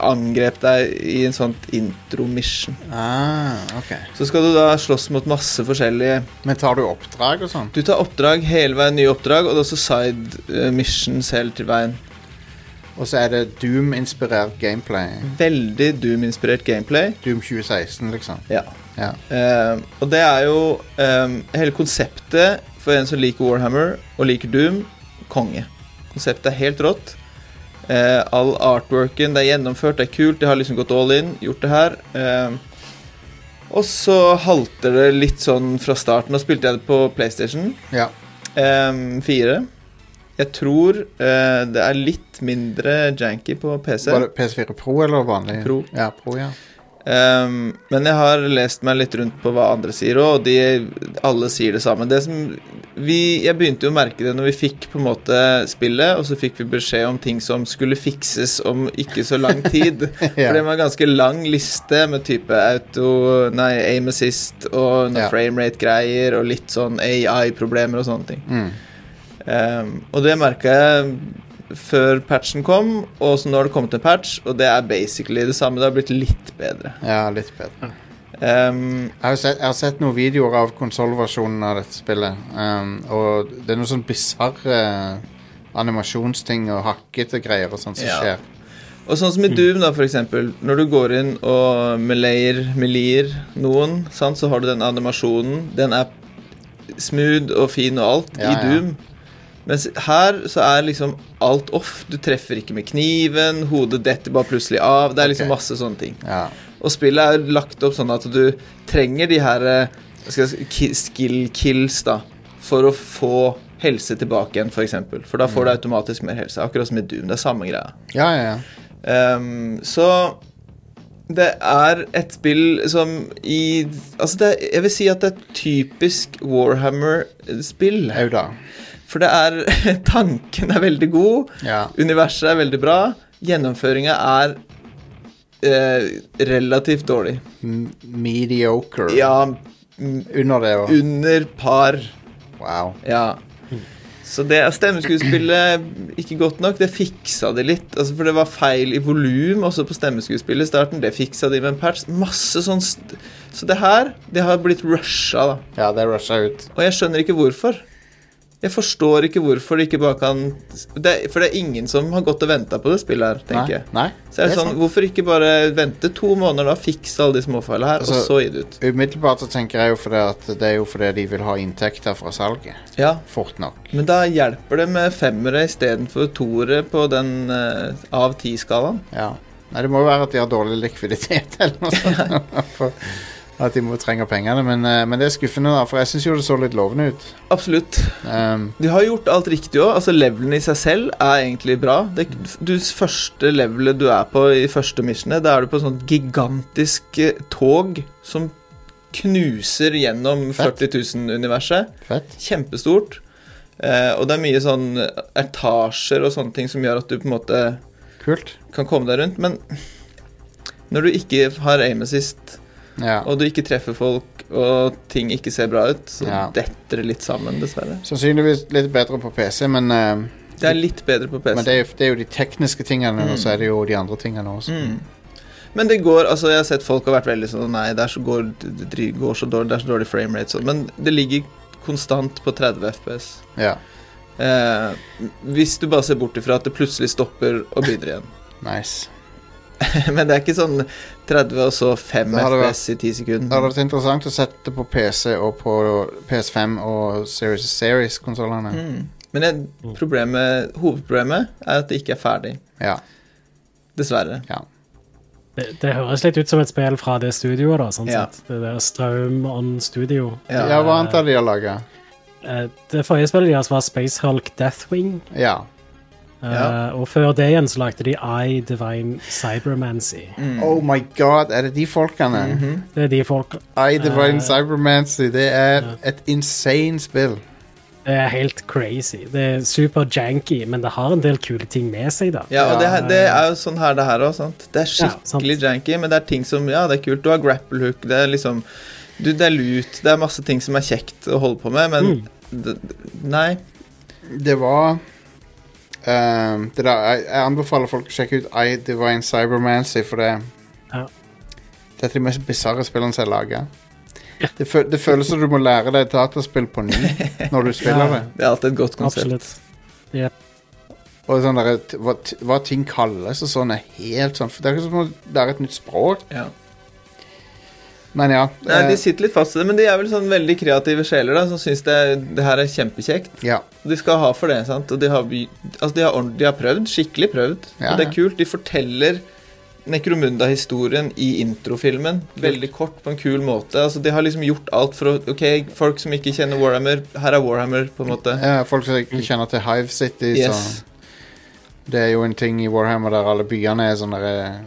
Speaker 3: angrep deg i en sånt intro-mission.
Speaker 1: Ah, ok.
Speaker 3: Så skal du da slåss mot masse forskjellige
Speaker 1: Men tar du oppdrag og sånn?
Speaker 3: Du tar oppdrag hele veien, nye oppdrag, og det er også side eh, missions hele til veien.
Speaker 1: Og så er det Doom-inspirert gameplay.
Speaker 3: Veldig Doom-inspirert gameplay.
Speaker 1: Doom 2016, liksom.
Speaker 3: Ja.
Speaker 1: Ja.
Speaker 3: Eh, og det er jo eh, Hele konseptet For en som liker Warhammer og liker Doom konge. Konseptet er helt rått. Eh, all artworken det er gjennomført, det er kult. De har liksom gått all in, gjort det her. Eh, og så halter det litt sånn fra starten. Nå spilte jeg det på PlayStation
Speaker 1: Ja.
Speaker 3: eh, 4. Jeg tror eh, det er litt mindre janky på PC.
Speaker 1: Var det PS4 Pro eller vanlig?
Speaker 3: Pro.
Speaker 1: Ja, Pro, ja.
Speaker 3: Ehm, men jeg har lest meg litt rundt på hva andre sier, og de, alle sier det samme. Det som vi, jeg begynte jo å merke det når vi fikk på en måte spillet, og så fikk vi beskjed om ting som skulle fikses om ikke så lang tid. For det var en ganske lang liste med type auto, nei, aim assist og noe
Speaker 1: Ja.
Speaker 3: framerate-greier og litt sånn AI-problemer og sånne ting.
Speaker 1: Mm.
Speaker 3: Ehm, og det merka jeg før patchen kom, og så nå har det kommet en patch, og det er basically det samme. Det har blitt litt bedre.
Speaker 1: ja, litt bedre.
Speaker 3: Ehm,
Speaker 1: Jeg har, sett, jeg har sett noen videoer av konsolversjonen av dette spillet. Um, og det er noen sånn bisarre eh, animasjonsting og hakkete greier og sånt som
Speaker 3: Ja.
Speaker 1: skjer.
Speaker 3: og sånn
Speaker 1: Mm.
Speaker 3: som i Doom, da, for eksempel. Når du går inn og melayer, melier noen, sant, så har du den animasjonen. Den er smooth og fin og alt
Speaker 1: Ja,
Speaker 3: i
Speaker 1: ja.
Speaker 3: Doom. Mens her så er liksom alt off. Du treffer ikke med kniven, hodet detter bare plutselig av. Det er liksom
Speaker 1: Ok.
Speaker 3: masse sånne ting.
Speaker 1: Ja.
Speaker 3: Og spillet er lagt opp sånn at du trenger de her eh, hva skal jeg si, ki- skill kills da for å få helse tilbake igjen, f.eks. For, eksempel. for da får
Speaker 1: Mm.
Speaker 3: du automatisk mer helse. Akkurat som i Doom. Det er samme greia.
Speaker 1: ja, ja, ja.
Speaker 3: Ehm, så det er et spill som i Altså, det, er- jeg vil si at det er et typisk Warhammer-spill.
Speaker 1: Au da.
Speaker 3: For det er Tanken er veldig god.
Speaker 1: Ja.
Speaker 3: Universet er veldig bra. Gjennomføringa er eh, relativt dårlig.
Speaker 1: M- Mediocre.
Speaker 3: Ja, m-
Speaker 1: Under det og
Speaker 3: under par.
Speaker 1: Wow.
Speaker 3: Ja. Så det er stemmeskuespillet ikke godt nok. Det fiksa de litt. Altså, for det var feil i volum også på stemmeskuespillet i starten. Det fiksa de med en patch. Masse sånn st Så det her, det har blitt rusha, da.
Speaker 1: Ja, det rusha ut.
Speaker 3: Og jeg skjønner ikke hvorfor. Jeg forstår ikke hvorfor det ikke bare kan det, er- For det er ingen som har gått og venta på det spillet her, tenker jeg.
Speaker 1: Nei.
Speaker 3: Så er det sånn, Hvorfor ikke bare vente to måneder, da, fikse alle de småfeilene her, og
Speaker 1: Altså-
Speaker 3: så gi det ut?
Speaker 1: Umiddelbart så tenker jeg jo fordi at det er jo fordi de vil ha inntekter fra salget.
Speaker 3: Ja,
Speaker 1: Fort nok.
Speaker 3: Men da hjelper det med femmere istedenfor toere på den eh, av ti-skalaen.
Speaker 1: Ja. Nei, det må jo være at de har dårlig likviditet eller noe sånt. For at de må trenger pengene. Men, eh, men det er skuffende, da, for jeg syns jo det så litt lovende ut.
Speaker 3: Absolutt.
Speaker 1: Um,
Speaker 3: De har gjort alt riktig òg. Altså, levelen i seg selv er egentlig bra. Det, du, første levelet du er på i første missionet, da er du på et sånt gigantisk eh, tog som knuser gjennom
Speaker 1: Fett.
Speaker 3: 40 000-universet.
Speaker 1: fett.
Speaker 3: Kjempestort. Eh, og det er mye sånn etasjer og sånne ting som gjør at du på en måte
Speaker 1: Kult.
Speaker 3: kan komme deg rundt, men når du ikke har aim assist
Speaker 1: Ja.
Speaker 3: og du ikke treffer folk, og ting ikke ser bra ut, så
Speaker 1: Ja.
Speaker 3: detter det litt sammen, dessverre.
Speaker 1: Sannsynligvis litt bedre på PC, men, eh,
Speaker 3: Det er litt bedre på PC.
Speaker 1: men det, er, jo- det er jo de tekniske tingene, og så er det jo de andre tingene også.
Speaker 3: mm. Men det går altså Jeg har sett folk har vært veldig sånn Nei, det, er så går, det dri- går så dårlig, det er så dårlig framerate, sånn. Men det ligger konstant på 30 FPS.
Speaker 1: Ja.
Speaker 3: Eh, hvis du bare ser bort ifra at det plutselig stopper og begynner igjen.
Speaker 1: Nice.
Speaker 3: Men det er ikke sånn 30 og så 5
Speaker 1: Da har det vært-
Speaker 3: FPS i 10
Speaker 1: Det hadde
Speaker 3: sekunder.
Speaker 1: vært interessant å sette på PC og på PS5 og Series Series-konsollene.
Speaker 3: Mm. Men jeg, problemet, hovedproblemet er at det ikke er ferdig.
Speaker 1: Ja.
Speaker 3: Dessverre.
Speaker 1: ja.
Speaker 2: Det, det høres litt ut som et spill fra det studioet, da. sånn
Speaker 3: Ja.
Speaker 2: sett. Det der Straum on Studio.
Speaker 3: Ja.
Speaker 1: ja, hva annet er det de har laga?
Speaker 2: Eh, Det forrige spillet deres var Space Hulk Deathwing.
Speaker 1: Ja.
Speaker 2: eh,
Speaker 3: Ja.
Speaker 2: Og før det igjen så lagde de I Divine Cybermancy.
Speaker 3: Mm.
Speaker 1: Oh my god, er det de folkene?
Speaker 2: Det er de folk
Speaker 1: I Divine
Speaker 2: Eh.
Speaker 1: Cybermancy, det er et insane spill.
Speaker 2: Det er helt crazy. Det er super janky, men det har en del kule ting med seg, da.
Speaker 3: Ja, og det, her- det er jo sånn her det her òg, sant. Det er
Speaker 2: Ja, sant.
Speaker 3: skikkelig janky, men det er ting som Ja, det er kult. Du har grapple hook, det er liksom du, Det er lut, det er masse ting som er kjekt å holde på med, men
Speaker 2: Mm.
Speaker 3: d- d- Nei.
Speaker 1: Det var ehm, det der, jeg, jeg anbefaler folk å sjekke ut I Divine Cybermancy, for det
Speaker 2: Ja.
Speaker 1: Det er de mest bisarre spillene som er laga. Det, fø, det føles som du må lære deg et dataspill på ny når du spiller
Speaker 2: Ja.
Speaker 1: det.
Speaker 3: Det er alltid et godt
Speaker 1: Sånn
Speaker 3: konsept.
Speaker 2: Absolutt.
Speaker 1: Og sånn der, t- hva, t- hva ting kalles og sånn, er helt sånn For Det er ikke som å lære et nytt språk.
Speaker 3: Ja.
Speaker 1: Men ja.
Speaker 3: Nei,
Speaker 1: eh,
Speaker 3: De sitter litt fast i det, men de er vel sånn veldig kreative sjeler da, som syns det, det her er kjempekjekt.
Speaker 1: ja.
Speaker 3: De skal ha for det, sant? Og de har, by- altså de har, ordent- de har prøvd, skikkelig prøvd.
Speaker 1: Ja,
Speaker 3: og
Speaker 1: ja.
Speaker 3: det er kult. De forteller Nekromunda-historien i introfilmen veldig kort, på en kul måte. Altså De har liksom gjort alt for å Ok, folk som ikke kjenner Warhammer, her er Warhammer, på en måte.
Speaker 1: Eh, folk som ikke kjenner til Hive City,
Speaker 3: Yes.
Speaker 1: så det er jo en ting i Warhammer der alle byene er sånne eh,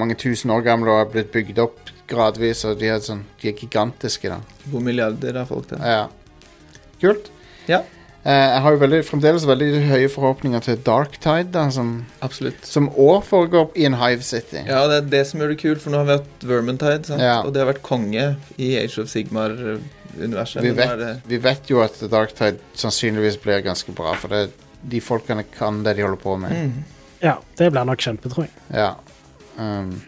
Speaker 1: mange tusen år gamle og har blitt bygd opp gradvis, og de er, sånn, de er gigantiske, da.
Speaker 3: Hvor milliarder av folk det er.
Speaker 1: Ja. Kult.
Speaker 3: Ja.
Speaker 1: Eh, jeg har jo veldig, fremdeles veldig høye forhåpninger til Darktide, da, som,
Speaker 3: Absolutt.
Speaker 1: som også foregår i en Hive City.
Speaker 3: Ja, og det er det som gjør det kult, for nå har vi hatt Vermintide, sant?
Speaker 1: Ja.
Speaker 3: og det har vært konge i Age of Sigmar-universet.
Speaker 1: vi,
Speaker 3: men nå er eh,
Speaker 1: vet,
Speaker 3: det-
Speaker 1: vi vet jo at Darktide sannsynligvis blir ganske bra, for det, de folkene kan det de holder på med.
Speaker 3: Mm.
Speaker 2: Ja, det blir nok kjempe, tror jeg.
Speaker 1: Ja. Um,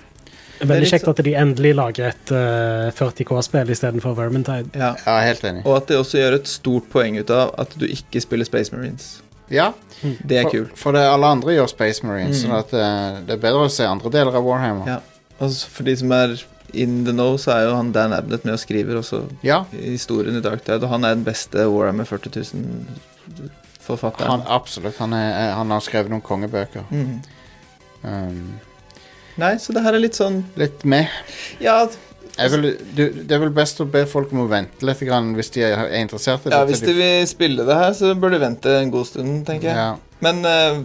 Speaker 2: Det er Veldig
Speaker 3: litt
Speaker 2: kjekt at de endelig lager et eh, 40K-spill istedenfor Vermintide.
Speaker 3: Ja.
Speaker 1: ja, helt enig.
Speaker 3: Og at de også gjør et stort poeng ut av at du ikke spiller Space Marines.
Speaker 1: Ja,
Speaker 3: Det er
Speaker 1: for,
Speaker 3: kult.
Speaker 1: For det alle andre gjør Space Marines,
Speaker 3: Mm.
Speaker 1: sånn at eh, det er bedre å se andre deler av Warhammer.
Speaker 3: Ja. Og så for de som er in the know, så er jo han Dan Abnett med og skriver også
Speaker 1: Ja,
Speaker 3: historien i Darktide, og han er den beste Warhammer 40 000-forfatteren.
Speaker 1: han, absolutt. Han, er, eh, han har skrevet noen kongebøker.
Speaker 3: Mm.
Speaker 1: Um,
Speaker 3: Nei, så det her er litt sånn
Speaker 1: litt med.
Speaker 3: Ja,
Speaker 1: Jeg vil, du, det er vel best å be folk om å vente litt grann, hvis de er er interessert i det.
Speaker 3: ja hvis de vil spille det her, så bør de vente en god stund, tenker jeg.
Speaker 1: ja.
Speaker 3: Men eh,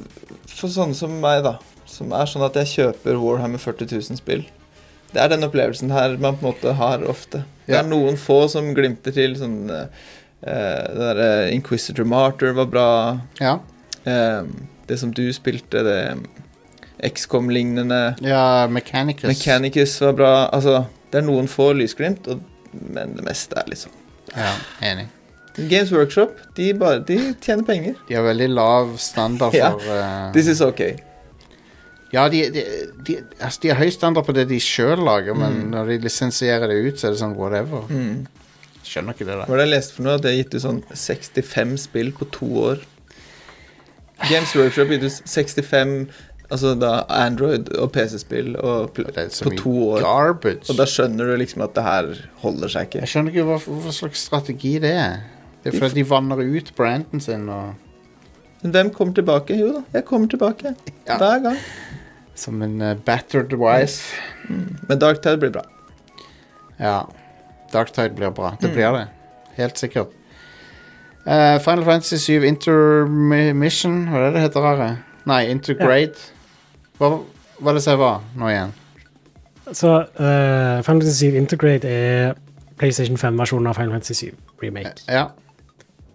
Speaker 3: for sånne som meg, da, som er sånn at jeg kjøper Warhammer 40 000-spill Det er den opplevelsen her man på en måte har ofte. Det
Speaker 1: Ja.
Speaker 3: er noen få som glimter til sånn eh, eh, Det derre Inquisitor Martyr var bra.
Speaker 1: ja.
Speaker 3: eh, det som du spilte, det XCOM-lignende
Speaker 1: ja Mechanicus.
Speaker 3: Mechanicus var bra. Altså, det er noen få lysglimt, og, men det meste er liksom
Speaker 1: Ja, enig.
Speaker 3: Games Workshop, de, bare, de tjener penger.
Speaker 1: De har veldig lav standard
Speaker 3: Ja.
Speaker 1: for eh,
Speaker 3: This is ok.
Speaker 1: Ja, de, de, de, altså, de har høy standard på det de sjøl lager, men når de lisensierer det ut, så er det sånn whatever.
Speaker 3: Mm.
Speaker 1: Skjønner ikke det
Speaker 3: Hva
Speaker 1: der.
Speaker 3: var det jeg leste for noe? At de har gitt ut sånn 65 spill på to år. Games Workshop har gitt ut 65 altså da Android- og PC-spill og pl-
Speaker 1: Det er så
Speaker 3: på
Speaker 1: mye
Speaker 3: to år.
Speaker 1: garbage.
Speaker 3: Og da skjønner du liksom at det her holder seg ikke.
Speaker 1: Jeg skjønner ikke hva, hva slags strategi det er. Det er fordi de vanner ut branden sin og
Speaker 3: Men hvem kommer tilbake? Jo da, jeg kommer tilbake.
Speaker 1: Ja.
Speaker 3: Hver gang.
Speaker 1: Som en eh, battered wife.
Speaker 3: Mm. Men Dark Tide blir bra.
Speaker 1: Ja. Darktide blir bra. Det blir det. Helt sikkert. Eh, Final Fantasy 7 Intermission Hva er det det heter? Are? Nei, Intergrade. Hva var det som var nå igjen?
Speaker 2: Så eh, Final Fantasy 7 Integrate er PlayStation 5-versjonen av Final Fantasy 7 Remake.
Speaker 1: Ja,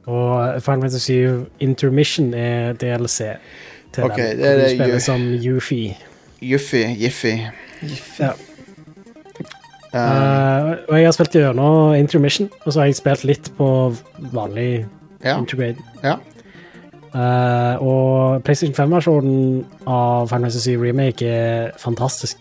Speaker 2: Og Final Fantasy 7 Intermission er DLC til
Speaker 1: Ok,
Speaker 2: den.
Speaker 1: det er det
Speaker 2: hvor du
Speaker 1: Yu-
Speaker 2: spiller som Yuffie.
Speaker 1: Juffy. Jiffy.
Speaker 2: Ja.
Speaker 1: Eh,
Speaker 2: Eh, og jeg har spilt gjennom Intermission, og så har jeg spilt litt på vanlig
Speaker 1: ja.
Speaker 2: Integrate.
Speaker 1: ja.
Speaker 2: Eh, og PlayStation 5-versjonen av Final Fantasy 7 Remake er fantastisk.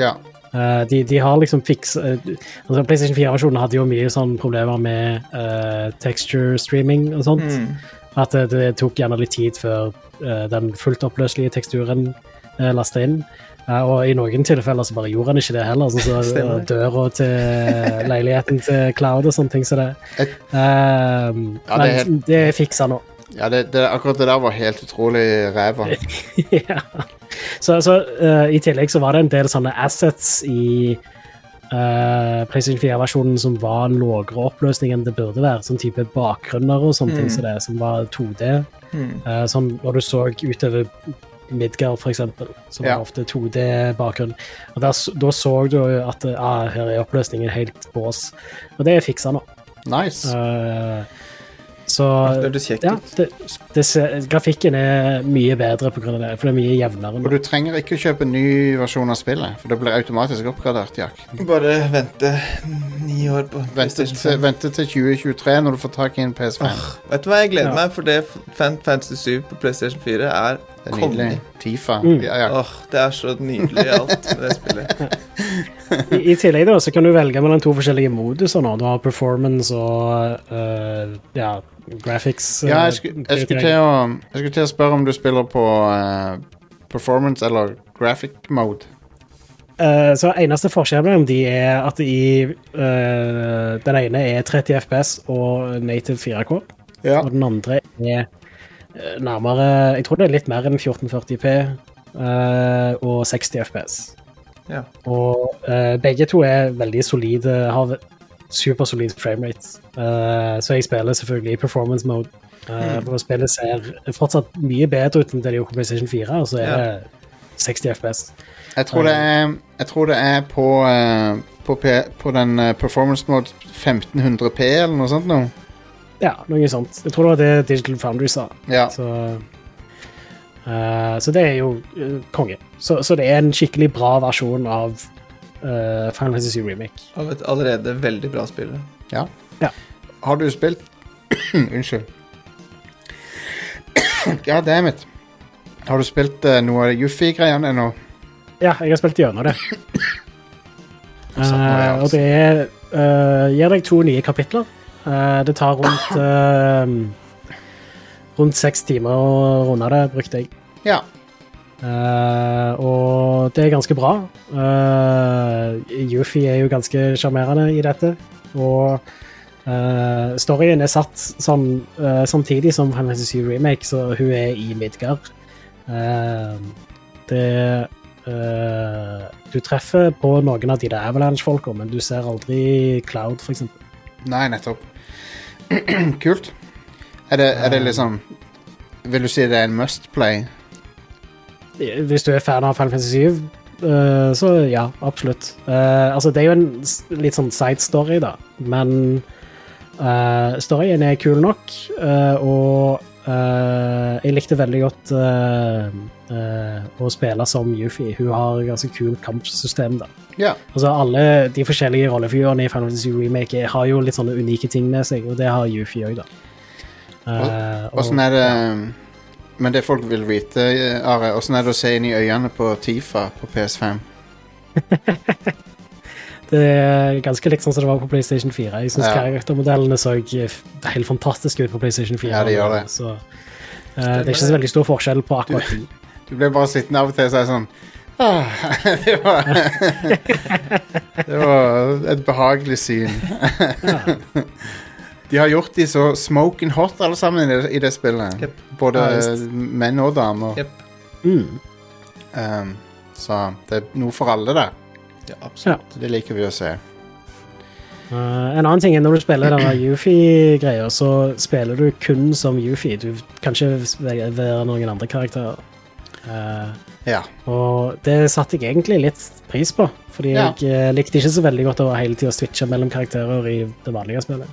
Speaker 1: Ja.
Speaker 2: Eh, de, de har liksom fiksa altså PlayStation 4-versjonen hadde jo mye sånn problemer med eh, texture streaming og sånt.
Speaker 1: Mm.
Speaker 2: At det, det tok gjerne litt tid før eh, den fullt oppløselige teksturen uh, lasta inn. Eh, og i noen tilfeller så bare gjorde han ikke det heller. Sånn som så,
Speaker 3: Stemmer.
Speaker 2: døra til leiligheten til Cloud og sånne ting som det.
Speaker 1: Et-
Speaker 2: Eh,
Speaker 1: Ja,
Speaker 2: men
Speaker 1: det er helt-
Speaker 2: det er fiksa nå.
Speaker 1: ja det, det, akkurat det der var helt utrolig ræva.
Speaker 2: ja. Så, så eh, i tillegg så var det en del sånne assets i eh, PlayStation 4-versjonen som var lavere oppløsning enn det burde være. Sånn type bakgrunner og sånne ting som det, som var 2D.
Speaker 3: Mm.
Speaker 2: eh, som når du så utover Midgard, for eksempel, som
Speaker 1: Ja.
Speaker 2: var ofte 2D-bakgrunn. Og der, s- Da så du jo at eh, ah, her er oppløsningen helt bås. Og det er fiksa nå.
Speaker 1: Nice.
Speaker 2: Eh, så
Speaker 3: Det hørtes kjekt
Speaker 2: ja,
Speaker 3: ut.
Speaker 2: det, det ser, grafikken er mye bedre pga. det, for det er mye jevnere.
Speaker 1: Og
Speaker 2: nå.
Speaker 1: du trenger ikke å kjøpe ny versjon av spillet, for det blir automatisk oppgradert, Jack.
Speaker 3: Bare vente ni år på
Speaker 1: Vente
Speaker 3: PlayStation
Speaker 1: til,
Speaker 3: 5.
Speaker 1: vente til 2023 når du får tak i en PS5.
Speaker 3: Vet du hva jeg gleder
Speaker 2: Ja.
Speaker 3: meg for det Fan- Fantasy 7 på PlayStation 4 er
Speaker 1: det er
Speaker 3: konge.
Speaker 1: nydelig. Tifa.
Speaker 2: Mm.
Speaker 1: Ja, ja.
Speaker 3: Åh, Det er så nydelig alt med det spillet.
Speaker 2: I, I tillegg da, så kan du velge mellom to forskjellige moduser. nå. Du har performance og øh, ja, graphics.
Speaker 1: ja
Speaker 2: øh,
Speaker 1: jeg, skulle, jeg, skulle til å, jeg skulle til å spørre om du spiller på eh, performance eller graphic mode.
Speaker 2: Eh, så eneste forskjellen mellom de er at i eh, den ene er 30 FPS og native 4K,
Speaker 1: Ja.
Speaker 2: og den andre er eh, nærmere Jeg tror det er litt mer enn 1440P eh, og 60 FPS.
Speaker 3: Ja.
Speaker 2: Og eh, begge to er veldig solide, har supersolid framerate. Eh, så jeg spiller selvfølgelig i performance mode. Eh, og Spillet ser fortsatt mye bedre ut enn det gjorde på PlayStation 4, og så er
Speaker 3: Ja.
Speaker 2: det 60 FPS.
Speaker 1: Jeg tror det er, jeg tror det er på, eh, på, P, på den eh, performance mode 1500P eller noe sånt nå.
Speaker 2: Ja, noe sånt. Jeg tror det var det Digital Foundry sa.
Speaker 1: Ja.
Speaker 2: Så, eh, så det er jo eh, konge. Så, så det er en skikkelig bra versjon av eh, Final Fantasy VII Remake.
Speaker 3: Av et allerede veldig bra spill.
Speaker 1: ja.
Speaker 2: Ja.
Speaker 1: Har du spilt Unnskyld. God damn it. Har du spilt eh, noe av det Juffi-greiene ennå?
Speaker 2: Ja, jeg har spilt gjennom det.
Speaker 1: Satt meg, ja.
Speaker 2: Eh, og det er eh, gir deg to nye kapitler. Eh, det tar rundt eh, rundt seks timer å runde det, brukte jeg.
Speaker 1: Ja.
Speaker 2: Eh, og det er ganske bra. Uh, Yuffie er jo ganske sjarmerende i dette. Og eh, storyen er satt sånn, eh, samtidig som Final Fantasy VII Remake, så hun er i Midgard. Eh, det eh, Du treffer på noen av de der Avalanche-folka, men du ser aldri Cloud, for eksempel.
Speaker 1: Nei, nettopp. Kult. Er det, er det liksom Vil du si det er en must play?
Speaker 2: Hvis du er fan av Final Fantasy 7, så ja, absolutt. Eh, altså, det er jo en s- litt sånn side story, da, men eh, storyen er kul nok, eh, og eh, jeg likte veldig godt eh, eh, å spille som Yuffie. Hun har et ganske kult kampsystem, da.
Speaker 1: Ja.
Speaker 2: Altså, alle de forskjellige rollefigurene i Final Fantasy Remake har jo litt sånne unike ting med seg, og det har Yuffie òg, da. Eh, og-
Speaker 1: Åssen sånn er det Men det folk vil vite, eh, Are, åssen er det å se inn i øynene på Tifa på PS5?
Speaker 2: Det er ganske likt sånn som det var på PlayStation 4. Jeg syns
Speaker 1: Ja.
Speaker 2: karaktermodellene så eh, f- helt fantastiske ut på PlayStation 4.
Speaker 1: Ja, de gjør det.
Speaker 2: Så, eh, det er ikke så veldig stor forskjell på akkurat de.
Speaker 1: Du ble bare sittende av og til og si sånn «Ah», det, var, det var et behagelig syn. De har gjort de så smoking hot, alle sammen, i det, i det spillet.
Speaker 3: Jep.
Speaker 1: Både
Speaker 2: Ja, visst.
Speaker 1: menn og damer.
Speaker 3: Jep.
Speaker 2: Mm.
Speaker 1: Um, så det er noe for alle, der.
Speaker 3: Ja,
Speaker 2: Ja.
Speaker 3: absolutt.
Speaker 1: Det liker vi å se.
Speaker 2: Eh, en annen ting er når du spiller denne Yufi-greia, så spiller du kun som Yufi. Du kan ikke være være noen andre karakterer. Eh,
Speaker 1: Ja.
Speaker 2: og det satte jeg egentlig litt pris på, fordi
Speaker 1: Ja.
Speaker 2: jeg eh, likte ikke så veldig godt å hele tida switche mellom karakterer i det vanlige spillet.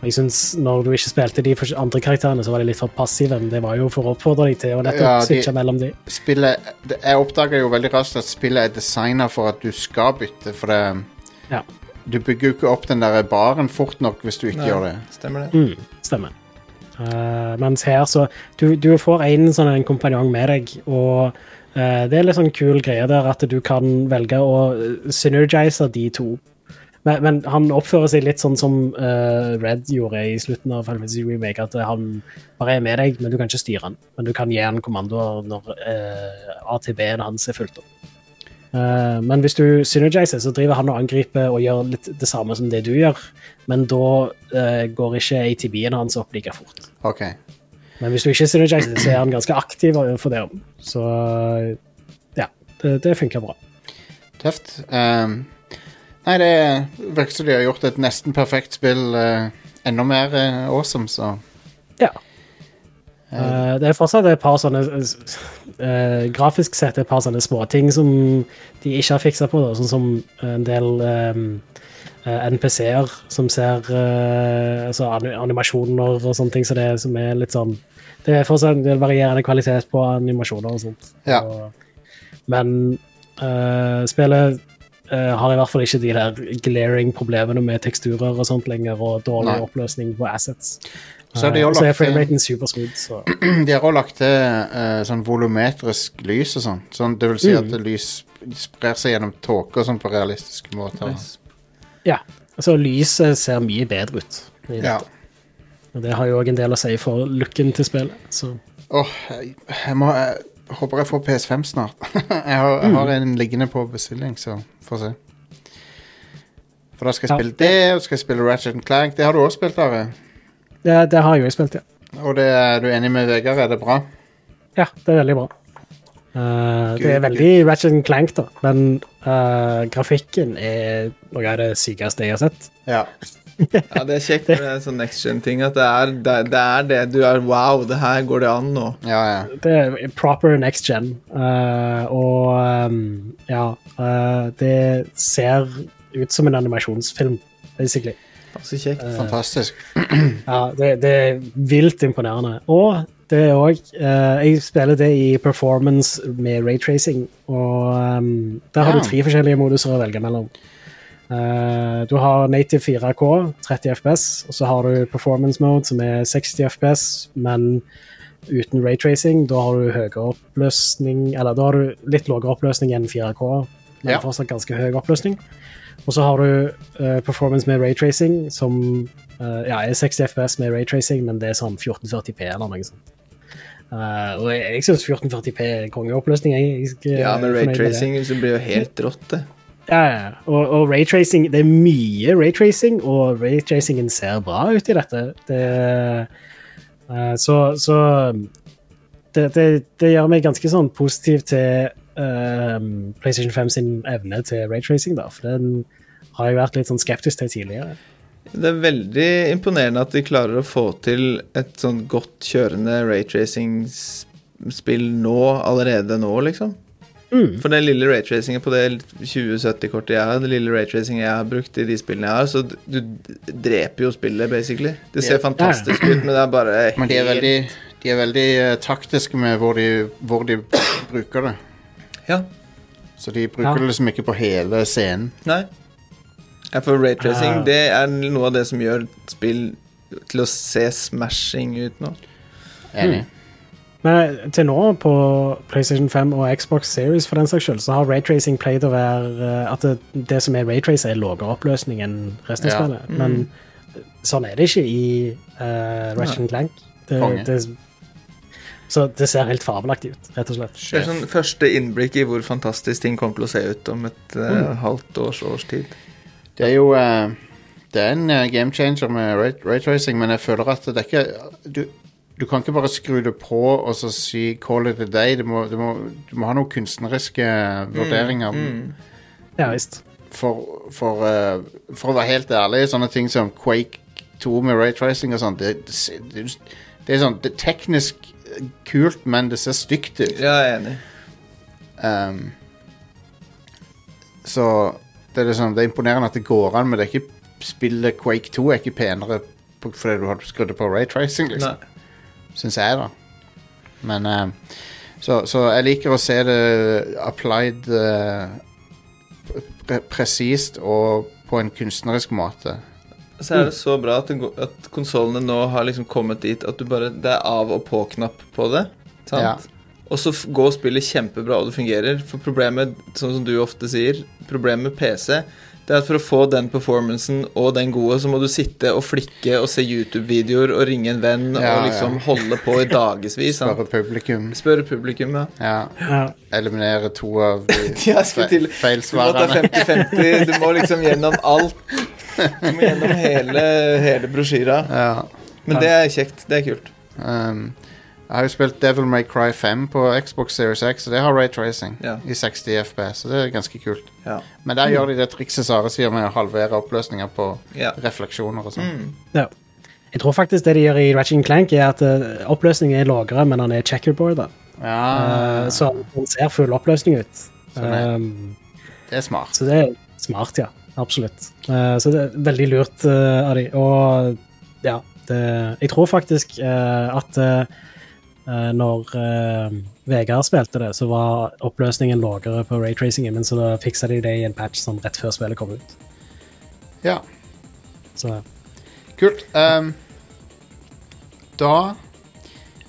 Speaker 2: Og Jeg synes Når du ikke spilte de fors- andre karakterene, så var de litt for passive. Men det var jo for å oppfordre deg til å nettopp
Speaker 1: Ja, de-
Speaker 2: switche mellom de.
Speaker 1: Spillet det- Jeg oppdaga jo veldig raskt at spillet er designa for at du skal bytte, for det
Speaker 2: Ja.
Speaker 1: Du bygger jo ikke opp den der baren fort nok hvis du ikke
Speaker 3: Nei,
Speaker 1: gjør det.
Speaker 3: Stemmer det.
Speaker 2: Mm, stemmer. Eh, mens her, så Du, du får en sånn en kompanjong med deg, og eh, det er litt sånn kul greie der at du kan velge å eh, synergise de to. Men, men han oppfører seg litt sånn som eh, Red gjorde i slutten av Final Fantasy Remake, at eh, han bare er med deg, men du kan ikke styre han. Men du kan gi han kommandoer når eh, ATB-en hans er fulgt opp. Eh, men hvis du synergiser, så driver han og angriper og gjør litt det samme som det du gjør, men da eh, går ikke ATB-en hans opp like fort.
Speaker 1: Ok.
Speaker 2: Men hvis du ikke synergiser, så er han ganske aktiv overfor det. Så eh, ja, det, det funker bra.
Speaker 1: Tøft. Ehm, nei, det virker som de har gjort et nesten perfekt spill eh, enda mer eh, awesome, så
Speaker 2: Ja. Eh, det er fortsatt et par sånne eh, Grafisk sett et par sånne småting som de ikke har fiksa på, da, sånn som en del eh, eh, NPC-er som ser eh, altså ani- animasjoner og sånne ting, så det som er litt sånn Det er fortsatt en del varierende kvalitet på animasjoner og sånt.
Speaker 1: Ja.
Speaker 2: Og, men eh, spillet eh, har i hvert fall ikke de der glaring-problemene med teksturer og sånt lenger, og dårlig
Speaker 1: Nei.
Speaker 2: oppløsning på assets.
Speaker 1: Så er det
Speaker 2: Eh,
Speaker 1: jo
Speaker 2: så
Speaker 1: lagt
Speaker 2: er
Speaker 1: til-
Speaker 2: frameraten supersmooth, så
Speaker 1: De har òg lagt til eh, sånn volumetrisk lys og sånn. sånn. Det vil si
Speaker 3: Mm.
Speaker 1: at lys sprer seg gjennom tåke og sånn på realistiske måter.
Speaker 3: Nice.
Speaker 2: ja. Så lyset ser mye bedre ut. i
Speaker 1: Ja.
Speaker 2: dette. Og det har jo òg en del å si for looken til spillet. Så
Speaker 1: Åh, jeg, jeg må eh, håper jeg får PS5 snart. jeg, har, jeg
Speaker 2: Mm.
Speaker 1: har en liggende på bestilling, så får se. For da skal jeg
Speaker 2: Ja.
Speaker 1: spille det, og så skal jeg spille Ratchet and Clank. Det har du også spilt, Are.
Speaker 2: Det, det har jeg jo spilt, ja.
Speaker 1: Og det er du er enig med Vegard, er det bra?
Speaker 2: Ja, det er veldig bra. Eh, det er
Speaker 1: Gud,
Speaker 2: veldig Ratchet and Clank, da, men eh, grafikken er noe av det sykeste jeg har sett.
Speaker 1: Ja.
Speaker 3: Ja, det er kjekt med sånn next gen-ting. At det er, det, det er det du er Wow, det her går det an nå.
Speaker 1: Ja, ja.
Speaker 2: Det er proper next gen, eh, og ehm, ja eh, Det ser ut som en animasjonsfilm, basically.
Speaker 3: Så kjekt.
Speaker 1: Fantastisk.
Speaker 2: Ja, det, det er vilt imponerende. Og det er òg Jeg spiller det i performance med raytracing, og ehm, der har
Speaker 1: Ja.
Speaker 2: du tre forskjellige moduser å velge mellom. Eh, du har native 4K, 30 FPS, og så har du performance mode, som er 60 FPS, men uten raytracing. Da har du høyere oppløsning Eller da har du litt lavere oppløsning enn 4K, men
Speaker 1: Ja.
Speaker 2: fortsatt ganske høy oppløsning. Og så har du eh, performance med raytracing, som eh, ja, er 60 FPS med raytracing, men det er sånn 1440P eller noe sånt. Eh, og jeg, jeg syns 1440P er kongeoppløsning. Jeg, jeg, jeg,
Speaker 3: Ja,
Speaker 2: er
Speaker 3: med
Speaker 2: fornøyd det.
Speaker 3: raytracing så blir det jo helt rått, det.
Speaker 2: Ja, ja. ja. Og, og raytracing Det er mye raytracing, og raytracingen ser bra ut i dette. Det, eh, så så det, det, det gjør meg ganske sånn positiv til ehm, PlayStation 5 sin evne til raytracing, da. For den har jeg vært litt sånn skeptisk til tidligere.
Speaker 3: Det er veldig imponerende at de klarer å få til et sånn godt kjørende raytracing-spill nå, allerede nå, liksom.
Speaker 2: Mm.
Speaker 3: For den lille raytracingen på det 2070-kortet jeg har, det lille raytracingen jeg har brukt i de spillene jeg har, så du- du dreper jo spillet, basically. Det ser fantastisk ut, men det er bare
Speaker 1: Men de er
Speaker 3: helt-
Speaker 1: veldig, de er veldig eh, taktiske med hvor de, hvor de bruker det.
Speaker 3: Ja.
Speaker 1: Så de bruker
Speaker 2: Ja.
Speaker 1: det liksom ikke på hele scenen.
Speaker 3: Nei. Ja, for raytracing
Speaker 2: Ah.
Speaker 3: det er noe av det som gjør spill til å se smashing ut nå.
Speaker 1: Enig.
Speaker 2: Men eh, til nå, på PlayStation 5 og Xbox Series, for den saks skyld, så har raytracing pleid å være eh, at det, det som er raytrace, er lavere oppløsning enn resten av
Speaker 1: Ja. Mm.
Speaker 2: spillet. Men sånn er det ikke i uh, Ratchet and Clank. Det,
Speaker 1: Konge.
Speaker 2: det, så det ser helt fabelaktig ut, rett og slett.
Speaker 3: Det er sånn første innblikk i hvor fantastisk ting kommer til å se ut om et eh, halvt års års tid.
Speaker 1: Det er jo eh, Det er en eh, game changer med ray- raytracing, men jeg føler at det er ikke Du, du kan ikke bare skru det på og så si 'call it a day'. Du må, du må, du må ha noen kunstneriske eh, vurderinger.
Speaker 2: Ja visst.
Speaker 1: For, for, eh, for å være helt ærlig, sånne ting som Quake 2 med raytracing og sånn, det, det, det, det er sånn det er teknisk eh, kult, men det ser stygt ut.
Speaker 3: Ja, jeg er enig.
Speaker 1: Ehm, så det er, liksom, det er imponerende at det går an, men det er ikke spillet Quake 2 er ikke penere på, fordi du har skrudd det på raytracing,
Speaker 3: Nei.
Speaker 1: liksom. Syns jeg, da. Men ehm, så, så jeg liker å se det applied eh, pre presist og på en kunstnerisk måte.
Speaker 3: Så er det så bra at, det går- at konsollene nå har liksom kommet dit at du bare Det er av og på-knapp på det. Sant?
Speaker 1: Ja.
Speaker 3: Og så f- går spillet kjempebra, og det fungerer. For problemet, sånn som du ofte sier, problemet med PC, det er at for å få den performancen og den gode, så må du sitte og flikke og se YouTube-videoer og ringe en venn
Speaker 1: Ja,
Speaker 3: og liksom
Speaker 1: ja.
Speaker 3: holde på i dagevis. sant?
Speaker 1: Spørre publikum.
Speaker 3: Spørre publikum, ja.
Speaker 1: Ja,
Speaker 2: Ja.
Speaker 1: eliminere to av de
Speaker 3: Ja, jeg skulle til
Speaker 1: fe-
Speaker 3: Du må ta
Speaker 1: feilsvarerne.
Speaker 3: 50-50. Du må liksom gjennom alt. Du må gjennom hele, hele brosjyra.
Speaker 1: Ja.
Speaker 3: Men det er kjekt. Det er kult.
Speaker 1: Um, jeg har jo spilt Devil May Cry 5 på Xbox Series X, og det har raytracing
Speaker 3: Ja.
Speaker 1: i 60 FPS, så det er ganske kult.
Speaker 3: Ja.
Speaker 1: Men der gjør de det trikset Sare sier med å halvere oppløsninger på
Speaker 3: Ja. Mm.
Speaker 1: refleksjoner og sånn.
Speaker 2: ja. Jeg tror faktisk det de gjør i Ratchet and Clank, er at eh, oppløsningen er lavere, men han er checkerboarda.
Speaker 1: Ja,
Speaker 2: så han ser full oppløsning ut.
Speaker 1: Ah. Sånn er-
Speaker 2: Ehm,
Speaker 1: det er smart.
Speaker 2: Så det er smart, ja. Absolutt. Eh, så det er veldig lurt eh, av de. Og ja, det, jeg tror faktisk eh, at eh, når eh, Vegard spilte det, så var oppløsningen lavere på raytracingen, men så da fiksa de det i en patch sånn rett før spillet kom ut.
Speaker 1: Ja,
Speaker 2: Så
Speaker 1: kult. Um, da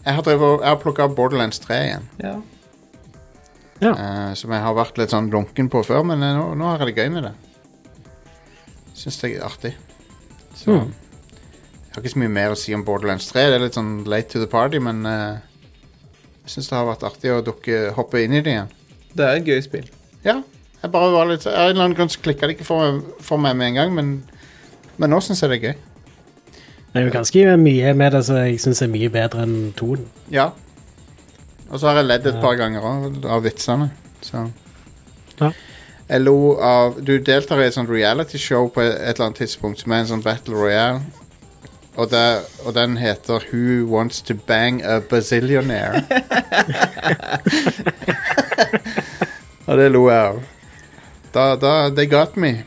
Speaker 1: Jeg har, drevet og- jeg har plukka opp Borderlands 3 igjen,
Speaker 3: Ja.
Speaker 2: ja.
Speaker 1: eh, som jeg har vært litt sånn lunken på før, men eh, nå, nå har jeg det gøy med det. Syns det er artig. Så
Speaker 2: Mm.
Speaker 1: Jeg har ikke så mye mer å si om Borderlands 3. Det er litt sånn late to the party, men eh, Jeg syns det har vært artig å dukke, hoppe inn i det igjen.
Speaker 3: Det er et gøy spill.
Speaker 1: Ja. Jeg bare var litt, av en eller annen grunn så klikka det ikke for, meg- for meg med en gang, men, men nå syns jeg det er gøy.
Speaker 2: Det er jo ganske mye med det som jeg syns er mye bedre enn toen.
Speaker 1: Ja. Og så har jeg ledd et
Speaker 2: Ja.
Speaker 1: par ganger av, av vitsene. Så.
Speaker 2: Ja.
Speaker 1: Jeg lo av Du deltar i et sånt realityshow på et eller annet tidspunkt som er en sånn Battle Royale. Og, det, og den heter Who Wants to Bang a Bazillionaire. og det lo jeg av. Da, da, They got me.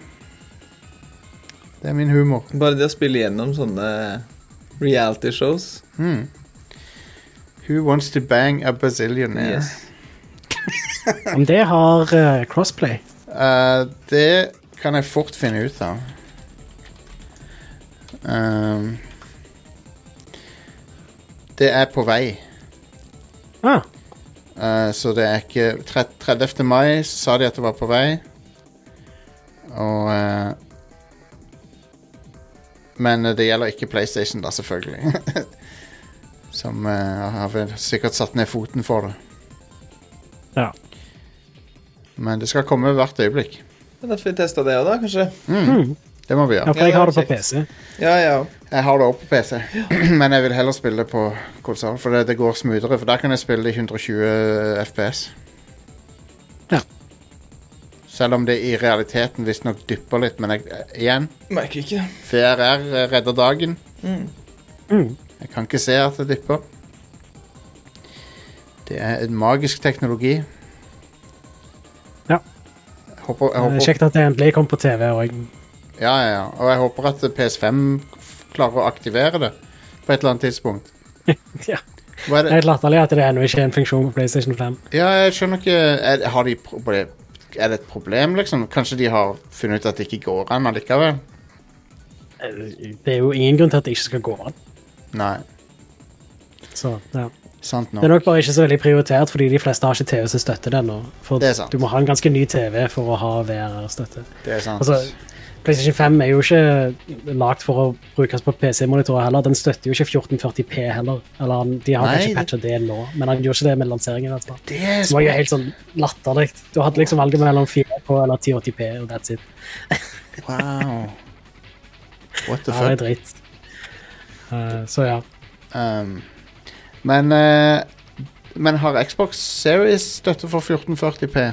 Speaker 1: Det er min humor.
Speaker 3: Bare det å spille gjennom sånne reality shows.
Speaker 1: Hmm. Who Wants to Bang a Bazillionaire?
Speaker 3: Yes.
Speaker 2: Om det har eh, crossplay.
Speaker 1: Eh, det kan jeg fort finne ut av. Ehm, det er på vei,
Speaker 2: Ah,
Speaker 1: Eh, så det er ikke tre- 30. mai så sa de at det var på vei. Og eh, Men det gjelder ikke PlayStation, da, selvfølgelig. Som eh, har vel sikkert satt ned foten for det.
Speaker 2: ja.
Speaker 1: Men det skal komme hvert øyeblikk.
Speaker 3: Men da får vi testa det òg, da, kanskje.
Speaker 2: Mm.
Speaker 1: Det må vi gjøre.
Speaker 2: ja, for jeg har det på
Speaker 3: Ja,
Speaker 2: PC.
Speaker 3: Ja, ja.
Speaker 1: Jeg har det også på PC, men jeg vil heller spille det på konsoll, for det, det går smoothere. For der kan jeg spille i 120 FPS.
Speaker 2: Ja.
Speaker 1: Selv om det i realiteten visstnok dypper litt, men jeg, eh, igjen
Speaker 3: Merker ikke.
Speaker 1: VRR eh, redder dagen.
Speaker 3: Mm.
Speaker 2: Mm.
Speaker 1: Jeg kan ikke se at det dypper. Det er en magisk teknologi.
Speaker 2: Ja.
Speaker 1: Jeg håper, jeg
Speaker 2: Eh,
Speaker 1: håper,
Speaker 2: Kjekt at det endelig kom på TV òg.
Speaker 1: ja, ja, ja. Og jeg håper at PS5 klarer å aktivere det på et eller annet tidspunkt.
Speaker 2: Ja.
Speaker 1: Hva er
Speaker 2: Det er helt latterlig at det ennå ikke er en funksjon på PlayStation 5.
Speaker 1: Ja, jeg skjønner ikke er, har de proble- er det et problem, liksom? Kanskje de har funnet ut at det ikke går an allikevel?
Speaker 2: Eh, Det er jo ingen grunn til at det ikke skal gå an.
Speaker 1: Nei.
Speaker 2: Så, ja.
Speaker 1: Sant
Speaker 2: Det
Speaker 1: nok.
Speaker 2: er nok bare ikke så veldig prioritert, fordi de fleste har ikke TV som støtter det ennå. For
Speaker 1: Det er sant.
Speaker 2: du må ha en ganske ny TV for å ha VR-støtte.
Speaker 1: Det er sant.
Speaker 2: Altså, PlayStation 5 er jo ikke lagd for å brukes på PC-monitorer heller. Den støtter jo ikke 1440P heller. Eller han- de har
Speaker 1: Nei,
Speaker 2: kanskje patcha det nå, men han gjorde ikke det med lanseringen. i hvert fall.
Speaker 1: det er
Speaker 2: Det var jo
Speaker 1: smart.
Speaker 2: helt sånn latterlig. Du hadde liksom valget mellom 4K eller 1080P, og that's it.
Speaker 1: Wow. What the
Speaker 2: Ja, det
Speaker 1: fuck?
Speaker 2: er dritt. Eh, så ja.
Speaker 1: Um, men, eh, men har Xbox Series støtte for 1440P?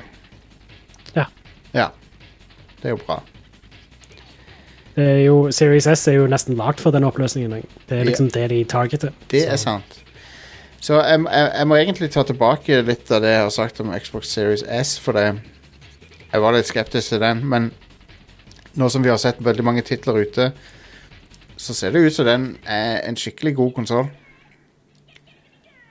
Speaker 2: Ja.
Speaker 1: Ja. Det er jo bra.
Speaker 2: Det er jo, Series S er jo nesten lagd for den oppløsningen. jeg. Det er liksom det de targeter.
Speaker 1: Det
Speaker 2: Så-
Speaker 1: er sant. Så jeg, jeg, jeg må egentlig ta tilbake litt av det jeg har sagt om Xbox Series S, for det, jeg var litt skeptisk til den, men nå som vi har sett veldig mange titler ute, så ser det ut som den er en skikkelig god konsoll.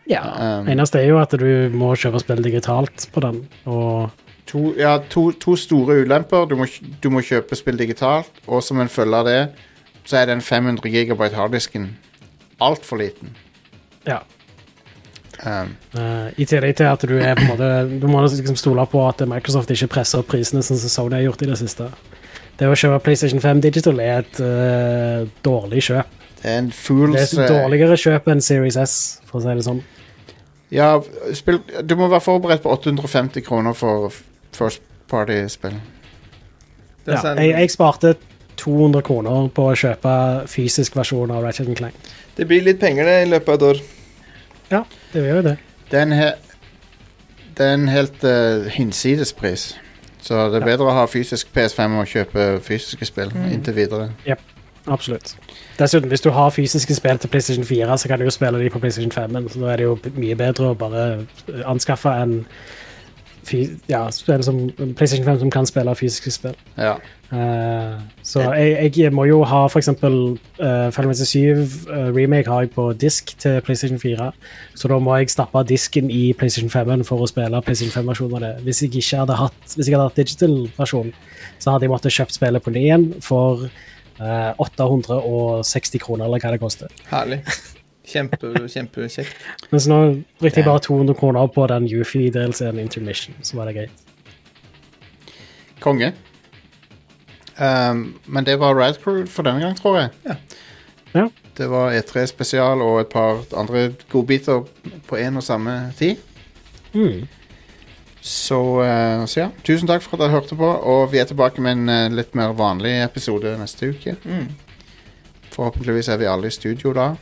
Speaker 2: Ja,
Speaker 1: Um,
Speaker 2: eneste er jo at du må kjøpe spill digitalt på den, og
Speaker 1: To, ja, to, to store ulemper. Du må, kj- du må kjøpe spill digitalt, og som en følge av det, så er den 500 GB harddisken altfor liten.
Speaker 2: ja.
Speaker 1: Um,
Speaker 2: Eh, I tillegg til at du er på en måte Du må liksom stole på at Microsoft ikke presser opp prisene sånn som Sony har gjort i det siste. Det å kjøpe PlayStation 5 Digital er et eh, dårlig kjøp.
Speaker 1: det er en fools
Speaker 2: Det er et dårligere kjøp enn Series S, for å si det sånn.
Speaker 1: Ja, spill, du må være forberedt på 850 kroner for f- first party-spill.
Speaker 3: Det er
Speaker 2: Ja,
Speaker 3: sånn-
Speaker 1: sånn-
Speaker 3: sant.
Speaker 2: jeg, jeg sparte 200 kroner på å kjøpe fysisk versjon av Ratchet Clank.
Speaker 3: Det blir litt penger det i løpet av et år.
Speaker 2: Ja, det gjør jo det.
Speaker 1: Det er en, he, det er en helt eh, hinsides pris. Så det er bedre å ha fysisk PS5 og kjøpe fysiske spill inntil videre.
Speaker 2: Absolutt. Dessuten, hvis du har fysiske spill til PlayStation 4, så kan du jo spille de på PlayStation 5, så da er det jo mye bedre å bare eh, anskaffe en fy- ja, spill som, en PlayStation 5 som kan spille fysiske spill.
Speaker 1: Ja.
Speaker 2: Eh, så jeg, jeg må jo ha f.eks. Uh, Final Fantasy 7 eh, remake har jeg på disk til PlayStation 4, så da må jeg stappe disken i PlayStation 5 for å spille PlayStation 5-versjonen av det. Hvis jeg ikke hadde hatt, hvis jeg hadde hatt digital-versjon, så hadde jeg måttet kjøpt spillet på ny igjen for eh, 860 kroner, eller hva det koster.
Speaker 3: Herlig. Kjempe, Kjempekjekt.
Speaker 2: Mens nå brukte jeg bare 200 kroner på den Yufi-delsen Intermission, så var det greit.
Speaker 1: Konge. Ehm, Um, men det var Rad Crew for denne gang, tror jeg.
Speaker 3: Ja.
Speaker 2: Ja.
Speaker 1: Det var E3-spesial og et par andre godbiter på én og samme tid.
Speaker 2: Mm.
Speaker 1: Så, eh, så ja, tusen takk for at dere hørte på, og vi er tilbake med en eh, litt mer vanlig episode neste uke.
Speaker 3: Mm.
Speaker 1: Forhåpentligvis er vi alle i studio da.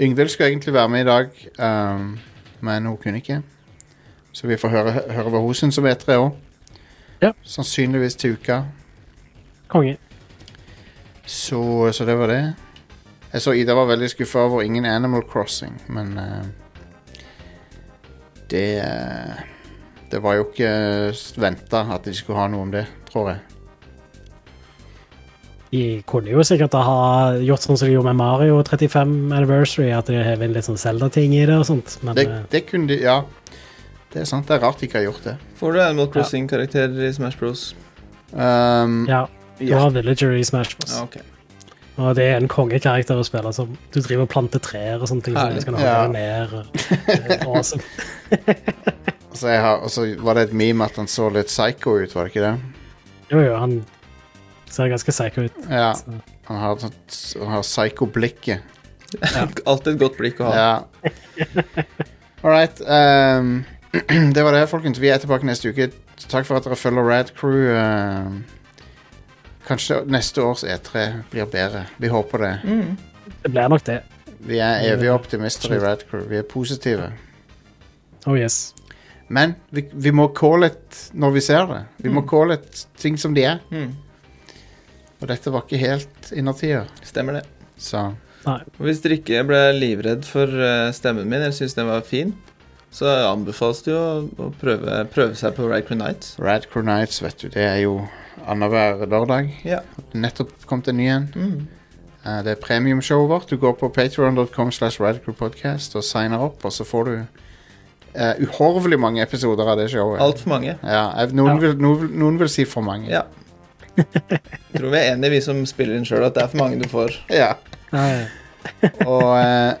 Speaker 1: Yngvild skulle egentlig være med i dag, ehm, men hun kunne ikke. Så vi får høre, høre hva hun syns om E E3 òg.
Speaker 2: Ja.
Speaker 1: Sannsynligvis til uka.
Speaker 2: Konge.
Speaker 1: Så, så det var det. Jeg så Ida var veldig skuffa over ingen Animal Crossing, men eh, Det eh, Det var jo ikke venta at de skulle ha noe om det, tror jeg.
Speaker 2: De kunne jo sikkert ha gjort sånn som de gjorde med Mario 35 Anniversary, at de hever inn litt sånn Zelda-ting i det og sånt, men
Speaker 1: Det,
Speaker 2: eh,
Speaker 1: det kunne de Ja. Det er sant, det er rart de ikke har gjort det.
Speaker 3: Får du Animal Crossing-karakterer i Smash Bros?
Speaker 1: Um,
Speaker 2: ja. Du
Speaker 1: ja.
Speaker 2: har Villager i Smash Bros.
Speaker 3: Ja, ok.
Speaker 2: Og det er en kongekarakter å spille som du driver og planter trær og sånne ting.
Speaker 3: Herlig.
Speaker 2: Så du skal
Speaker 1: Ja.
Speaker 2: ha det ned. og- det er Awesome.
Speaker 1: Og så altså, jeg har, og så var det et meme at han så litt psycho ut, var det ikke det?
Speaker 2: Jo, jo, han ser ganske psycho ut.
Speaker 1: Ja.
Speaker 2: Så.
Speaker 1: Han har, et sånt- han har psycho-blikket.
Speaker 3: Alltid et godt blikk å ha.
Speaker 1: Ja. All right. ehm, det var det, folkens. Vi er tilbake neste uke. Takk for at dere følger Rad Crew. ehm. kanskje neste års E3 blir bedre. Vi håper det.
Speaker 3: Mm.
Speaker 2: Det blir nok det.
Speaker 1: Vi er evige optimister i Rad Crew. Vi er positive.
Speaker 2: Oh yes.
Speaker 1: Men vi, vi må calle it når vi ser det. Vi må calle it ting som de er.
Speaker 3: Mm.
Speaker 1: Og dette var ikke helt innertier,
Speaker 3: Stemmer det.
Speaker 1: så
Speaker 2: Nei.
Speaker 3: Og hvis dere ikke ble livredd for eh, stemmen min, eller syntes den var fin, så anbefales det jo å- å prøve, prøve seg på Ride Crew Nights.
Speaker 1: Rad Crew Nights, vet du, det er jo annenhver lørdag.
Speaker 3: Ja.
Speaker 1: Nettopp kom det en ny en.
Speaker 3: Mm.
Speaker 1: Eh, Det er premiumshowet vårt. Du går på patreon.com slash radicalpodcast og signer opp, og så får du eh, uhorvelig mange episoder av det showet.
Speaker 3: Altfor mange.
Speaker 1: Ja, jeg- noen, Vil, noen, vil- noen vil si for mange.
Speaker 3: Ja. Jeg tror vi er enige, vi som spiller inn sjøl, at det er for mange du får.
Speaker 1: Ja.
Speaker 2: Nei.
Speaker 1: Og, eh,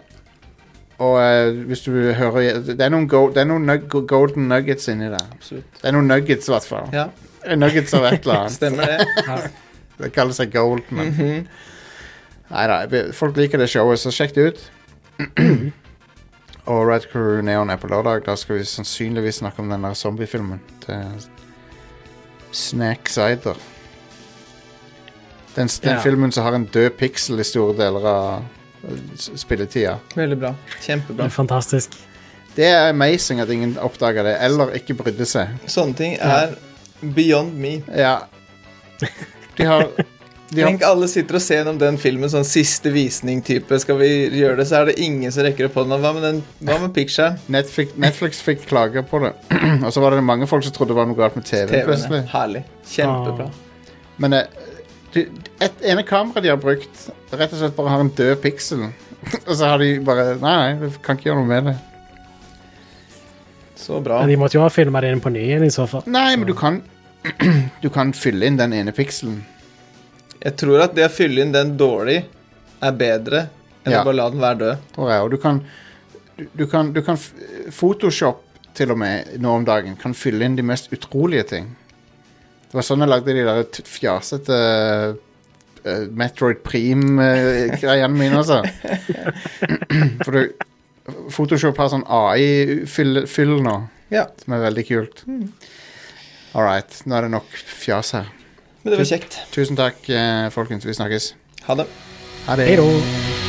Speaker 1: og eh, hvis du hører Det er noen, go, det er noen nug, golden nuggets inni der.
Speaker 3: Absolutt.
Speaker 1: Det er noen nuggets, i hvert fall.
Speaker 3: Ja,
Speaker 1: Nuggets av et eller annet.
Speaker 3: stemmer det.
Speaker 1: Det kaller seg gold, men
Speaker 3: Mhm.
Speaker 1: Nei da, vi- folk liker det showet, så sjekk det ut. Og Red Crew Neon er på lørdag. Da skal vi sannsynligvis snakke om den der zombiefilmen. til Snack Cider. Den, den
Speaker 2: Ja.
Speaker 1: filmen som har en død piksel i store deler av eh, s- spilletida.
Speaker 3: Veldig bra.
Speaker 2: Det
Speaker 3: Kjempebra.
Speaker 2: er fantastisk.
Speaker 1: Det er amazing at ingen oppdaga det, eller ikke brydde seg.
Speaker 3: Sånne ting er beyond me.
Speaker 1: Ja. De har, de har
Speaker 3: Tenk alle sitter og ser gjennom den filmen sånn siste visning-type. Skal vi gjøre det, så er det ingen som rekker opp hånda. Hva med, den, hva med Picture?
Speaker 1: Netflix, Netflix fikk klager på det. og så var det mange folk som trodde det var noe galt med TV.
Speaker 3: TV-ene.
Speaker 1: plutselig.
Speaker 3: Herlig. Kjempebra.
Speaker 1: Men eh, det et, ene kamera de har brukt, rett og slett bare har en død piksel. og så har de bare Nei, nei, vi kan ikke gjøre noe med det.
Speaker 3: Så bra.
Speaker 2: Men de måtte jo ha filma det inn på ny igjen i så fall.
Speaker 1: Nei, men du kan Du kan fylle inn den ene pikselen.
Speaker 3: Jeg tror at det å fylle inn den dårlig er bedre enn
Speaker 1: Ja.
Speaker 3: å bare la den være død.
Speaker 1: tror jeg. Og du kan, du, du kan, du kan f- Photoshop til og med nå om dagen kan fylle inn de mest utrolige ting. Det var sånn jeg lagde de der t- fjasete eh, Metroid Prime-greiene mine, altså. For du Photoshop har sånn AI-fyll fyll nå,
Speaker 3: Ja,
Speaker 1: som er veldig kult. All right. Nå er det nok fjas her.
Speaker 3: Men det var kjekt.
Speaker 1: Tusen takk, eh, folkens. Vi snakkes.
Speaker 3: Ha det.
Speaker 1: Ha det.
Speaker 2: Hei da.